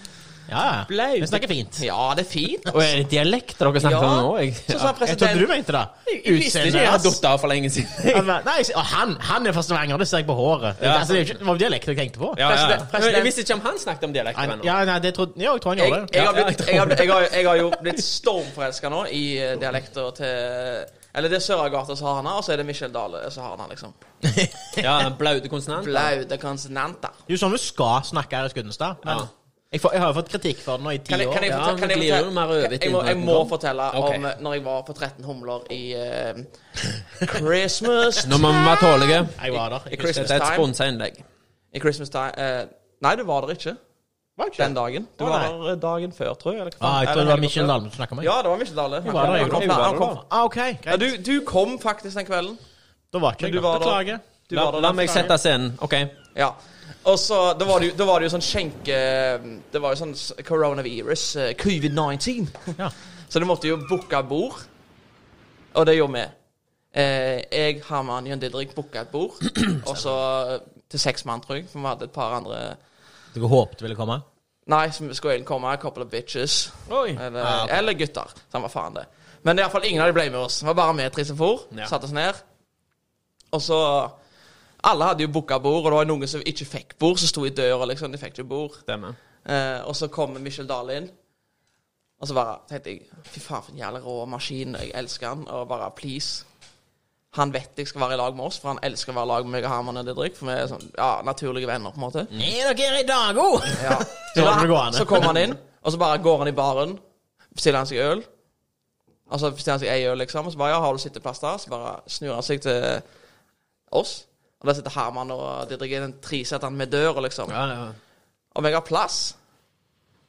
Speaker 4: Ja, ja.
Speaker 3: Blaut.
Speaker 4: Vi snakker fint.
Speaker 3: Ja, det er fint.
Speaker 1: Og er det dialekt dere snakker om nå? Jeg,
Speaker 3: Så sa
Speaker 4: Jeg trodde du
Speaker 3: president
Speaker 4: mente det.
Speaker 3: Jeg visste ikke, jeg har
Speaker 4: hans.
Speaker 1: datt av for lenge siden.
Speaker 4: Han var- Nei, jeg sier- og han, han er fra Stavanger, det ser jeg på håret. Det, altså, det, er jo ikke, det var jo dialekt jeg tenkte på.
Speaker 1: Ja, ja.
Speaker 3: President- president-
Speaker 1: Jeg visste ikke om han snakket om dialekt.
Speaker 4: Han,
Speaker 1: ennå.
Speaker 4: ja, nei, det trodde, ja, jeg tror han
Speaker 3: jeg,
Speaker 4: gjorde det.
Speaker 3: jeg, har
Speaker 1: Ja,
Speaker 3: blitt,
Speaker 1: jeg
Speaker 3: jeg, har, blitt- jeg, har, jeg har jo blitt stormforelska nå i eh, dialekter til Eller det er Søragata som har han her, og så er det Michel Dale som har han her, liksom.
Speaker 1: Ja, Blaute konsonant.
Speaker 3: Blaute konsonanter.
Speaker 4: Det er jo sånn vi skal snakke her i Skuddenstad. Men
Speaker 1: Ja.
Speaker 4: jeg, får, jeg har jo fått kritikk for det nå i ti
Speaker 3: Kan jeg,
Speaker 4: år.
Speaker 3: kan jeg,
Speaker 1: Ja,
Speaker 3: fortelle-
Speaker 1: men
Speaker 3: kan
Speaker 1: det
Speaker 3: jeg,
Speaker 1: glir jo
Speaker 3: fortelle-
Speaker 1: mer over i
Speaker 3: jeg, må, jeg
Speaker 1: tiden.
Speaker 3: må fortelle
Speaker 1: Ok.
Speaker 3: om eh, når jeg var på 13 humler i eh, Christmas
Speaker 1: Nå må vi være tålige.
Speaker 4: Jeg var der.
Speaker 3: I
Speaker 4: Jeg husker
Speaker 3: Christmas
Speaker 1: Dette er et
Speaker 3: time.
Speaker 1: sponsa innlegg.
Speaker 3: I Christmas time eh, Nei, du var der ikke den dagen. Du
Speaker 4: Å,
Speaker 3: var
Speaker 4: nei.
Speaker 3: der eh, dagen før, tror jeg. Eller, hva
Speaker 4: Ah,
Speaker 3: faen,
Speaker 4: jeg tror
Speaker 3: eller
Speaker 4: det var
Speaker 3: helgen
Speaker 4: Michel
Speaker 3: før.
Speaker 4: Dalm du snakka med.
Speaker 3: Ja, det var Michel Dale. Han
Speaker 4: var der, jeg
Speaker 3: kom-
Speaker 4: var
Speaker 3: han
Speaker 4: der.
Speaker 3: kom- han kom-
Speaker 4: Ah, ok,
Speaker 3: Ja,
Speaker 4: greit.
Speaker 3: du, du kom faktisk den kvelden.
Speaker 4: Da var ikke jeg
Speaker 3: du
Speaker 4: der.
Speaker 3: var der.
Speaker 4: Beklager.
Speaker 3: Du
Speaker 1: La,
Speaker 3: var der
Speaker 1: la
Speaker 3: den
Speaker 1: meg
Speaker 3: første
Speaker 1: sette scenen. OK.
Speaker 3: Ja. Og så Da var det jo, da var det jo sånn skjenke... Det var jo sånn s- coronavirus, eh, covid-19.
Speaker 4: Ja.
Speaker 3: Så du måtte jo booke bord. Og det gjorde vi. Eh, jeg, Herman, Jan Didrik booka et bord. og så eh, til seks mann, tror jeg. For vi hadde et par andre
Speaker 4: Dere håpet det ville komme?
Speaker 3: Nei, som skulle egentlig komme. A couple of bitches.
Speaker 1: Oi.
Speaker 3: Eller, eller gutter. Samme faen det. Men det er iallfall ingen av de ble med oss. Det var bare vi tre som for.
Speaker 1: Ja.
Speaker 3: Satte oss ned. Og så Alle hadde jo booka bord, og det var noen som ikke fikk bord, som sto i døra, liksom. De fikk ikke bord.
Speaker 1: Stemmer.
Speaker 3: Eh, og så kommer Michel Dahle inn. Og så bare tenkte jeg Fy faen, for en jævla rå maskin. Jeg elsker han. Og bare please. Han vet jeg skal være i lag med oss, for han elsker å være i lag med meg og Herman og Didrik. For vi er sånn, ja, naturlige venner, på en måte.
Speaker 4: Nei, dere er i dag òg!
Speaker 3: Ja.
Speaker 4: Så
Speaker 3: Så,
Speaker 4: holder det
Speaker 3: da,
Speaker 4: gående.
Speaker 3: så kommer han inn, og så bare går han i baren, bestiller han seg øl. Og så bestiller han seg ei øl, liksom. Og så bare, ja, har du sitteplass der? Så bare snur han seg til oss. Og der sitter Herman og Didrik i den tresetteren med døra, liksom.
Speaker 1: Ja, ja.
Speaker 3: Om jeg har plass?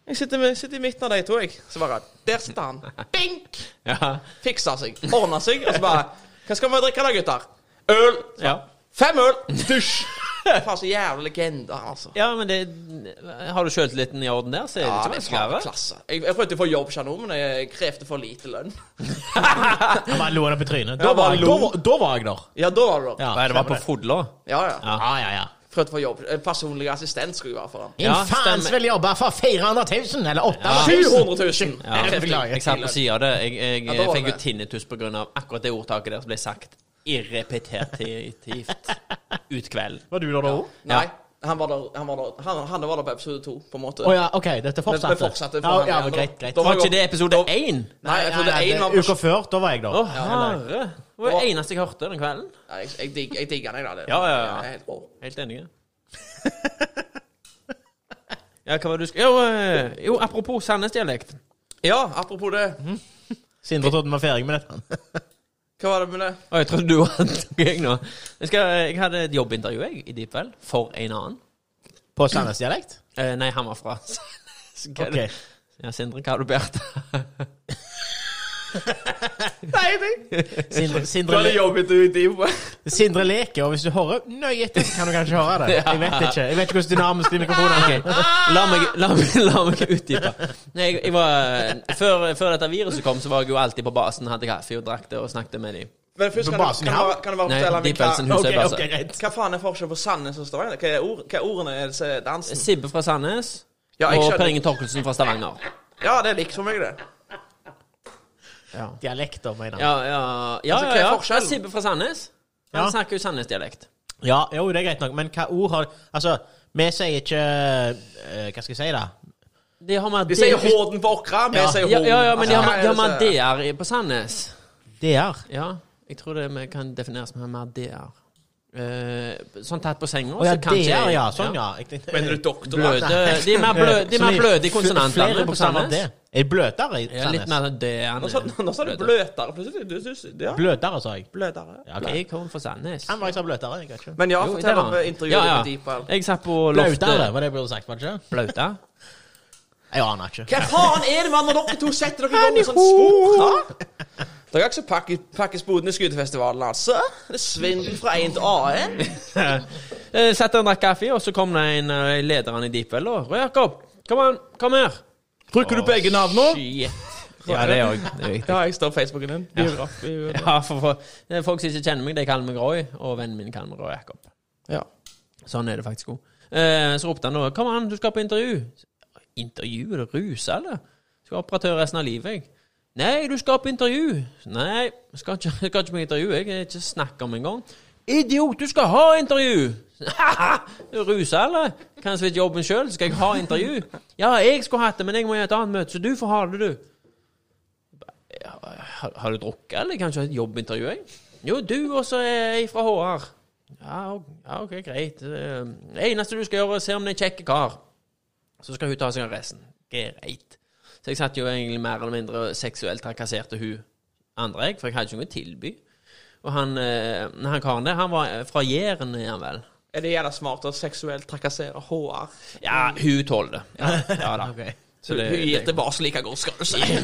Speaker 3: Jeg sitter, med, sitter i midten av de to, jeg. Så bare, der sitter han. Bink!
Speaker 1: ja.
Speaker 3: Fiksa seg. Ordna seg. Og så bare, hva skal vi drikke da, gutter? Øl! Så,
Speaker 1: ja.
Speaker 3: Fem øl! Dusj! Faen, så jævla legende, han, altså.
Speaker 1: ja men det Har du sjøltilliten i orden der, så er det
Speaker 3: Ja,
Speaker 1: ikke
Speaker 3: det er faen
Speaker 1: vanskeligere.
Speaker 3: klasse. Jeg, jeg prøvde å få jobb hos nå, men jeg krevde for lite lønn.
Speaker 4: Jeg bare lo opp i trynet.
Speaker 3: Ja,
Speaker 4: Da var,
Speaker 3: bare
Speaker 4: jeg-
Speaker 3: lo.
Speaker 4: da, var- da var jeg der.
Speaker 3: Ja, da var det bra.
Speaker 4: Ja,
Speaker 1: Hva er det var på Fodla?
Speaker 3: Ja, ja.
Speaker 4: Ja, ja, ja.
Speaker 3: Prøvde å få jobb. Eh, Personlig assistent skulle jeg være for han.
Speaker 4: En
Speaker 1: Ja,
Speaker 4: faens
Speaker 1: stemmer.
Speaker 4: vil jobbe for 400 000, eller 800 000!
Speaker 3: 700 000!
Speaker 4: Ja,
Speaker 3: Jeg krevde-
Speaker 4: beklager.
Speaker 1: Jeg satt på siden av det. Jeg, jeg,
Speaker 3: Ja, da var
Speaker 1: fikk jo
Speaker 3: det.
Speaker 1: tinnitus på grunn av akkurat det ordtaket der som ble sagt irrepetitivt ut kvelden.
Speaker 4: Var du der da òg?
Speaker 3: Nei, han var der, han var der, han, han var der på episode to, på en måte.
Speaker 4: Å ja, OK, dette
Speaker 3: Men
Speaker 4: fortsatte.
Speaker 3: vi fortsatte for
Speaker 4: ja,
Speaker 3: han
Speaker 4: ja,
Speaker 3: igjen,
Speaker 4: men
Speaker 3: da.
Speaker 4: greit, greit.
Speaker 3: Da
Speaker 1: Var ikke det episode én?
Speaker 3: Nei, episode
Speaker 4: Nei,
Speaker 3: én
Speaker 4: det-
Speaker 3: var på
Speaker 4: Uka før, da var jeg der.
Speaker 1: Å, herre. Det var det eneste jeg hørte den kvelden.
Speaker 3: Nei, Jeg, jeg, digg, jeg digger han, jeg, da. det-
Speaker 1: Ja, ja, ja.
Speaker 3: Jeg er helt rå.
Speaker 1: Helt enig. Ja, hva var det du skulle Jo, eh, jo apropos Sandnes-dialekt.
Speaker 3: Ja, apropos det.
Speaker 4: Sindre trodde vi var ferdig med dette.
Speaker 3: Hva var det med det?
Speaker 1: Å, jeg trodde du var jeg nå. Jeg, skal, jeg hadde et jobbintervju jeg, i Deep Well for en annen.
Speaker 4: På Sandnes-dialekt?
Speaker 1: Eh, nei, han var fra Så hva er det-
Speaker 4: Ok.
Speaker 1: Ja, Sindre, hva har du båret?
Speaker 4: Sindre, Sindre, le-
Speaker 3: jobbet du i Divo?
Speaker 4: Sindre leker, og hvis du hører nøye etter, så kan du kanskje høre det. Jeg vet ikke Jeg vet ikke hvordan dynamisk de mikrofonene er.
Speaker 1: La meg, la meg, la meg utdype. Nei, Jeg, jeg var, før, før dette viruset kom, så var jeg jo alltid på basen, hadde kaffe og drakk det og snakket med dem.
Speaker 3: Men først kan,
Speaker 4: Basen
Speaker 3: du,
Speaker 4: i
Speaker 3: kan,
Speaker 4: havn?
Speaker 3: du, kan du bare
Speaker 1: Nei,
Speaker 3: fortelle meg
Speaker 1: Deep Elsen
Speaker 3: hva,
Speaker 1: Hus er
Speaker 4: Ok, ok,
Speaker 1: best.
Speaker 4: greit.
Speaker 3: hva faen er forskjellen på Sandnes og Stavanger? Hva er, ord, hva er ordene er disse dansen?
Speaker 1: Sibbe fra Sandnes
Speaker 3: Ja, jeg
Speaker 1: og
Speaker 3: skjønner.
Speaker 1: Per Inge Torkelsen fra Stavanger.
Speaker 3: Ja, det er likt for meg, det.
Speaker 1: Ja,
Speaker 4: Dialekter, mener jeg.
Speaker 1: ja, ja. ja,
Speaker 3: Altså, hva er
Speaker 1: ja, ja.
Speaker 3: forskjellen?
Speaker 1: Sibbe fra Sandnes. Han
Speaker 4: Ja.
Speaker 1: snakker jo Sandnes-dialekt.
Speaker 4: Ja, jo, det er greit nok, men hva ord har Altså, vi sier ikke eh, Hva skal jeg si, da?
Speaker 1: De har mer
Speaker 3: De sier Hården på Åkra, vi
Speaker 4: Ja.
Speaker 3: sier
Speaker 1: Ja,
Speaker 3: Hården.
Speaker 1: ja, ja, men de har mer- de har
Speaker 3: Altså,
Speaker 1: mer DR i- på Sandnes.
Speaker 4: DR.
Speaker 1: Ja, jeg tror det vi kan definere som mer DR. Eh, sånn tatt på senga,
Speaker 4: Å ja,
Speaker 1: så kanskje
Speaker 4: DR, ja. Sånn, ja. Jeg tenkte-
Speaker 3: Mener du doktor?
Speaker 1: Bløde, de er mer bløde, de er mer
Speaker 4: Som i
Speaker 1: bløde i
Speaker 4: fl-
Speaker 1: konsonantene
Speaker 4: Flere
Speaker 1: på
Speaker 4: bokstaver
Speaker 1: Sandnes.
Speaker 4: enn det. Er det bløtere i
Speaker 1: Ja, litt
Speaker 4: Sandnes?
Speaker 1: mer DR.
Speaker 3: Nå sa- Nå sa du bløtere plutselig. Du synes ja,
Speaker 4: Bløtere, sa jeg.
Speaker 3: bløtere.
Speaker 4: Ja, ok.
Speaker 1: Jeg kommer fra Sandnes.
Speaker 4: Kan være jeg sa bløtere. Jeg vet ikke.
Speaker 3: Men ja,
Speaker 1: Jo, det
Speaker 3: fortell
Speaker 1: har
Speaker 3: om
Speaker 1: han.
Speaker 3: intervjuet
Speaker 1: Ja, ja.
Speaker 3: med Deep Elsen.
Speaker 1: Jeg satt på loftet
Speaker 4: Blautere, var det jeg burde sagt, var det ikke?
Speaker 1: Blauta?
Speaker 4: Jeg aner ikke.
Speaker 3: Hva faen er det med når dere to setter dere i gang med sånn spor? Hæ? Dere har ikke så pakke, pakkespoden i Skuterfestivalen, altså? Det er svindel fra 1 til AN.
Speaker 1: Jeg satt der og drakk kaffe, og så kom det en eh, lederen i Deepwell og Rød Jakob, kom an, kom her. Bruker du begge navnene? Shit. Ja, det òg. Det er viktig.
Speaker 3: Ja, jeg står Facebooken din. Biograf. biograf.
Speaker 1: Ja, for, for, det er folk som ikke kjenner meg, de kaller meg Roy, og vennen min kaller meg Rød Jakob.
Speaker 3: Ja.
Speaker 1: Sånn er det faktisk òg. Eh, så ropte han da 'Kom an, du skal på intervju'. Intervju? Er du rusa, eller? Skal være operatør resten av livet, jeg. Nei, du skal på intervju. Nei, jeg skal ikke, jeg skal ikke på intervju. Jeg er ikke snakk om engang. Idiot, du skal ha intervju! Er du rusa, eller? Kan jeg så vidt jobben sjøl, skal jeg ha intervju? Ja, jeg skulle hatt det, men jeg må i et annet møte, så du får ha det, du. Ja, Har, har du drukket, eller? Kan jeg ikke ha et jobbintervju, jeg? Jo, du også er jeg fra HR. Ja, ok, ja, ok, greit. Eh, Det eneste du skal gjøre, er å se om det er en kjekk kar. Så skal hun ta seg av resten. Greit. Så jeg satt jo egentlig mer eller mindre og seksuelt trakasserte hun andre, jeg, for jeg hadde ikke noe tilby. Og han, eh, han karen der, han var eh, fra Jæren, er han vel?
Speaker 3: Er det jævla smart å seksuelt trakassere HR?
Speaker 1: Ja, hun tåler det. Ja, ja da.
Speaker 4: Ok.
Speaker 1: Så det,
Speaker 3: Hun gir
Speaker 1: det,
Speaker 3: tilbake like godt, skal du si.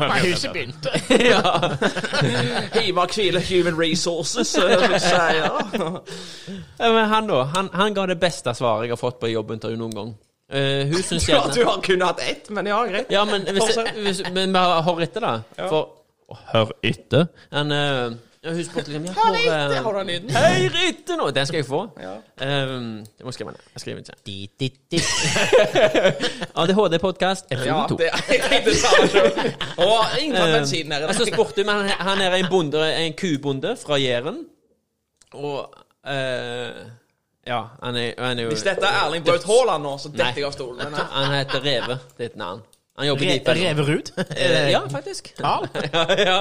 Speaker 4: Nei, huset begynte.
Speaker 1: ja.
Speaker 3: Hiva hvile human resources, eh, som jeg sier.
Speaker 1: Ja, Men han da, han, han ga det beste svaret jeg har fått på jobbintervju noen gang. Eh, hun syns
Speaker 3: Ja,
Speaker 1: gjerne
Speaker 3: du har kun hatt ett, men ja, greit.
Speaker 1: Ja, men hvis, hvis, men vi har- hør etter, da. For Hør etter? Han, eh, ja, hun spurte liksom ja, hvor, eh,
Speaker 3: Har du den lyden?
Speaker 1: Hør etter nå! Den skal jeg få. Um, jeg må skrive den. Jeg skriver den ikke. ADHD-podkast
Speaker 3: Ja,
Speaker 1: episode 2.
Speaker 3: det er jeg tenkte det samme selv. Og ingen tar bensin her i
Speaker 1: Og så
Speaker 3: dag.
Speaker 1: spurte hun han, han er en bonde, en kubonde fra Jæren. Og eh, Ja, han er, han er jo
Speaker 3: Hvis dette er Erling Braut Haaland nå, så
Speaker 1: Nei.
Speaker 3: detter jeg av stolen. Men, eh,
Speaker 1: Han heter Reve. Det er et navn. Han jobber i Deep Elsen.
Speaker 4: Reverud?
Speaker 1: Eh, Ja, faktisk.
Speaker 4: Karl?
Speaker 1: ja, ja.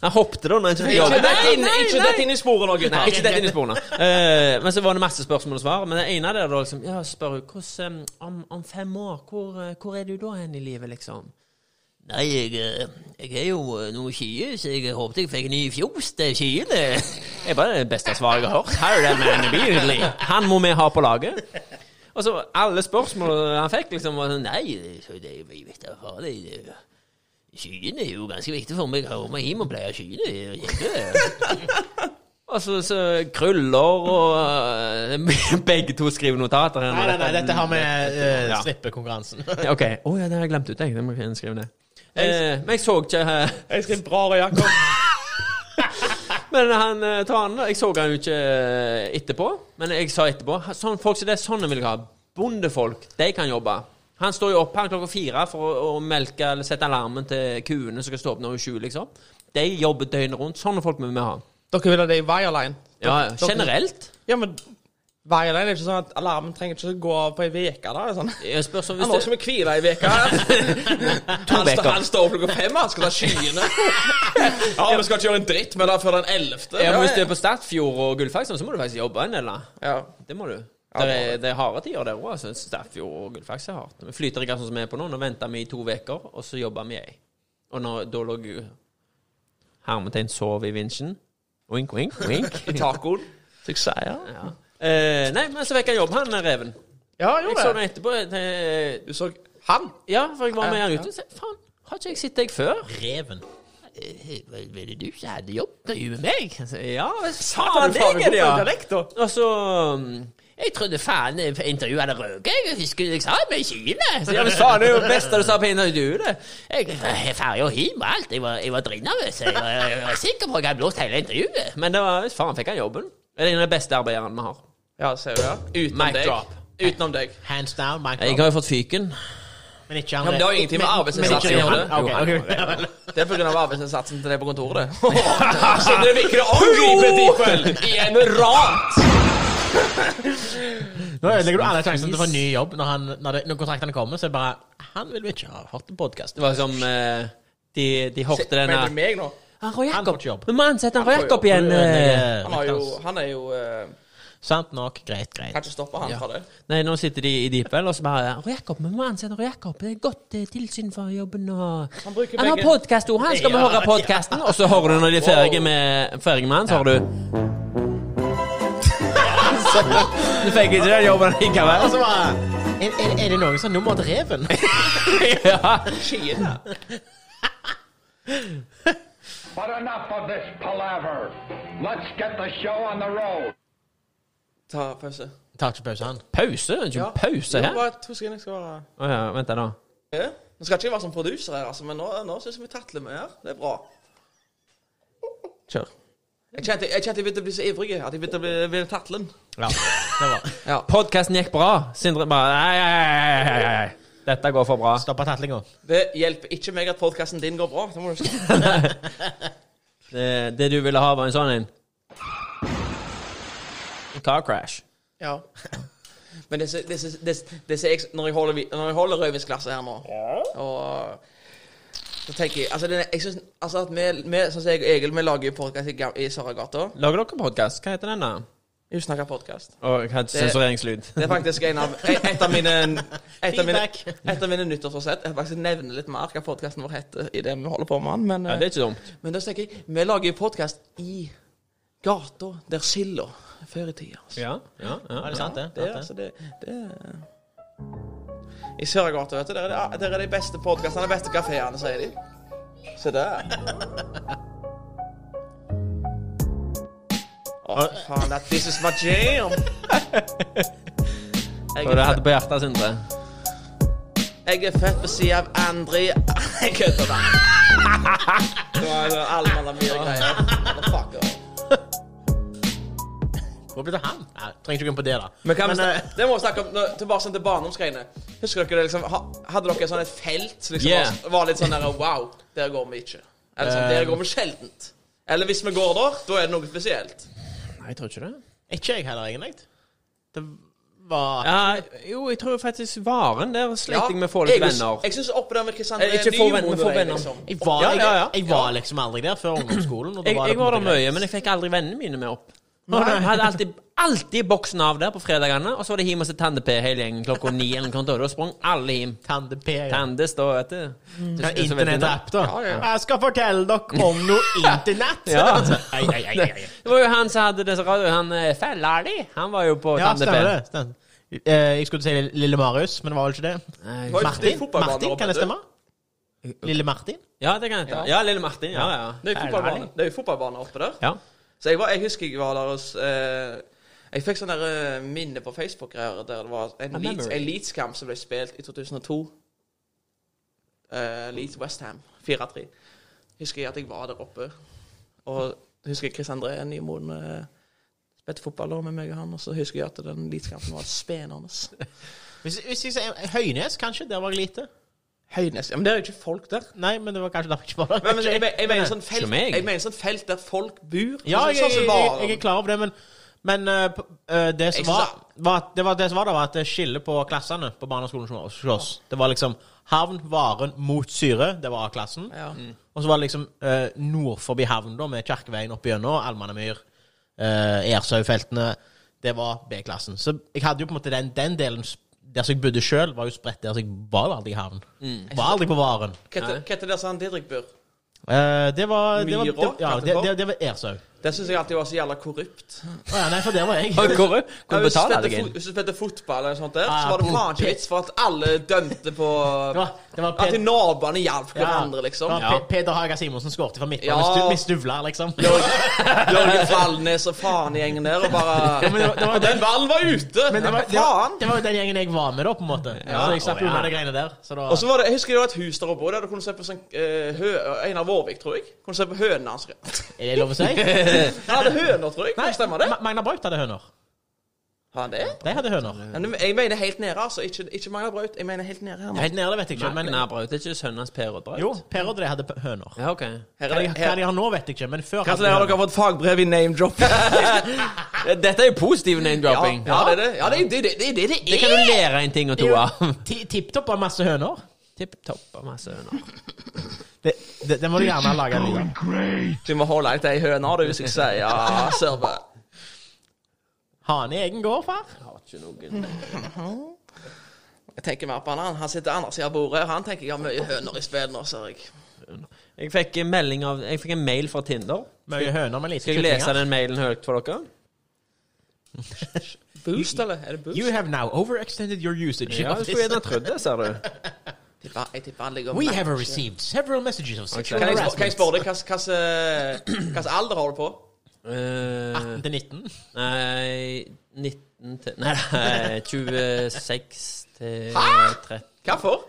Speaker 1: Han hoppet da når han ikke fikk
Speaker 3: Ikke
Speaker 1: jobb.
Speaker 3: dett inn, ikke dett inn i sporet nå,
Speaker 1: Nei,
Speaker 3: gutter.
Speaker 1: ikke dette inn i sporene. Eh, men så var det masse spørsmål og svar. Men det ene der da liksom Ja, spør hun hvordan eh, om, om fem år, hvor, eh, hvor er du da hen i livet, liksom?
Speaker 9: Nei, jeg, eh, jeg er jo eh, noe skie, så jeg håpet jeg fikk en ny fjos til skiene.
Speaker 1: Det er bare det beste svaret jeg har hørt. Her er det man immediately. Han må vi ha på laget. Og så Altså, alle spørsmål han fikk, liksom var sånn Nei,
Speaker 9: Nei, så det er jo viktig å ha det. det- Skiene er jo ganske viktig for meg. Jeg kommer hjem og pleier skiene. jeg gjør det.
Speaker 1: Og så, så krøller og eh, Begge to skriver notater. her nå.
Speaker 4: Nei, nei, nei, dette har vi uh,
Speaker 1: Ja.
Speaker 4: slippekonkurransen.
Speaker 1: Ja, Ok. Å ja, det har jeg glemt ut, jeg. Det må jeg skrive ned. Eh, men jeg så ikke eh,
Speaker 3: Jeg skrev bra, Røe Jakob.
Speaker 1: Men han eh, Tanen, da, jeg så han jo ikke eh, etterpå. Men jeg sa etterpå ha- sånn, Folk som det er sånn en vil ha. Bondefolk, de kan jobbe. Han står jo opp her klokka fire for å, å melke eller sette alarmen til kuene som skal stå opp når hun er sju, liksom. De jobber døgnet rundt. Sånne folk må vi ha.
Speaker 3: Dere vil ha det i Wireline?
Speaker 1: Ja, generelt.
Speaker 3: Ja, men Wireline er ikke sånn at alarmen trenger ikke å gå av på ei uke, da? er det Sånn.
Speaker 1: Jeg spør så
Speaker 3: Han må
Speaker 1: hvis
Speaker 3: ikke
Speaker 1: det,
Speaker 3: vi hvile ei uke. Han,
Speaker 1: veker.
Speaker 3: står- han står opp klokka fem, han skal ta skyene. Ja, vi skal ikke gjøre en dritt med det før den ellevte.
Speaker 1: ja, men hvis du er på Statfjord og Gullfaks, så må du faktisk jobbe en del, da.
Speaker 3: ja.
Speaker 1: Det må du.
Speaker 3: Ja,
Speaker 1: det,
Speaker 3: det
Speaker 1: er, det er harde tider der òg. Altså. Staffjord og Gullfaks er hardt. Vi flyter ikke sånn som vi er på nå. Nå venter vi i to uker, og så jobber vi ei. Og når, da lå hermetegn sov i vinsjen. Wink, wink, wink.
Speaker 3: Tacoen. Så jeg sier ja.
Speaker 1: Ja. Eh, nei, men så fikk jeg jobb, han eh, reven.
Speaker 3: Ja,
Speaker 1: Jeg
Speaker 3: gjorde
Speaker 1: så
Speaker 3: det.
Speaker 1: den etterpå. eh,
Speaker 3: Du så han?
Speaker 1: ja, for jeg var med
Speaker 3: Ja,
Speaker 1: her
Speaker 3: ja.
Speaker 1: ute. og sa, Faen, har ikke jeg sett deg før?
Speaker 4: Reven.
Speaker 9: Eh, Var var det du som hadde jobb?
Speaker 1: Det er jo meg. Jeg sa, Altså, Ja, faen,
Speaker 3: Faen,
Speaker 1: deg er det, ja.
Speaker 3: Dialekt, da.
Speaker 1: Og så mm,
Speaker 9: Jeg trodde faen eh, intervjuet hadde røket. Jeg husker jeg sa det i Chile. Så
Speaker 1: Ja,
Speaker 9: jeg
Speaker 1: men faen, det er jo det beste du sa på intervjuet, det.
Speaker 9: jeg ferja hjem og alt. Jeg var, jeg var dritnervøs. Jeg, var- jeg var sikker på at jeg hadde blåst hele intervjuet.
Speaker 1: Men det var, faen fikk han jobben. Det er en av de beste arbeiderne vi har.
Speaker 3: Ja, ser du det? Utenom
Speaker 1: Mic
Speaker 3: deg.
Speaker 1: drop.
Speaker 3: Utenom deg.
Speaker 4: Hands down, Mike.
Speaker 1: Jeg har jo fått fyken.
Speaker 4: Men ikke
Speaker 3: Ja, men det har jo ingenting med arbeidsinnsatsen å gjøre.
Speaker 4: Ok, ok.
Speaker 3: Det er pga. arbeidsinnsatsen til deg på kontoret. Siden dere virker å angripe Deepwell i en rant!
Speaker 4: Nå ødelegger du alle sjansene til å få en ny jobb når, han, når, det, når kontraktene kommer. Så er det bare Han vil vi ikke ha hørt på podkast.
Speaker 1: Det var som eh, de, de hørte den
Speaker 3: Mener
Speaker 1: her
Speaker 3: du meg nå?
Speaker 1: Han Roy
Speaker 4: Han får
Speaker 1: Jakob!
Speaker 4: ikke jobb.
Speaker 1: Vi må ansette han Roy Jakob igjen! eh.
Speaker 3: Han, har jo, han er jo eh,
Speaker 4: Sant nok. Greit, greit.
Speaker 3: Kan ikke stoppe han
Speaker 1: Ja.
Speaker 3: fra det.
Speaker 1: Nei, nå sitter de i Deepwell og så bare Roy Jakob, vi må ansette Roy Jakob. Det er godt eh, tilsyn for jobben og
Speaker 3: Han bruker
Speaker 1: Han har
Speaker 3: begge.
Speaker 1: podkast òg, han skal vi
Speaker 4: Ja,
Speaker 1: høre podkasten. Og så hører du når de er ferdige med, ferdige med han, så hører du Så- Du fikk ikke den jobben likevel.
Speaker 4: Og så bare er, er, er det noen som har nummer til reven?
Speaker 1: Ja.
Speaker 3: Kina.
Speaker 10: But enough of this palaver. Let's get the show on the road.
Speaker 3: Ta pause.
Speaker 4: Tar ikke pause, han.
Speaker 1: Pause? Er det Ikke en pause
Speaker 3: Ja,
Speaker 1: her?
Speaker 3: bare to sekunder. Jeg skal bare
Speaker 1: Å ja, vent da, da.
Speaker 3: Ja. Nå skal ikke jeg være som produser her, altså, men nå, nå syns jeg vi tatler mye her. Det er bra.
Speaker 1: Kjør.
Speaker 3: Jeg kjente jeg, kjente jeg begynte å bli så ivrig at jeg begynte å bli, bli tatlen.
Speaker 4: Ja, det var
Speaker 1: Podkasten gikk bra. Sindre bare Nei, nei, nei, nei, nei, nei. Dette går for bra.
Speaker 4: Stoppa tatlinga.
Speaker 3: Det hjelper ikke meg at podkasten din går bra. Det må du si.
Speaker 1: Det, det du ville ha, var en sånn en. En car crash.
Speaker 3: Ja. Men det som- det som- det som- det som jeg- når jeg holder, vi- når jeg holder rødvinsglasset her nå Og så tenker jeg Altså, det, jeg synes, altså at vi, vi sånn som jeg og Egil, vi lager jo podkast i, Ga- i Saragata.
Speaker 1: Lager dere podkast? Hva heter den, da?
Speaker 3: Usnakka podkast.
Speaker 1: Og hva heter sensureringslyd?
Speaker 3: Det er faktisk en av, e- et av mine et av mine,
Speaker 4: Feedback.
Speaker 3: et av mine nyttårsforsett. Jeg faktisk nevner litt mer hva podkasten vår heter i det vi holder på med den, men, eh,
Speaker 1: Ja, det er ikke dumt.
Speaker 3: men da tenker jeg Vi lager jo podkast i gata der skilla før i tida. altså.
Speaker 1: Ja, ja, ja.
Speaker 4: Er det sant, det?
Speaker 3: Det er altså det, det er- I Sørgata, vet du. Der er, det, ah, der er de beste podkastene, de beste kafeene, sier de. Se der. Å, fy faen. That, this is my jam.
Speaker 1: Hva
Speaker 3: Jeg
Speaker 1: du
Speaker 3: er,
Speaker 1: hadde på hjertet, Sindre?
Speaker 3: født- jeg er født ved siden av andre Jeg kødder bare. Det var jo alle mann av mye greier. Motherfucker.
Speaker 4: Hvor ble det av han? Ja, trenger ikke gå inn på det, da.
Speaker 3: Men kan vi
Speaker 4: Men,
Speaker 3: snak- det må vi snakke om nå, tilbake sånn til barndomsgreiene. Husker dere det liksom ha, Hadde dere sånn et felt som liksom
Speaker 1: Yeah.
Speaker 3: var, var litt sånn der Wow, der går vi ikke. Eller sånn, der går vi sjeldent. Eller hvis vi går der, da er det noe spesielt.
Speaker 1: Nei, jeg tror ikke det.
Speaker 4: Ikke jeg heller, egentlig. Det var
Speaker 1: Ja, jo, jeg tror faktisk Varen der slet
Speaker 3: Ja,
Speaker 1: jeg med å få litt
Speaker 3: jeg-
Speaker 1: venner.
Speaker 3: Jeg syns oppe der med Kristian
Speaker 1: Eh, ikke få venn- men få venner.
Speaker 3: liksom.
Speaker 4: Jeg var,
Speaker 1: Ja, ja, ja.
Speaker 4: Jeg, jeg var liksom aldri der før ungdomsskolen. Og da
Speaker 1: Jeg,
Speaker 4: var det
Speaker 1: jeg
Speaker 4: på en
Speaker 1: var der
Speaker 4: måte greit.
Speaker 1: mye, men jeg fikk aldri vennene mine med opp. Jeg hadde alltid, alltid boksen av der på fredagene, og så var det hjem og se Tande-P hele gjengen klokka ni. eller noe sånt, og Da sprang alle hjem.
Speaker 4: Tande-P. ja.
Speaker 1: Tandes, da, vet du. Du-
Speaker 4: Ja,
Speaker 1: du- så vet du
Speaker 4: internett
Speaker 1: det.
Speaker 4: app da.
Speaker 3: Ja, ja, ja.
Speaker 4: Jeg skal fortelle dere om noe internett. Altså,
Speaker 1: Ja.
Speaker 4: Ei, ei, ei, ei, ei.
Speaker 1: Det var jo han som hadde disse radioene. Han eh, fella di, han var jo på
Speaker 4: ja
Speaker 1: Tande-P.
Speaker 4: stemmer det. Stemmer. Eh, Jeg skulle til å si Lille Marius, men det var vel ikke det.
Speaker 1: Nei,
Speaker 3: Var jo ikke
Speaker 4: Martin,
Speaker 3: fotballbanen
Speaker 4: Martin
Speaker 3: oppe,
Speaker 4: kan det
Speaker 3: du?
Speaker 4: stemme? Lille Martin?
Speaker 1: Ja, det kan jeg ta. Ja, lille Martin. Ja, ja.
Speaker 3: Det er jo fotballbane- det er jo fotballbane oppe der.
Speaker 1: Ja.
Speaker 3: Så jeg, var, jeg husker jeg var der hos eh, Jeg fikk sånn der, eh, minne på Facebook her der det var en
Speaker 1: A
Speaker 3: Leeds-
Speaker 1: memory.
Speaker 3: en Leeds-kamp som ble spilt i 2002. Eh, Leeds Westham 4-3. Husker jeg at jeg var der oppe. Og husker jeg Chris André Nymoen eh, spilte fotball da med meg og han. Og så husker jeg at den Leeds-kampen var spennende.
Speaker 4: Hvis, hvis jeg sier Høynes, kanskje? Der var jeg lite.
Speaker 3: Høynes Ja, men det er jo ikke folk der.
Speaker 4: Nei, men det var kanskje derfor jeg ikke var der.
Speaker 3: Men, men, jeg, men- jeg mener sånn felt,
Speaker 1: Ikke meg.
Speaker 3: jeg mener sånn felt der folk bor.
Speaker 4: Ja,
Speaker 3: Sånn-
Speaker 4: jeg, jeg,
Speaker 3: sånn som
Speaker 4: jeg,
Speaker 3: var-
Speaker 4: jeg er klar over det, men men eh, på- eh, det, som
Speaker 3: Jeg
Speaker 4: var,
Speaker 3: synes
Speaker 4: var, at- det var, det som var der, var at det skillet på klassene på barneskolen som var hos oss. Det var liksom havn, varen mot syre. Det var A-klassen.
Speaker 3: Ja.
Speaker 4: Og så var det liksom eh, nord forbi havn, da, med Kjerkeveien opp gjennom, Almanemyr, eh, Ersøyfeltene. Det var B-klassen. Så jeg hadde jo på en måte den, den delen s- der som jeg bodde sjøl, var jo spredt der, så jeg var jo aldri i havn. Var aldri på varen.
Speaker 3: Hva heter- hva heter det der som han Didrik bor?
Speaker 4: Eh, det var
Speaker 3: Myra,
Speaker 4: det var, det, ja,
Speaker 3: kalte
Speaker 4: det,
Speaker 3: på.
Speaker 4: det, det var Ersøy.
Speaker 3: Det syns jeg alltid var så jævla korrupt.
Speaker 4: Å ja, nei, for der var jeg.
Speaker 1: Hvor, hvor,
Speaker 3: Ja,
Speaker 1: hvor
Speaker 3: hvis, du
Speaker 1: betaler
Speaker 3: spilte
Speaker 1: jeg
Speaker 3: fot, hvis du spilte fotball eller noe sånt, der,
Speaker 4: Ah,
Speaker 3: så var det faen
Speaker 4: pop-
Speaker 3: ikke vits for at alle dømte på
Speaker 4: Det var, det var
Speaker 3: At de
Speaker 4: Ped-
Speaker 3: naboene hjalp
Speaker 4: Ja.
Speaker 3: hverandre, liksom.
Speaker 4: Det var Pe- Peder Haga Simonsen skårte fra midtbanen
Speaker 3: Ja.
Speaker 4: ja. med stuvler, liksom.
Speaker 3: Jørgen Falnes og faen i gjengen der, og bare
Speaker 4: men det var- det var-
Speaker 3: Og den ballen var ute!
Speaker 4: Men det var, det, var,
Speaker 3: faen!
Speaker 4: det var jo den gjengen jeg var med, da, på en måte. Så jeg slapp
Speaker 9: Å, ja.
Speaker 4: unna de greiene der. Så da,
Speaker 3: Og så var det, Jeg husker det var et hus der oppe, der du kunne se på sånn eh, hø, Einar Vårvik, tror jeg. Kunne se på hønene hans.
Speaker 4: er det lov å si?
Speaker 3: Han hadde høner, tror jeg. Kan det stemme det?
Speaker 4: Ma- Magna Braut hadde høner.
Speaker 3: Har han det?
Speaker 4: De hadde høner.
Speaker 3: Men jeg mener helt nede, altså. Ikke, ikke Magna Braut. Jeg mener helt nede her. nå.
Speaker 4: Helt nede, det vet jeg ikke.
Speaker 1: Men
Speaker 4: Men
Speaker 1: Nærbraut er ikke sønnen hans Per og Braut?
Speaker 4: jo, Per og de hadde p- høner.
Speaker 1: Ja, ok.
Speaker 3: Her
Speaker 4: Hva
Speaker 3: er
Speaker 4: de,
Speaker 3: det,
Speaker 4: hva
Speaker 3: her.
Speaker 4: de har nå, vet jeg ikke, men før hadde de
Speaker 3: Gratulerer,
Speaker 4: høner.
Speaker 3: dere har fått fagbrev i name-drop.
Speaker 1: Eh, Dette er jo positiv
Speaker 3: Ja,
Speaker 1: name-dropping.
Speaker 3: ja, det er det. Ja, det, er- det, det, det, det,
Speaker 1: Det
Speaker 3: det
Speaker 1: kan du lære en ting og to av.
Speaker 4: Ti- Tipp Topp har masse høner.
Speaker 1: Tipp topp av masse høner.
Speaker 4: Det, det, det må du gjerne lage en lyd av.
Speaker 3: Du må holde deg til ei høne, du, hvis jeg sier ja, serve.
Speaker 4: Hane i egen gård, far.
Speaker 3: Jeg tenker mer på han. Han sitter andre siden av bordet, og han tenker jeg har mye høner i spill nå, ser jeg.
Speaker 1: Jeg fikk en melding av Jeg fikk en mail fra Tinder.
Speaker 4: Mye høner med lite
Speaker 1: Skal jeg lese
Speaker 4: kyllinger.
Speaker 1: den mailen høyt for dere?
Speaker 3: Boost, eller? Er det boost?
Speaker 4: You have now overextended your usage.
Speaker 1: Ja,
Speaker 4: of
Speaker 1: jeg
Speaker 4: this.
Speaker 1: skulle gjerne trodd det, ser du.
Speaker 3: tipper, jeg tipper han ligger
Speaker 4: We have
Speaker 3: Nei.
Speaker 4: received several messages of sexual
Speaker 3: Kan jeg, spå-
Speaker 4: harassment.
Speaker 3: kan jeg spørre deg hvilken alder har du på?
Speaker 1: Eh,
Speaker 4: 18 til 19.
Speaker 1: Nei 19 til Nei, nei 26 til 30
Speaker 3: Hvorfor?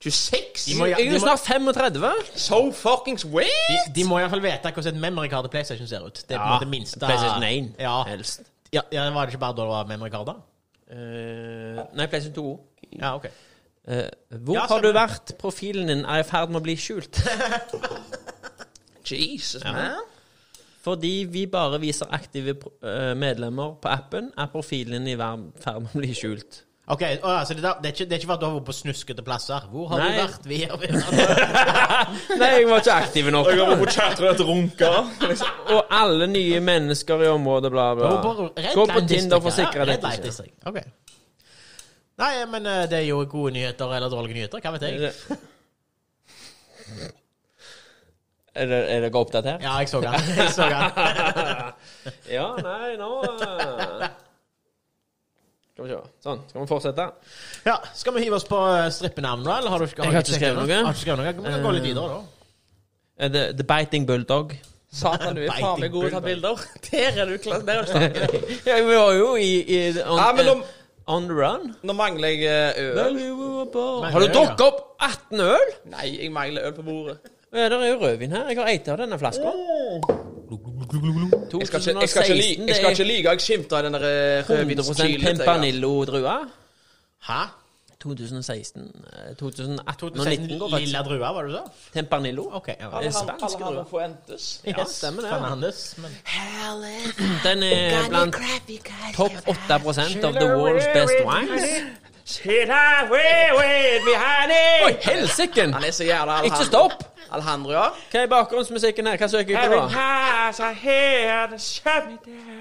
Speaker 3: 26?
Speaker 4: De må-
Speaker 1: Jeg er
Speaker 4: de
Speaker 1: jo snart 35!
Speaker 3: So fuckings
Speaker 4: De,
Speaker 3: weird!
Speaker 4: de må iallfall vite hvordan et memory card i PlayStation ser ut. Det er på en måte minste
Speaker 1: PlayStation 1,
Speaker 4: Ja.
Speaker 1: helst.
Speaker 4: Ja, ja, Var det ikke bare da det var memory card, da?
Speaker 1: Eh, nei, PlayStation 2 også.
Speaker 4: Ja, ok.
Speaker 1: Eh, hvor
Speaker 4: Ja,
Speaker 1: har du
Speaker 4: stemmer.
Speaker 1: vært? Profilen din er i ferd med å bli skjult.
Speaker 3: Jesus, man.
Speaker 1: Fordi vi bare viser aktive pro- eh, medlemmer på appen, er profilen din i hver- ferd med å bli skjult.
Speaker 4: Ok, å, ja, så det, der, det, er ikke, det er ikke for at du har vært på snuskete plasser. Hvor har
Speaker 1: Nei.
Speaker 4: du vært? Vi har vært
Speaker 1: Nei, jeg var ikke aktiv nok.
Speaker 7: Jeg har vært på chatrødt runka.
Speaker 1: Og alle nye mennesker i området, bla, bla. Gå på Tinder for å sikre deg. ikke.
Speaker 4: deg. Ok. Nei, men eh, det er jo gode nyheter eller dårlige nyheter. Hva vet
Speaker 1: Er
Speaker 4: jeg?
Speaker 1: det- Er det- er dere oppdatert?
Speaker 4: Ja, jeg så den. Jeg så den.
Speaker 1: Ja, nei, nå eh. Skal vi se. Sånn, skal vi fortsette?
Speaker 4: Ja, skal vi hive oss på eh, strippenavn, da? Eller har du, har
Speaker 1: Jeg har ikke skrevet noe.
Speaker 4: Har du ikke skrevet noe? Vi kan gå litt videre, da.
Speaker 1: Eh, The, the Biting Bulldog.
Speaker 3: Satan, du er faen meg god til å ta bilder. Der er du klar. Der er du sterk.
Speaker 1: Ja, vi var jo i, i on,
Speaker 3: Ja, men om-
Speaker 1: eh, on the run.
Speaker 3: Nå mangler jeg eh, øl.
Speaker 1: Har du
Speaker 4: Men-
Speaker 1: drukket opp 18 øl?
Speaker 3: Nei, jeg mangler øl på bordet.
Speaker 1: Ja, det er jo rødvin her. Jeg har eitt av denne flaska.
Speaker 3: Jeg skal ikke, jeg skal ikke, li, jeg skal ikke lyge. Jeg skimter av den der eh,
Speaker 1: 100
Speaker 3: rødvinskilen. til jeg har.
Speaker 1: Pimpanillo-drue.
Speaker 4: Hæ?
Speaker 1: 2016 eh, 2018 og 19 går
Speaker 4: 2016,
Speaker 1: faktisk.
Speaker 4: lilla drue, var det du sa?
Speaker 1: Tempanillo.
Speaker 4: Ok. Ja,
Speaker 1: Det er
Speaker 3: Han-
Speaker 1: spansk
Speaker 3: Alle har
Speaker 1: drue.
Speaker 3: forventes.
Speaker 1: Ja, stemmer det.
Speaker 4: Fernandes, men
Speaker 1: Den er blant topp 8 av the world's best wines. Oi, helsiken!
Speaker 3: Han er så jævla Alejandro.
Speaker 1: Ikke stopp!
Speaker 3: Alejandro, ja.
Speaker 1: Hva er bakgrunnsmusikken her? Hva søker jeg på? da?